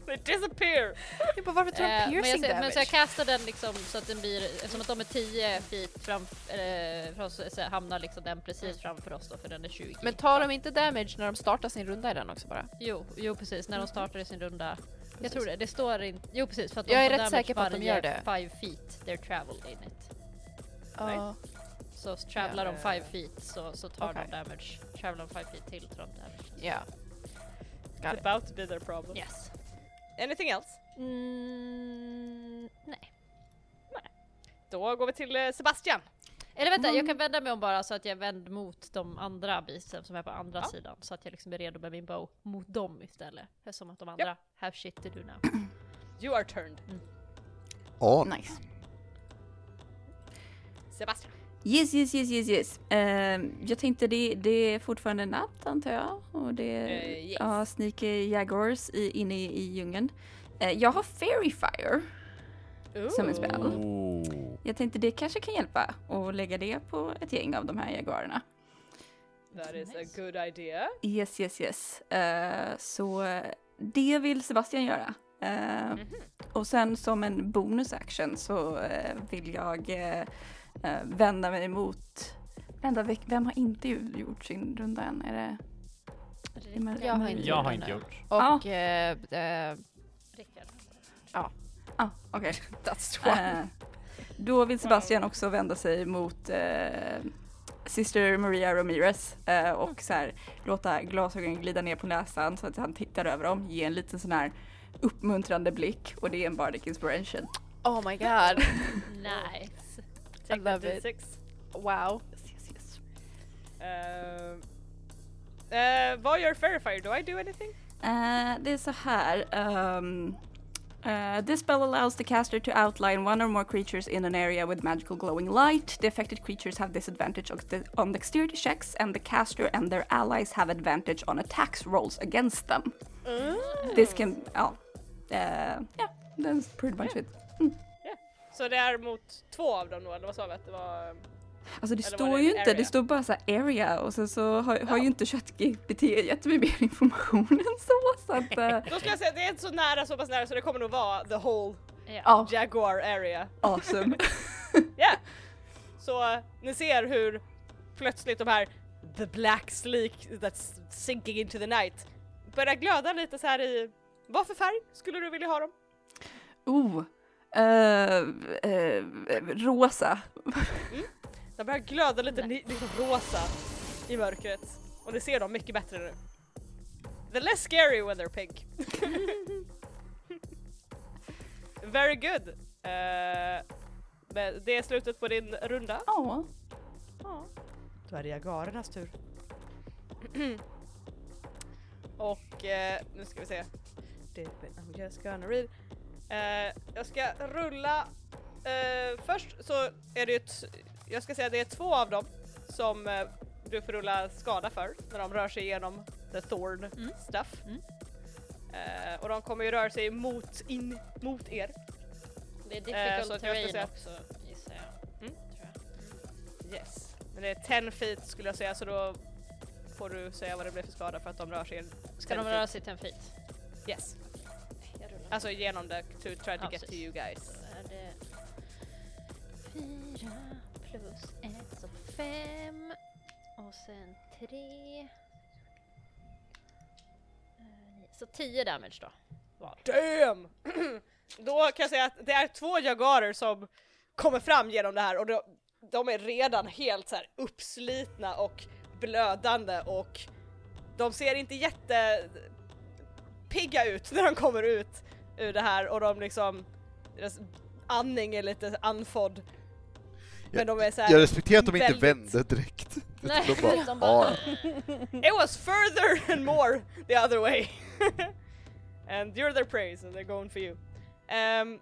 [SPEAKER 5] They disappear!
[SPEAKER 3] jag bara, varför tror
[SPEAKER 4] Eh,
[SPEAKER 3] han
[SPEAKER 4] men, jag,
[SPEAKER 3] piercing
[SPEAKER 4] ser- men
[SPEAKER 3] damage?
[SPEAKER 4] så jag kastar den liksom så att den blir, som att de är 10 feet fram, eller, fram så, så hamnar liksom den precis framför oss då för den är 20.
[SPEAKER 3] Men tar de inte damage när de startar sin runda i den också bara?
[SPEAKER 4] Jo, jo precis, när de startar i sin runda. Jag tror det, det står inte, jo precis för att de
[SPEAKER 3] Jag
[SPEAKER 4] får
[SPEAKER 3] är rätt
[SPEAKER 4] damage
[SPEAKER 3] säker på att de
[SPEAKER 4] varje
[SPEAKER 3] gör det.
[SPEAKER 4] five feet, their travel in it.
[SPEAKER 3] Ja.
[SPEAKER 4] Så travlar de
[SPEAKER 3] Ja.
[SPEAKER 4] 5 feet så, så tar
[SPEAKER 3] Okej.
[SPEAKER 4] de damage. Travlar de 5 feet till tar de damage.
[SPEAKER 3] Ja. Got it.
[SPEAKER 5] It's about to be their problem.
[SPEAKER 4] Yes.
[SPEAKER 5] Anything else?
[SPEAKER 4] Mm, nej.
[SPEAKER 5] Då går vi till eh, Sebastian.
[SPEAKER 4] Eller vänta, jag kan vända mig om bara så att jag vänder mot de andra bisen som är på andra sidan. Så att jag liksom är redo med min bow mot dem istället. Eftersom att de andra, have shit to do now.
[SPEAKER 5] You are turned.
[SPEAKER 1] Ja,
[SPEAKER 6] Nice.
[SPEAKER 5] Sebastian.
[SPEAKER 6] Yes, yes, yes, yes, yes. Ehm, jag tänkte det, det är fortfarande natt antar jag. Och det är
[SPEAKER 5] Eh, yes.
[SPEAKER 6] ja, sneaky jaguars i, inne i, i djungeln. Eh, jag har fairy fire som en spel.
[SPEAKER 7] Oh.
[SPEAKER 6] Jag tänkte det kanske kan hjälpa att lägga det på ett gäng av de här jaguarerna.
[SPEAKER 5] That is a good idea.
[SPEAKER 6] Yes, yes, yes. Eh, så det vill Sebastian göra. Eh, Och sen som en bonus action så eh, vill jag eh, eh, vända mig mot... Vänta, ve- vem har inte ju- gjort sin runda än? Är det...
[SPEAKER 4] Rickard.
[SPEAKER 3] Jag har inte
[SPEAKER 7] Jag har inte gjort.
[SPEAKER 3] Och... eh, eh,
[SPEAKER 4] Rickard.
[SPEAKER 6] Ah, okej.
[SPEAKER 3] that's one.
[SPEAKER 6] Eh, då vill Sebastian också vända sig mot eh, Sister Maria Ramirez eh, och så här, låta glasögonen glida ner på näsan så att han tittar över dem, ge en liten sån här uppmuntrande blick och det är en bardic inspiration.
[SPEAKER 3] Oh my god.
[SPEAKER 4] Nice.
[SPEAKER 3] I love it.
[SPEAKER 5] D6.
[SPEAKER 3] Wow.
[SPEAKER 6] Yes, yes, yes.
[SPEAKER 5] Ehm, Eh, vad gör Verifier? Do I do anything?
[SPEAKER 6] Eh, det är så här. ehm, eh, this spell allows the caster to outline one or more creatures in an area with magical glowing light. The affected creatures have disadvantage on de- on dexterity checks and the caster and their allies have advantage on attacks rolls against them. This can... Ja. Eh, yeah, that's pretty much it.
[SPEAKER 5] Så det är mot två av dem då, eller vad sa vi att det var?
[SPEAKER 6] Alltså det
[SPEAKER 5] Eller var
[SPEAKER 6] står
[SPEAKER 5] det
[SPEAKER 6] ju
[SPEAKER 5] en
[SPEAKER 6] inte, det
[SPEAKER 5] area?
[SPEAKER 6] står bara så här area och sen så har, har ju inte ChatGPT gett mig mer information än så. så att, eh,
[SPEAKER 5] Då ska jag säga att det är inte så nära, så pass nära så det kommer nog vara the whole
[SPEAKER 6] ja,
[SPEAKER 5] Jaguar area.
[SPEAKER 6] awesome.
[SPEAKER 5] Yeah. Så eh, ni ser hur plötsligt de här the black sleek that's sinking into the night börjar glöda lite så här i vad för färg skulle du vilja ha dem?
[SPEAKER 6] Oh, eh, eh, rosa.
[SPEAKER 5] De börjar glöda lite ni- liksom rosa i mörkret och ni ser dem mycket bättre nu. They're less scary when they're pink. Very good! Eh, men det är slutet på din runda.
[SPEAKER 6] Ja.
[SPEAKER 5] Då är det jagarernas tur. Och eh, nu ska vi se. Det- I'm just gonna read. Eh, jag ska rulla. Eh, först så är det ju ett, jag ska säga det är två av dem som eh, du får rulla skada för när de rör sig igenom the thorn
[SPEAKER 4] Mm.
[SPEAKER 5] stuff.
[SPEAKER 4] Mm.
[SPEAKER 5] Eh, och de kommer ju röra sig mot, in, mot er.
[SPEAKER 4] Det är
[SPEAKER 5] Eh, så att
[SPEAKER 4] difficult
[SPEAKER 5] jag ska
[SPEAKER 4] terrain
[SPEAKER 5] säga-
[SPEAKER 4] också gissar jag.
[SPEAKER 5] Mm.
[SPEAKER 4] Tror jag.
[SPEAKER 5] Yes. Men det är 10 feet skulle jag säga så då får du säga vad det blir för skada för att de rör sig. in
[SPEAKER 4] Ska
[SPEAKER 5] 10
[SPEAKER 4] de
[SPEAKER 5] feet.
[SPEAKER 4] röra sig till en feet?
[SPEAKER 5] Yes.
[SPEAKER 4] Jag rullar.
[SPEAKER 5] Alltså genom det to try to
[SPEAKER 4] Ja,
[SPEAKER 5] get to
[SPEAKER 4] precis.
[SPEAKER 5] you guys.
[SPEAKER 4] Då Alltså, är det fyra plus ett så fem och sen tre. Eh, nio. Så tio damage då.
[SPEAKER 5] Damn! Då kan jag säga att det är två jagarer som kommer fram genom det här och de, de är redan helt så här uppslitna och blödande och de ser inte jätte pigga ut när de kommer ut ur det här och de liksom deras andning är lite andfådd. Men de är så här,
[SPEAKER 1] Jag respekterar att de inte
[SPEAKER 5] väldigt-
[SPEAKER 1] vände direkt.
[SPEAKER 4] Nej,
[SPEAKER 1] de bara,
[SPEAKER 4] de bara-
[SPEAKER 1] ja,
[SPEAKER 5] It was further and more the other way. and you're their praise and they're going for you. Ehm,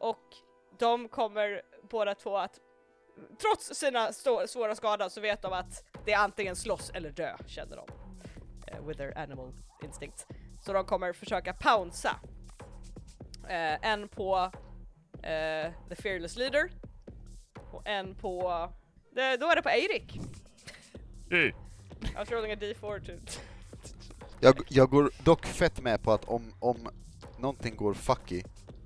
[SPEAKER 5] och de kommer båda två att, trots sina stå- svåra skador så vet de att det är antingen slåss eller dö, känner de. Eh, with their animal instinct. Så de kommer försöka pounsa. Eh, en på eh, the fearless leader och en på, det- då är det på Eirik.
[SPEAKER 2] Hej!
[SPEAKER 5] I was rolling a d4 to...
[SPEAKER 1] jag, jag går dock fett med på att om, om någonting går fucky,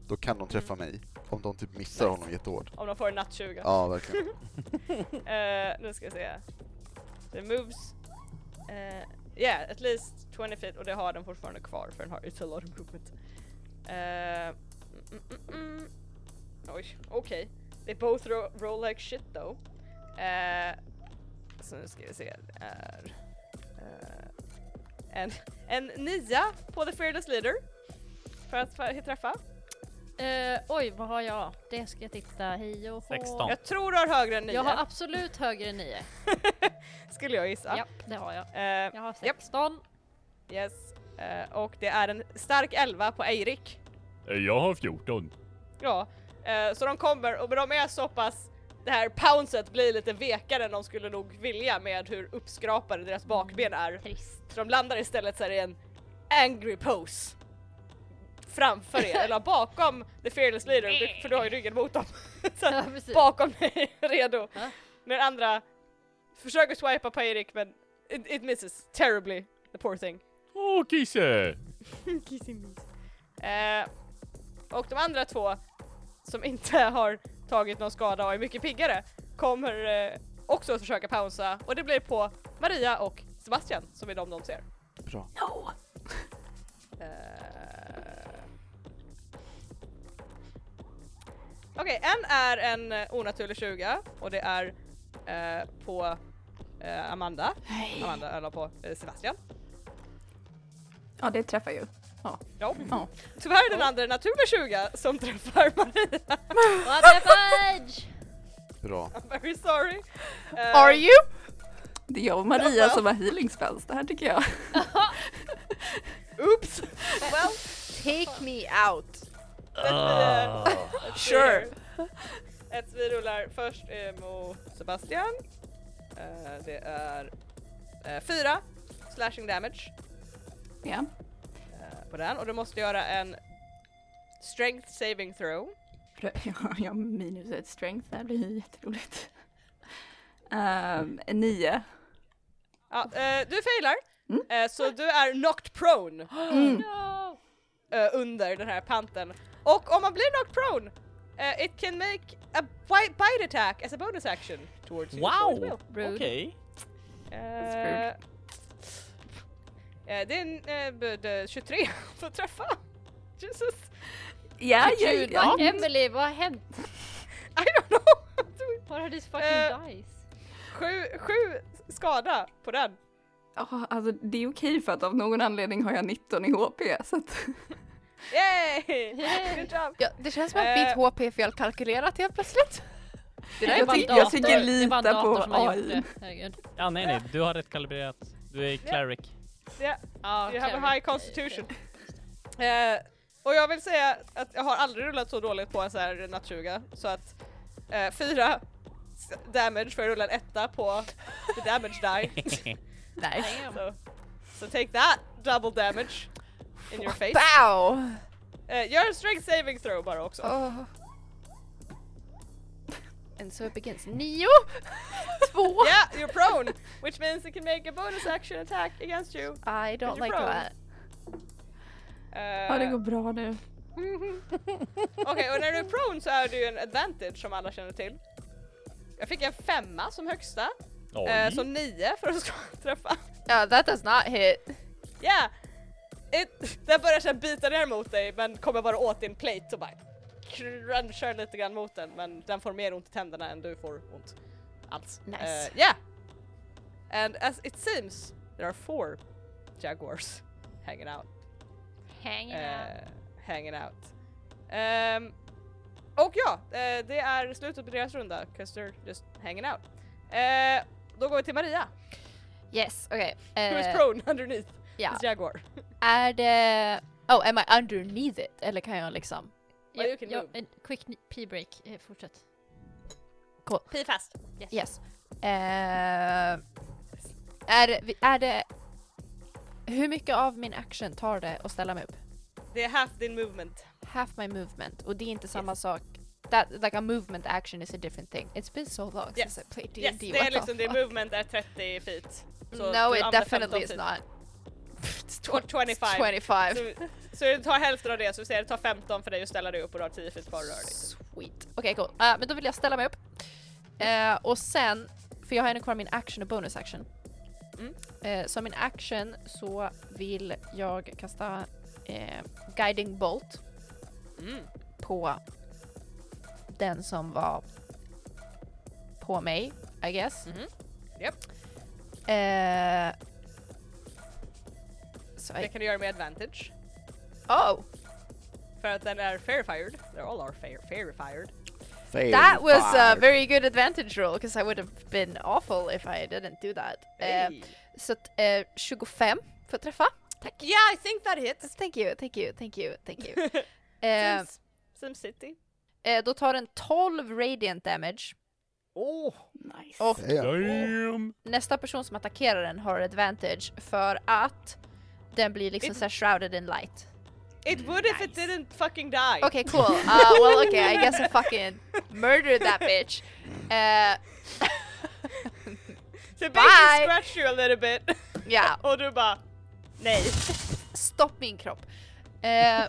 [SPEAKER 1] då kan de träffa mig. Om de typ missar honom jättehårt.
[SPEAKER 5] Om de får en natt 20.
[SPEAKER 1] Ja, verkligen.
[SPEAKER 5] Eh, nu ska jag se. The moves... eh, yeah, at least 20 feet och det har den fortfarande kvar för den har it's a lot of movement. Eh, mm, mm, mm. Oj, okej. They both ro roll like shit though. Eh, så nu ska vi se, det är... eh, en, en nia på the fearless leader. För att fa- träffa.
[SPEAKER 4] Eh, oj, vad har jag? Det ska jag titta. Hej och hå.
[SPEAKER 7] 16.
[SPEAKER 5] Jag tror du har högre än 9.
[SPEAKER 4] Jag har absolut högre än nio.
[SPEAKER 5] Skulle jag gissa.
[SPEAKER 4] Japp, det har jag.
[SPEAKER 5] Eh,
[SPEAKER 4] Jag har
[SPEAKER 5] Japp.
[SPEAKER 4] 16.
[SPEAKER 5] Yes. Eh, och det är en stark elva på Eirik.
[SPEAKER 2] Eh, Jag har 14.
[SPEAKER 5] Ja. Eh, så de kommer, och men de är så pass... Det här pounset blir lite vekare än de skulle nog vilja med hur uppskrapade deras bakben är.
[SPEAKER 4] Trist.
[SPEAKER 5] Så de landar istället så här i en angry pose. Framför er, eller bakom the fearless leader, du- för du har ju ryggen mot dem. så
[SPEAKER 4] Ja,
[SPEAKER 5] att
[SPEAKER 4] precis.
[SPEAKER 5] bakom dig, redo.
[SPEAKER 4] Ja.
[SPEAKER 5] Den andra försöker swipa på Eirik men it, it misses terribly, the poor thing.
[SPEAKER 2] Åh, Kisse!
[SPEAKER 5] Eh, och de andra två som inte har tagit någon skada och är mycket piggare kommer eh, också att försöka pausa och det blir på Maria och Sebastian som är de de ser.
[SPEAKER 1] Bra.
[SPEAKER 6] No!
[SPEAKER 5] Eh. Okej, en är en eh, onaturlig 20 och det är eh, på eh, Amanda, Amanda eller på eh, Sebastian.
[SPEAKER 6] Ja, det träffar ju.
[SPEAKER 5] Ja.
[SPEAKER 6] Ja.
[SPEAKER 5] Tyvärr är den andra en naturlig 20 som träffar Maria.
[SPEAKER 4] What the fudge!
[SPEAKER 1] Bra.
[SPEAKER 4] Alltså,
[SPEAKER 5] I'm very sorry. Eh,
[SPEAKER 3] Are you?
[SPEAKER 6] Det är jag och Maria som har healing spells, det här tycker jag.
[SPEAKER 5] Oops!
[SPEAKER 9] Well, take me out.
[SPEAKER 5] Ah.
[SPEAKER 8] Sure.
[SPEAKER 5] Ett vi rullar först eh, mot Sebastian. Eh, det är eh, fyra slashing damage
[SPEAKER 6] Ja.
[SPEAKER 5] eh, på den och du måste göra en strength saving throw.
[SPEAKER 6] Jag, jag minus ett strength, det här blir ju jätteroligt. Ehm, en nio.
[SPEAKER 5] Ja, eh, du failar, eh, så du är knocked prone
[SPEAKER 6] Mm.
[SPEAKER 5] eh, under den här panten. Och om man blir knocked prone, eh, it can make a bi- bite attack as a bonus action towards you. so it will.
[SPEAKER 7] Wow! Okej.
[SPEAKER 5] Eh, eh, det är en eh, bud, eh, 23 för träffa. Jesus,
[SPEAKER 6] Ja, ja,
[SPEAKER 4] Gud,
[SPEAKER 6] ja.
[SPEAKER 4] vad Emily, vad har hänt?
[SPEAKER 5] I don't know.
[SPEAKER 4] Paradis
[SPEAKER 5] Eh.
[SPEAKER 4] fucking dice.
[SPEAKER 5] sju, sju skada på den.
[SPEAKER 6] Ja, alltså det är okej för att av någon anledning har jag 19 i HP så att
[SPEAKER 5] Yay! Good job.
[SPEAKER 3] Ja, det känns som att mitt
[SPEAKER 5] Eh.
[SPEAKER 3] HP är felkalkylerat helt plötsligt.
[SPEAKER 4] Det
[SPEAKER 6] jag
[SPEAKER 4] bara en
[SPEAKER 6] tycker- jag
[SPEAKER 4] dator-
[SPEAKER 6] tycker
[SPEAKER 4] det är bara en
[SPEAKER 6] lita på
[SPEAKER 4] dator som har
[SPEAKER 6] AI.
[SPEAKER 4] gjort det. Herregud.
[SPEAKER 7] Ja, nej, nej, du har rätt kalibrerat. Du är cleric.
[SPEAKER 4] Ja,
[SPEAKER 5] You have a
[SPEAKER 4] cleric.
[SPEAKER 5] high constitution. Eh, och jag vill säga att jag har aldrig rullat så dåligt på en sån här nattsuga så att eh, fyra s- damage för jag rulla en etta på the damage die.
[SPEAKER 3] Nice.
[SPEAKER 5] so, so take that double damage in your face.
[SPEAKER 3] Bow!
[SPEAKER 5] Eh, gör en strength saving throw bara också.
[SPEAKER 3] Oh. And so it begins. Nio! Två!
[SPEAKER 5] Yeah, you're prone, which means it can make a bonus action attack against you.
[SPEAKER 3] I
[SPEAKER 5] you're
[SPEAKER 3] don't like
[SPEAKER 5] prone.
[SPEAKER 3] that.
[SPEAKER 5] Eh,
[SPEAKER 6] ja, det går bra nu.
[SPEAKER 5] Okej, och när du är prone så är du ju en advantage som alla känner till. Jag fick en femma som högsta,
[SPEAKER 7] Oj.
[SPEAKER 5] eh, så nio för att ska- träffa.
[SPEAKER 3] Yeah, Uh, that does not hit.
[SPEAKER 5] Yeah! It, den börjar sen bita ner mot dig men kommer bara åt din plate och bara crunchar lite grann mot den men den får mer ont i tänderna än du får ont alls.
[SPEAKER 3] Nice.
[SPEAKER 5] Eh, yeah! And as it seems there are four jaguars hanging out.
[SPEAKER 4] Hang out.
[SPEAKER 5] eh, hanging out. Ehm, och ja, eh, det är slutet på deras runda, 'cause they're just hanging out. Eh, då går vi till Maria,
[SPEAKER 3] Yes, okay.
[SPEAKER 5] who is
[SPEAKER 3] eh,
[SPEAKER 5] prone underneath
[SPEAKER 3] ja.
[SPEAKER 5] this jaguar.
[SPEAKER 3] Är det... Oh, am I underneath it? Eller kan jag liksom...
[SPEAKER 5] Ja, you
[SPEAKER 4] Jag,
[SPEAKER 5] can
[SPEAKER 4] jag,
[SPEAKER 5] move.
[SPEAKER 4] en quick p-break, eh, fortsätt.
[SPEAKER 5] Pi fast!
[SPEAKER 3] Yes. Eh, är, är det... Hur mycket av min action tar det att ställa mig upp?
[SPEAKER 5] Det är half din movement.
[SPEAKER 3] Half my movement. Och det är inte samma sak. That, like a movement action is a different thing. It's been so long
[SPEAKER 5] Yes.
[SPEAKER 3] since I played D&D.
[SPEAKER 5] Yes, det
[SPEAKER 3] what
[SPEAKER 5] är
[SPEAKER 3] the
[SPEAKER 5] liksom din
[SPEAKER 3] fuck?
[SPEAKER 5] movement är 30 feet. Så
[SPEAKER 3] no,
[SPEAKER 5] du
[SPEAKER 3] it
[SPEAKER 5] använder typ.
[SPEAKER 3] definitely
[SPEAKER 5] 15
[SPEAKER 3] is
[SPEAKER 5] feet.
[SPEAKER 3] not. It's
[SPEAKER 5] Or 25.
[SPEAKER 3] 25.
[SPEAKER 5] Så, så det tar hälften av det, så vi säger det tar 15 för dig att ställa dig upp och du har 10 feet kvar att röra dig.
[SPEAKER 3] Sweet. Okej, cool. Eh, men då vill jag ställa mig upp. Eh, och sen, för jag har ännu kvar min action och bonus action.
[SPEAKER 5] Mm.
[SPEAKER 3] Eh, så min action så vill jag kasta eh, guiding bolt
[SPEAKER 5] Mm.
[SPEAKER 3] på den som var på mig, I guess.
[SPEAKER 5] Mhm. Japp.
[SPEAKER 3] Eh, så
[SPEAKER 5] Det
[SPEAKER 3] I,
[SPEAKER 5] kan du göra med advantage.
[SPEAKER 3] oh,
[SPEAKER 5] För att den är fairfired. They all are fair, fairfired.
[SPEAKER 3] that was a very good advantage roll because I would have been awful if I didn't do that. Eh,
[SPEAKER 5] Hey.
[SPEAKER 3] Så att, eh, 25 för att träffa. Tack.
[SPEAKER 5] Yeah, I think that hits.
[SPEAKER 3] Thank you, thank you, thank you, thank you. eh,
[SPEAKER 5] SimCity.
[SPEAKER 3] eh, då tar den 12 radiant damage.
[SPEAKER 5] Åh!
[SPEAKER 6] Nice.
[SPEAKER 3] Och
[SPEAKER 2] Damn!
[SPEAKER 3] nästa person som attackerar den har advantage för att den blir liksom såhär shrouded in light.
[SPEAKER 5] It would if it didn't fucking die.
[SPEAKER 3] Okay, cool. Uh, well, okay, I guess I fucking murdered that bitch. Uh,
[SPEAKER 5] So basically
[SPEAKER 3] Bye.
[SPEAKER 5] scratch you a little bit.
[SPEAKER 3] yeah,
[SPEAKER 5] och du bara... Nej.
[SPEAKER 3] stopp min kropp. Eh,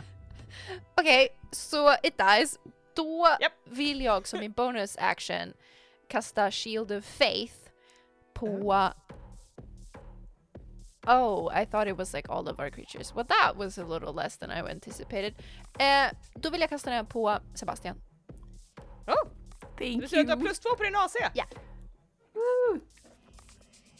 [SPEAKER 3] Okej, så it dies. Då
[SPEAKER 5] Japp.
[SPEAKER 3] vill jag som min bonus action kasta Shield of Faith på... Oh, I thought it was like all of our creatures. Well that was a little less than I anticipated. Eh, då vill jag kasta den på Sebastian.
[SPEAKER 5] Oh, du
[SPEAKER 6] Thank
[SPEAKER 5] ser att du har
[SPEAKER 6] you.
[SPEAKER 5] plus två på din AC.
[SPEAKER 3] Ja.
[SPEAKER 6] Woo.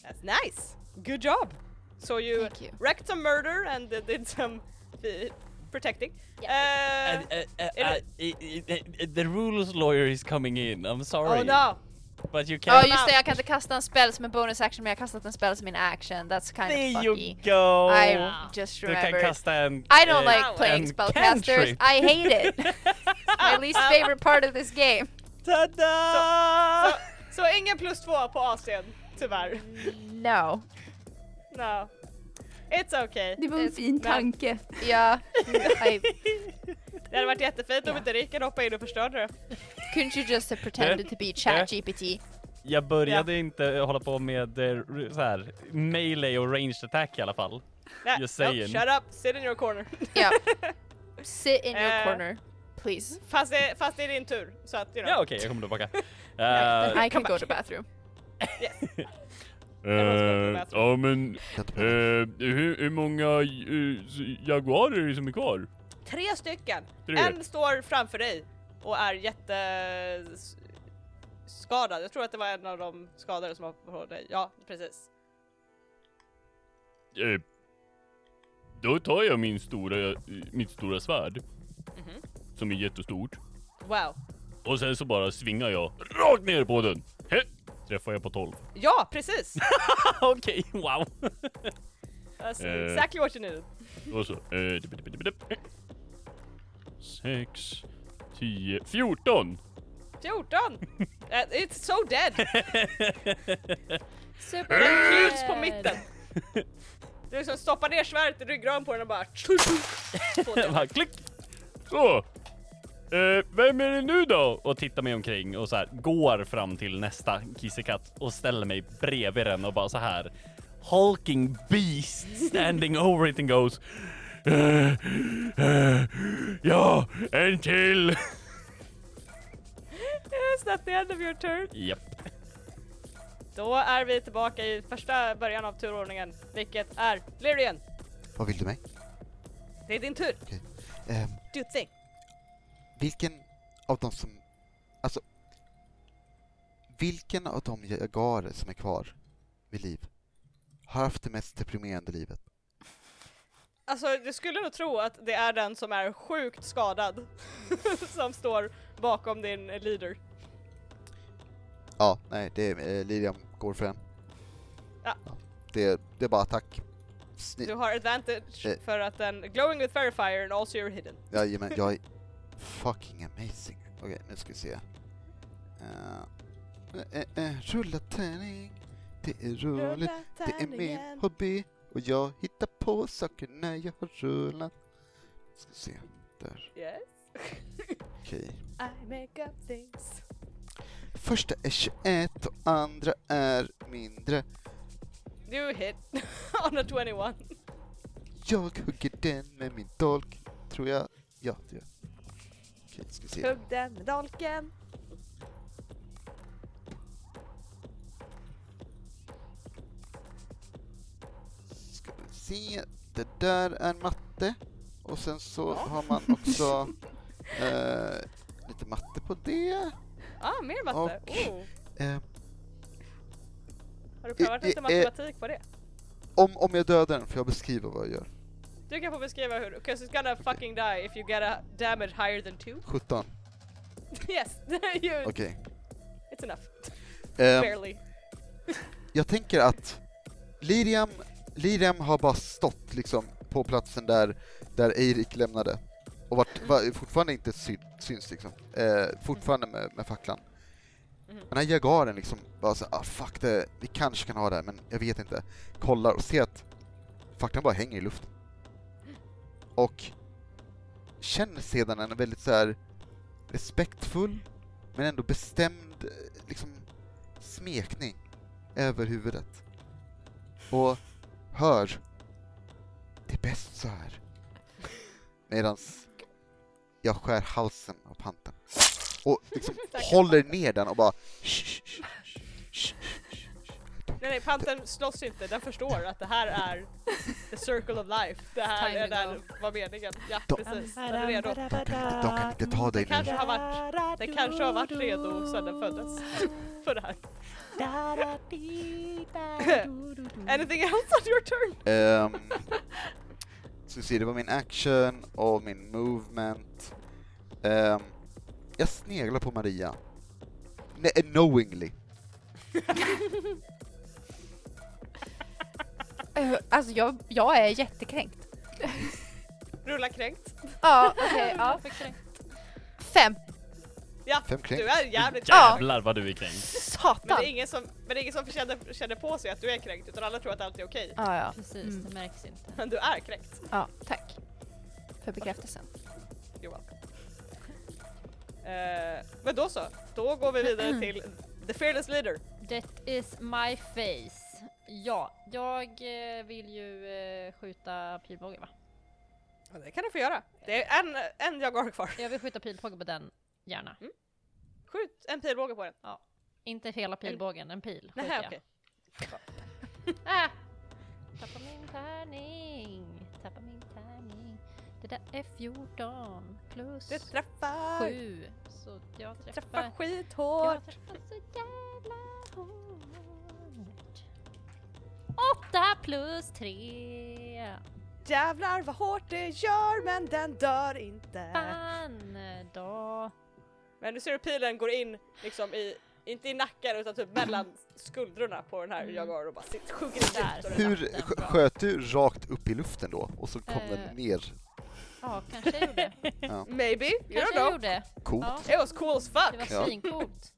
[SPEAKER 5] That's nice. Good job. So you,
[SPEAKER 3] Thank you.
[SPEAKER 5] wrecked some murder and uh, did some uh, protecting. Uh,
[SPEAKER 7] Uh, uh, uh, uh, i- i- i- the rules lawyer is coming in. I'm sorry.
[SPEAKER 5] oh no.
[SPEAKER 7] But you
[SPEAKER 3] Ja
[SPEAKER 7] can.
[SPEAKER 3] just det, jag kan inte kasta en spell som en bonus action men jag har kastat en spell som min action. That's kind
[SPEAKER 7] There
[SPEAKER 3] of
[SPEAKER 7] you
[SPEAKER 3] fucky.
[SPEAKER 7] go!
[SPEAKER 3] I just
[SPEAKER 7] du kan
[SPEAKER 3] remembered.
[SPEAKER 7] kasta en...
[SPEAKER 3] I don't
[SPEAKER 7] eh,
[SPEAKER 3] like playing
[SPEAKER 7] en
[SPEAKER 3] spellcasters.
[SPEAKER 7] cantrip.
[SPEAKER 3] I hate it. My least favorite part of this game.
[SPEAKER 7] Tada!
[SPEAKER 5] Så ingen plus två på AC'n, tyvärr.
[SPEAKER 3] No.
[SPEAKER 5] No. It's okay.
[SPEAKER 6] Det var en fin tanke.
[SPEAKER 3] Yeah. I,
[SPEAKER 5] Det hade varit jättefint om inte Rickard hoppade in och förstörde det.
[SPEAKER 3] couldn't you just have
[SPEAKER 5] Eh?
[SPEAKER 3] pretended to be ChatGPT?
[SPEAKER 7] Jag började inte hålla på med eh, r- så här, melee och ranged attack i alla fall.
[SPEAKER 5] Nej,
[SPEAKER 7] Just saying.
[SPEAKER 5] shut up, sit in your corner.
[SPEAKER 3] Yeah. Sit in your
[SPEAKER 5] Eh.
[SPEAKER 3] corner, please.
[SPEAKER 5] Fast det, fast det är din tur, så att you know.
[SPEAKER 7] Ja okej, jag kommer tillbaka. Eh,
[SPEAKER 3] I can go to bathroom.
[SPEAKER 2] Eh, ja men,
[SPEAKER 1] Vänta på det.
[SPEAKER 2] eh, hur, hur många eh, s- jaguarer är det som är kvar?
[SPEAKER 5] Tre stycken!
[SPEAKER 2] Tre.
[SPEAKER 5] En står framför dig och är jätte... s- skadad. Jag tror att det var en av de skadade som var på dig. Ja, precis.
[SPEAKER 2] Eh, då tar jag min stora, eh, mitt stora svärd. Som är jättestort.
[SPEAKER 5] Wow.
[SPEAKER 2] Och sen så bara svingar jag rakt ner på den. He! Träffar jag på 12.
[SPEAKER 5] Ja, precis!
[SPEAKER 7] okej, wow.
[SPEAKER 5] That's
[SPEAKER 2] Eh.
[SPEAKER 5] Alltså, exactly what you needed.
[SPEAKER 2] Och så... eh, dup, dup, dup, dup. Sex, tio, fjorton.
[SPEAKER 5] 14! Eh, It's so dead!
[SPEAKER 4] Super
[SPEAKER 5] Knivs på mitten! Du liksom stoppar ner svärdet i ryggraden på den och bara...
[SPEAKER 7] Bara klick!
[SPEAKER 2] Så! Eh, vem är det nu då?
[SPEAKER 7] Och tittar mig omkring och så här går fram till nästa kissekatt och ställer mig bredvid den och bara så här hulking beast standing over it and goes "Eh, eh, Ja, en till!
[SPEAKER 5] It's not the end of your turn.
[SPEAKER 7] Japp.
[SPEAKER 5] Då är vi tillbaka i första början av turordningen, vilket är Lyrian.
[SPEAKER 1] Vad vill du mig?
[SPEAKER 5] Det är din tur.
[SPEAKER 1] Ehm,
[SPEAKER 5] Do your thing.
[SPEAKER 1] vilken av dem som... Alltså... Vilken av de jagarer som är kvar vid liv har haft det mest deprimerande livet?
[SPEAKER 5] Alltså, du skulle nog tro att det är den som är sjukt skadad som står bakom din eh, leader.
[SPEAKER 1] Ja, nej, det är eh, Lilian går för en.
[SPEAKER 5] Ja.
[SPEAKER 1] Det, det är bara attack. Snitt.
[SPEAKER 5] Du har advantage
[SPEAKER 1] Eh.
[SPEAKER 5] för att den glowing with verifier and also you're hidden.
[SPEAKER 1] Jajamän, jag är fucking amazing. Okej, nu ska vi se. Uh, rulla tärning. eh, Det är roligt, det är min hobby. Och jag hittar på saker när jag har rullat. Ska se, där.
[SPEAKER 5] Yes.
[SPEAKER 1] Okej.
[SPEAKER 5] I make up things.
[SPEAKER 1] Första är 21 och andra är mindre.
[SPEAKER 5] You hit on a 21.
[SPEAKER 1] Jag hugger den med min dolk, tror jag. Ja, det gör jag. Okej, ska vi se.
[SPEAKER 5] Hugg den med dolken.
[SPEAKER 1] Ska vi se. Det där är matte. Och sen så har man också eh, lite matte på det.
[SPEAKER 5] Ah, mer matte.
[SPEAKER 1] Och-
[SPEAKER 5] Oh.
[SPEAKER 1] Eh,
[SPEAKER 5] Har du prövat
[SPEAKER 1] Eh,
[SPEAKER 5] lite
[SPEAKER 1] eh,
[SPEAKER 5] matematik på det?
[SPEAKER 1] om, om jag dödar den får jag beskriva vad jag gör.
[SPEAKER 5] Du kan få beskriva hur, 'cause it's gonna fucking die if you get a damage higher than two.
[SPEAKER 1] 17.
[SPEAKER 5] yes, you,
[SPEAKER 1] Okej.
[SPEAKER 5] it's enough.
[SPEAKER 1] Ehm,
[SPEAKER 5] Barely.
[SPEAKER 1] jag tänker att Liriam, Liriam har bara stått liksom på platsen där, där Eirik lämnade och varit, var, fortfarande inte syn, syns liksom. Eh, fortfarande med, med facklan.
[SPEAKER 5] Mhm.
[SPEAKER 1] Men den här jagaren liksom bara så ah fuck det, vi kanske kan ha det här, men jag vet inte. Kollar och ser att facklan bara hänger i luften. Och känner sedan en väldigt så här respektfull men ändå bestämd eh, liksom smekning över huvudet och hör Det är bäst så här. Medans jag skär halsen av panten och liksom håller ner den och bara
[SPEAKER 5] Nej nej, pantern slåss inte, den förstår att det här är the circle of life. Det här
[SPEAKER 3] Timing
[SPEAKER 5] är där var meningen. Ja
[SPEAKER 1] Då-
[SPEAKER 5] precis, den är redo.
[SPEAKER 1] De kan inte ta dig nu.
[SPEAKER 5] Kanske har varit, den kanske har varit redo sedan den föddes. För det här. Anything else on your turn?
[SPEAKER 1] Ehm, ska vi se, det var min action och min movement. Ehm, jag sneglar på Maria. Ne- knowingly.
[SPEAKER 3] Eh, Alltså jag, jag är jättekränkt.
[SPEAKER 5] Rulla kränkt.
[SPEAKER 3] Ja, okej. Ah, ja. Fem.
[SPEAKER 5] Ja,
[SPEAKER 1] Fem kränkt.
[SPEAKER 5] du är jävligt
[SPEAKER 3] Ja.
[SPEAKER 7] Jävlar vad du är kränkt.
[SPEAKER 5] Men det
[SPEAKER 3] Satan!
[SPEAKER 5] är ingen som, men det är ingen som känner, känner på sig att du är kränkt utan alla tror att allt är okej.
[SPEAKER 3] Ja, ja.
[SPEAKER 4] Eh, Precis,
[SPEAKER 3] Mm.
[SPEAKER 4] det märks inte.
[SPEAKER 5] Men du är kränkt.
[SPEAKER 3] ja, tack. För bekräftelsen.
[SPEAKER 5] You're welcome. Eh, men då så, då går vi vidare till The Fearless Leader.
[SPEAKER 4] That is my face. Ja, jag eh, vill ju eh, skjuta pilbåge va?
[SPEAKER 5] Ja, det kan du få göra. Det är en, en jag har kvar.
[SPEAKER 4] Jag vill skjuta pilbåge på den, gärna.
[SPEAKER 5] Skjut en pilbåge på den.
[SPEAKER 4] Inte hela pilbågen, en pil skjuter
[SPEAKER 5] Nähä
[SPEAKER 4] jag.
[SPEAKER 5] okej.
[SPEAKER 4] Ah! Tappa min tärning, tappa min tärning. Det där är 14 plus
[SPEAKER 5] Du träffar!
[SPEAKER 4] 7. Så jag träffar,
[SPEAKER 5] Träffar
[SPEAKER 4] jag
[SPEAKER 5] skithårt!
[SPEAKER 4] träffar så jävla hårt. 8 plus
[SPEAKER 5] Äh.
[SPEAKER 4] 3.
[SPEAKER 5] Jävlar vad hårt det gör men den dör
[SPEAKER 4] Ah.
[SPEAKER 5] inte.
[SPEAKER 4] Fan då.
[SPEAKER 5] Men du ser hur pilen går in liksom i, inte i nacken utan typ mellan skuldrorna på den här Jagar och bara sitter- sjunker in djupt.
[SPEAKER 4] Mm. Där.
[SPEAKER 5] och den-
[SPEAKER 1] Hur
[SPEAKER 4] Den
[SPEAKER 1] skö-
[SPEAKER 4] bra.
[SPEAKER 1] sköt du rakt upp i luften då och så kom
[SPEAKER 4] Eh.
[SPEAKER 1] den ner?
[SPEAKER 4] Ja, kanske jag gjorde.
[SPEAKER 5] Maybe, you
[SPEAKER 4] Kanske
[SPEAKER 5] don't
[SPEAKER 4] jag
[SPEAKER 5] know.
[SPEAKER 4] gjorde.
[SPEAKER 1] Coolt.
[SPEAKER 4] Ja,
[SPEAKER 5] It was cool as fuck!
[SPEAKER 4] det var
[SPEAKER 1] Ja.
[SPEAKER 4] svincoolt.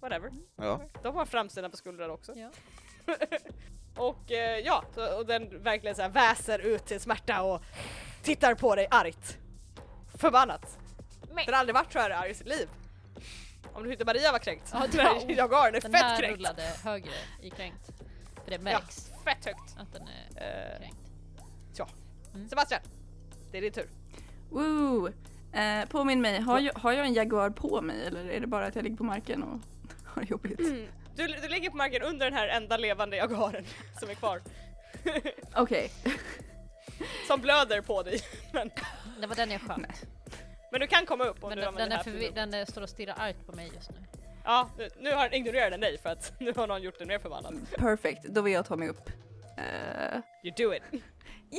[SPEAKER 5] Whatever.
[SPEAKER 1] Ja.
[SPEAKER 5] De har framsidan på skuldran också.
[SPEAKER 4] Ja.
[SPEAKER 5] och eh, ja, så, och den verkligen så här väser ut till smärta och tittar på dig argt. Förbannat.
[SPEAKER 4] Men-
[SPEAKER 5] Den har aldrig varit så här arg i sitt liv. Om du inte Maria var kränkt.
[SPEAKER 4] Ja, det var-
[SPEAKER 5] jag har den är
[SPEAKER 4] Den
[SPEAKER 5] fett
[SPEAKER 4] här
[SPEAKER 5] kränkt.
[SPEAKER 4] rullade högre i kränkt. För det märks
[SPEAKER 5] Fett högt.
[SPEAKER 4] att den är
[SPEAKER 5] Eh,
[SPEAKER 4] kränkt.
[SPEAKER 5] Sebastian, det är din tur.
[SPEAKER 6] Woo! Eh, påminn mig, har jag, har jag en jaguar på mig eller är det bara att jag ligger på marken och har det jobbigt?
[SPEAKER 5] Du, du ligger på marken under den här enda levande jagaren som är kvar.
[SPEAKER 6] Okej,
[SPEAKER 5] som blöder på dig. Men,
[SPEAKER 4] Det var den jag sköt.
[SPEAKER 5] men du kan komma upp om
[SPEAKER 4] Men
[SPEAKER 5] du
[SPEAKER 4] den, den,
[SPEAKER 5] använder
[SPEAKER 4] är
[SPEAKER 5] det här Mm.
[SPEAKER 4] förvi-
[SPEAKER 5] pilen.
[SPEAKER 4] den är, står och stirrar argt på mig just nu.
[SPEAKER 5] Ja, nu, nu har den ignorerat den dig för att nu har någon gjort den mer förbannad.
[SPEAKER 6] perfect. Då vill jag ta mig upp. Eh,
[SPEAKER 5] You do it.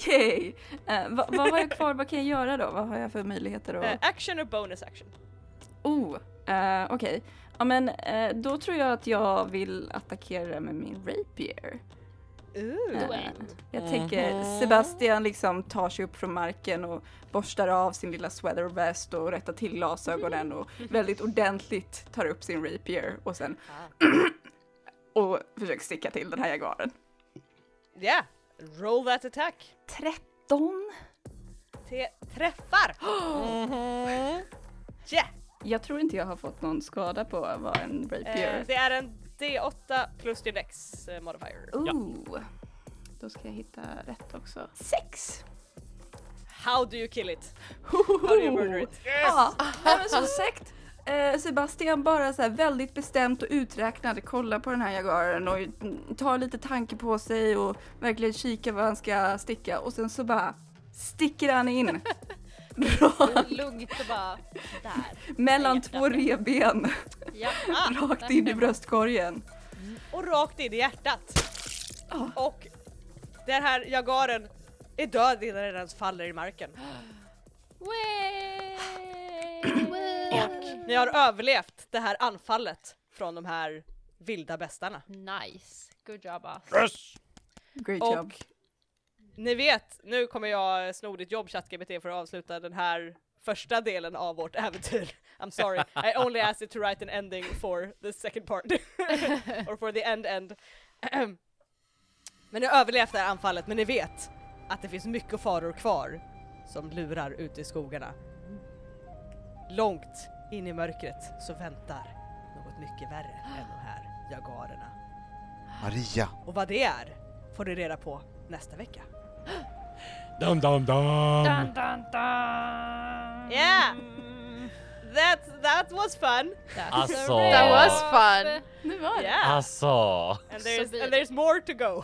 [SPEAKER 6] yay! Eh, vad, vad har jag kvar, vad kan jag göra då? Vad har jag för möjligheter?
[SPEAKER 5] Eh,
[SPEAKER 6] Att...
[SPEAKER 5] action och bonus action.
[SPEAKER 6] Oh, eh, okej. Ja men eh, då tror jag att jag vill attackera med min rapier. Eh,
[SPEAKER 5] Mm.
[SPEAKER 6] jag tänker Sebastian liksom tar sig upp från marken och borstar av sin lilla sweater vest och rättar till glasögonen och väldigt ordentligt tar upp sin rapier och sen och försöker sticka till den här jaguaren.
[SPEAKER 5] Yeah, roll that attack.
[SPEAKER 6] 13.
[SPEAKER 5] Te träffar! Yeah!
[SPEAKER 6] Jag tror inte jag har fått någon skada på vad en rapier.
[SPEAKER 5] Eh, det är en D8 plus din Dex eh, modifier.
[SPEAKER 6] Ooh. Då ska jag hitta rätt också. Sex!
[SPEAKER 5] How do you kill it? How do you murder it?
[SPEAKER 6] Ja, nej, men som sagt. eh, Sebastian bara så här väldigt bestämt och uträknad kollar på den här jagaren och mm, tar lite tanke på sig och verkligen kikar vad han ska sticka och sen så bara sticker han in. Rakt
[SPEAKER 4] Lugnt och bara där.
[SPEAKER 6] mellan två revben,
[SPEAKER 4] Ja.
[SPEAKER 5] Ah.
[SPEAKER 6] rakt in i bröstkorgen.
[SPEAKER 5] Och rakt in i hjärtat. Och den här jagaren är död innan den ens faller i marken. Ni har överlevt det här anfallet från de här vilda bestarna.
[SPEAKER 4] Nice. Good job us.
[SPEAKER 6] Great job.
[SPEAKER 5] Och ni vet, nu kommer jag sno ditt jobb ChatGPT för att avsluta den här första delen av vårt äventyr. I'm sorry, I only asked you to write an ending for the second part. Or for the end end. men ni har överlevt det här anfallet, men ni vet att det finns mycket faror kvar som lurar ute i skogarna. Långt in i mörkret så väntar något mycket värre än de här jagarerna.
[SPEAKER 1] Maria,
[SPEAKER 5] Och vad det är får ni reda på nästa vecka.
[SPEAKER 7] Dum, dum, dum.
[SPEAKER 4] Dun, dun, dun.
[SPEAKER 5] Yeah! That, that was fun!
[SPEAKER 4] That's
[SPEAKER 7] Alltså.
[SPEAKER 4] a
[SPEAKER 3] That
[SPEAKER 4] wrap.
[SPEAKER 3] was fun!
[SPEAKER 6] Nu var det.
[SPEAKER 5] Yeah!
[SPEAKER 7] Alltså.
[SPEAKER 5] And
[SPEAKER 4] Så
[SPEAKER 5] there's,
[SPEAKER 4] vi-
[SPEAKER 5] and there's more to go.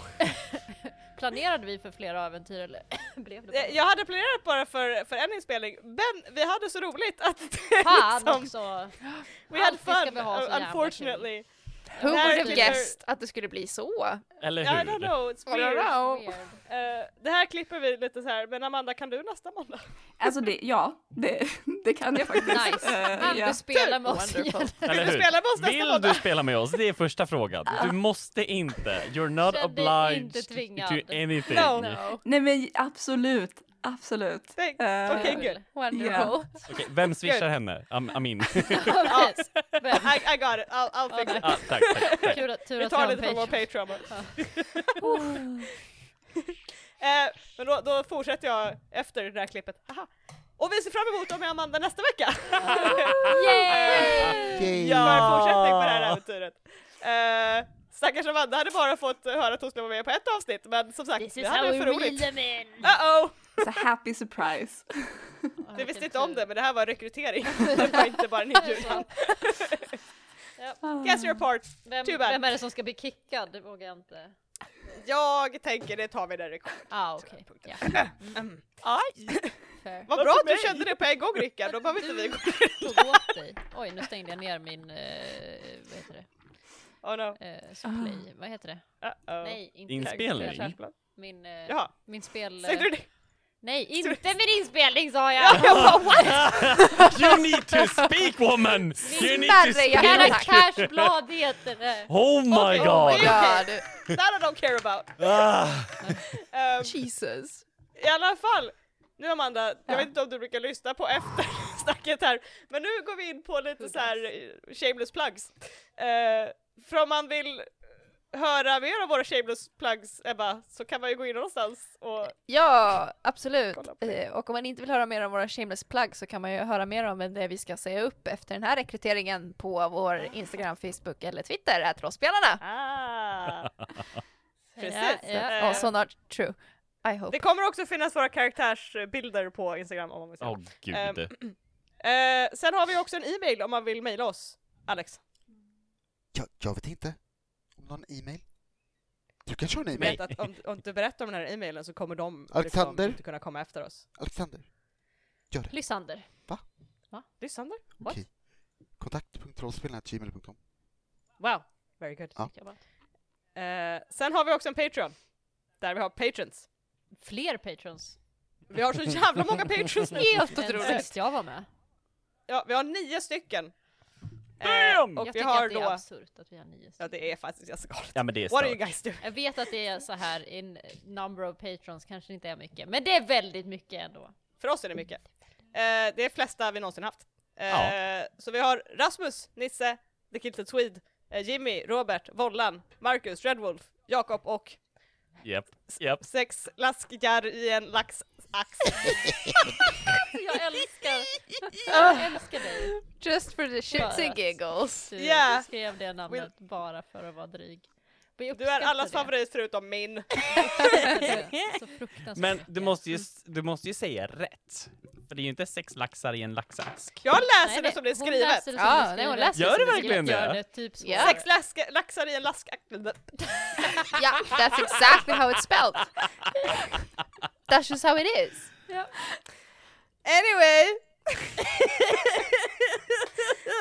[SPEAKER 4] Planerade vi för flera äventyr eller blev det bara?
[SPEAKER 5] Eh, Jag hade planerat bara för, för en inspelning, men vi hade så roligt att det
[SPEAKER 4] Fan
[SPEAKER 5] liksom,
[SPEAKER 4] också!
[SPEAKER 5] we had
[SPEAKER 4] Alltid ska
[SPEAKER 5] fun,
[SPEAKER 4] vi ha så jävla
[SPEAKER 5] unfortunately.
[SPEAKER 3] Who would have
[SPEAKER 5] Verkligen.
[SPEAKER 3] guessed att det skulle bli så?
[SPEAKER 7] Eller
[SPEAKER 5] I
[SPEAKER 7] hur?
[SPEAKER 5] don't know, it's
[SPEAKER 3] I don't
[SPEAKER 5] weird.
[SPEAKER 3] know.
[SPEAKER 4] Weird.
[SPEAKER 5] Eh, det här klipper vi lite så här, men Amanda kan du nästa måndag?
[SPEAKER 6] Alltså det, ja, det, det kan jag faktiskt.
[SPEAKER 4] Nice.
[SPEAKER 6] Eh,
[SPEAKER 4] Vill
[SPEAKER 6] ja.
[SPEAKER 4] du spela med oss
[SPEAKER 3] Wonderful.
[SPEAKER 4] igen?
[SPEAKER 7] Eller
[SPEAKER 5] du
[SPEAKER 7] hur?
[SPEAKER 5] spela med oss nästa
[SPEAKER 7] Vill
[SPEAKER 5] måndag?
[SPEAKER 7] du spela med oss? Det är första frågan. Du måste inte. You're not
[SPEAKER 4] Känn dig inte
[SPEAKER 7] obliged
[SPEAKER 4] tvingad.
[SPEAKER 7] to anything.
[SPEAKER 5] No.
[SPEAKER 6] Nej men absolut, absolut.
[SPEAKER 5] Tänk.
[SPEAKER 6] Eh,
[SPEAKER 5] Okej,
[SPEAKER 4] Kul.
[SPEAKER 5] good.
[SPEAKER 4] Wonderful.
[SPEAKER 7] Okej, vem swishar henne? Am Amin.
[SPEAKER 4] Ja, precis. Vem?
[SPEAKER 5] I, I got it, I'll, I'll
[SPEAKER 4] Ja,
[SPEAKER 5] fix
[SPEAKER 4] nej.
[SPEAKER 5] it.
[SPEAKER 7] ah, tack, tack, tack.
[SPEAKER 4] Tur att tur
[SPEAKER 5] Vi
[SPEAKER 4] att
[SPEAKER 5] tar
[SPEAKER 4] jag
[SPEAKER 5] lite från vår
[SPEAKER 4] har en
[SPEAKER 5] Patreon.
[SPEAKER 6] oh.
[SPEAKER 5] Eh, men då, då fortsätter jag efter det här klippet. Aha. Och vi ser fram emot dem med Amanda nästa vecka!
[SPEAKER 4] Yay!
[SPEAKER 5] För en fortsättning på det här äventyret. Eh, stackars Amanda hade bara fått höra att hon skulle vara med på ett avsnitt, men som sagt,
[SPEAKER 4] This
[SPEAKER 5] det
[SPEAKER 4] is
[SPEAKER 5] hade
[SPEAKER 4] how
[SPEAKER 5] varit
[SPEAKER 4] we
[SPEAKER 5] för
[SPEAKER 4] reel
[SPEAKER 5] roligt.
[SPEAKER 4] them in!
[SPEAKER 5] Uh-oh!
[SPEAKER 6] It's a happy surprise.
[SPEAKER 5] Ni visste inte om det, men det här var rekrytering. det var inte bara en inbjudan. Guess you're apart.
[SPEAKER 4] Vem,
[SPEAKER 5] Too bad.
[SPEAKER 4] vem är det som ska bli kickad? Det vågar jag inte.
[SPEAKER 5] Jag tänker, det tar vi när det kommer.
[SPEAKER 4] Ah, okej. Ja,
[SPEAKER 5] Aj.
[SPEAKER 4] fair.
[SPEAKER 5] Vad bra att du kände det på en gång Rickard, då behöver inte vi gå.
[SPEAKER 4] Tog åt dig. Oj, nu stängde jag ner min, eh, vad heter det,
[SPEAKER 5] Oh no.
[SPEAKER 4] eh, supply, vad heter det?
[SPEAKER 5] Uh-oh.
[SPEAKER 4] Nej, inte
[SPEAKER 7] Inspelning.
[SPEAKER 4] Min,
[SPEAKER 5] Kärnplan.
[SPEAKER 4] min, eh,
[SPEAKER 5] Jaha,
[SPEAKER 4] min spel...
[SPEAKER 5] säger du det?
[SPEAKER 4] Nej, inte min inspelning sa jag!
[SPEAKER 5] Jag bara what?
[SPEAKER 7] You need to speak woman! You need to
[SPEAKER 3] Snarre, jag-
[SPEAKER 7] speak!
[SPEAKER 4] Kära Cashblad heter det!
[SPEAKER 7] Oh my
[SPEAKER 5] Oh my
[SPEAKER 7] god!
[SPEAKER 5] God.
[SPEAKER 3] God.
[SPEAKER 5] That I don't care about.
[SPEAKER 7] Ah.
[SPEAKER 5] Ehm,
[SPEAKER 3] Jesus.
[SPEAKER 5] I alla fall, nu Amanda, jag vet inte om du brukar lyssna på eftersnacket här, men nu går vi in på lite så här eh, shameless plugs. Eh, för om man vill höra mer av våra shameless plugs, Ebba, så kan man ju gå in någonstans och
[SPEAKER 3] Ja, absolut.
[SPEAKER 5] Kolla på det.
[SPEAKER 3] Eh, Och om man inte vill höra mer om våra shameless plug så kan man ju höra mer om det vi ska säga upp efter den här rekryteringen på vår Instagram, Facebook eller Twitter, att rollspelarna.
[SPEAKER 5] ah. Precis.
[SPEAKER 4] Ja, ja.
[SPEAKER 5] Eh,
[SPEAKER 3] Och så not true. I hope.
[SPEAKER 5] Det kommer också finnas våra karaktärsbilder på Instagram om man vill se.
[SPEAKER 7] Åh
[SPEAKER 5] Ehm,
[SPEAKER 7] gud.
[SPEAKER 5] Eh, sen har vi också en e-mail om man vill mejla oss, Alex.
[SPEAKER 1] Jag, jag vet inte. Om någon e-mail? Du kanske har en
[SPEAKER 5] Vet
[SPEAKER 1] e-mail?
[SPEAKER 5] att om, om du berättar om den här e-mailen så kommer de
[SPEAKER 1] Alexander?
[SPEAKER 5] liksom inte kunna komma efter oss.
[SPEAKER 1] Alexander?
[SPEAKER 4] Lysander.
[SPEAKER 5] Lysander?
[SPEAKER 1] Okej. Kontakt.rollspelarna.gmail.com
[SPEAKER 5] Wow, very good.
[SPEAKER 1] Ja.
[SPEAKER 4] jobbat.
[SPEAKER 5] Eh, sen har vi också en Patreon, där vi har patrons.
[SPEAKER 4] Fler patrons.
[SPEAKER 5] Vi har så jävla många patrons nu!
[SPEAKER 4] Helt otroligt. Sist jag var med.
[SPEAKER 5] Ja, vi har nio stycken. Eh,
[SPEAKER 7] Damn!
[SPEAKER 5] och
[SPEAKER 4] jag
[SPEAKER 5] vi
[SPEAKER 4] tycker
[SPEAKER 5] har
[SPEAKER 4] att det är
[SPEAKER 5] då...
[SPEAKER 4] absurt att vi har nio
[SPEAKER 5] Ja,
[SPEAKER 4] stycken.
[SPEAKER 5] det är faktiskt ganska galet.
[SPEAKER 7] Ja men det är
[SPEAKER 5] What are you
[SPEAKER 7] stört.
[SPEAKER 5] guys doing?
[SPEAKER 4] Jag vet att det är så här in number of patrons kanske inte är mycket, men det är väldigt mycket ändå.
[SPEAKER 5] För oss är det mycket. Eh, det är flesta vi någonsin haft. Eh,
[SPEAKER 7] Ja.
[SPEAKER 5] Så vi har Rasmus, Nisse, The Kilted Swede, eh, Jimmy, Robert, Vollan, Marcus, Redwolf, Jakob och
[SPEAKER 7] Japp, japp.
[SPEAKER 5] sex laskgar i en laxax.
[SPEAKER 4] Jag älskar, jag älskar dig.
[SPEAKER 3] Just for the shits and giggles.
[SPEAKER 4] Du,
[SPEAKER 5] Yeah.
[SPEAKER 4] du skrev det namnet bara för att vara drig. Men jag
[SPEAKER 5] Du är
[SPEAKER 4] uppskattar
[SPEAKER 5] allas
[SPEAKER 4] det.
[SPEAKER 5] favorit förutom min.
[SPEAKER 4] Så fruktansvärt
[SPEAKER 7] Men
[SPEAKER 5] Mm.
[SPEAKER 7] du
[SPEAKER 4] mycket.
[SPEAKER 7] måste, ju, s- du måste ju säga rätt. För det är ju inte sex laxar i en laxask.
[SPEAKER 5] Jag läser det
[SPEAKER 4] Nej,
[SPEAKER 5] som det är
[SPEAKER 4] hon läser
[SPEAKER 5] skrivet.
[SPEAKER 4] det som det
[SPEAKER 3] Ja,
[SPEAKER 4] är
[SPEAKER 3] nej, hon
[SPEAKER 4] skrivet.
[SPEAKER 3] läser Gör det
[SPEAKER 7] som det är verkligen skrivet. det?
[SPEAKER 4] Gör det typ så.
[SPEAKER 3] Ja.
[SPEAKER 5] Sex lask, laxar i en laskax.
[SPEAKER 3] Yeah, that's exactly how it's spelled. That's just how it is.
[SPEAKER 5] Anyway!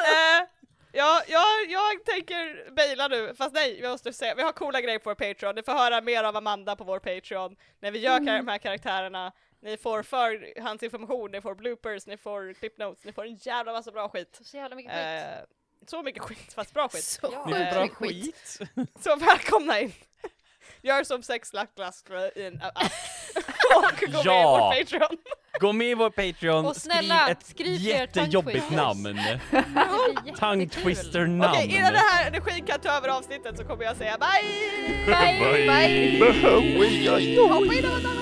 [SPEAKER 5] Eh, ja, ja, jag tänker mejla nu, fast nej, vi måste säga, vi har coola grejer på vår Patreon, ni får höra mer av Amanda på vår Patreon, när vi gör mm. de här karaktärerna, ni får förhandsinformation, ni får bloopers, ni får clip notes, ni får en jävla massa bra skit.
[SPEAKER 4] Så jävla mycket skit.
[SPEAKER 5] Eh, så mycket skit, fast bra skit.
[SPEAKER 3] Så
[SPEAKER 5] Ja.
[SPEAKER 7] Det är bra
[SPEAKER 5] Eh,
[SPEAKER 7] skit.
[SPEAKER 5] Så välkomna in! Gör som sex lack lask i en app och gå med i
[SPEAKER 7] Ja.
[SPEAKER 5] vår Patreon.
[SPEAKER 7] Gå med i vår Patreon,
[SPEAKER 4] Och snälla,
[SPEAKER 7] skriv ett
[SPEAKER 4] skriv er
[SPEAKER 7] jättejobbigt
[SPEAKER 4] tongue-twisters.
[SPEAKER 7] namn.
[SPEAKER 4] Det blir jättekul.
[SPEAKER 7] Tongue-twister-namn.
[SPEAKER 5] Okej, innan det här energin kan ta över avsnittet så kommer jag säga bye!
[SPEAKER 4] Bye!
[SPEAKER 3] Bye.
[SPEAKER 2] Bye.
[SPEAKER 3] Hoppa in och vända.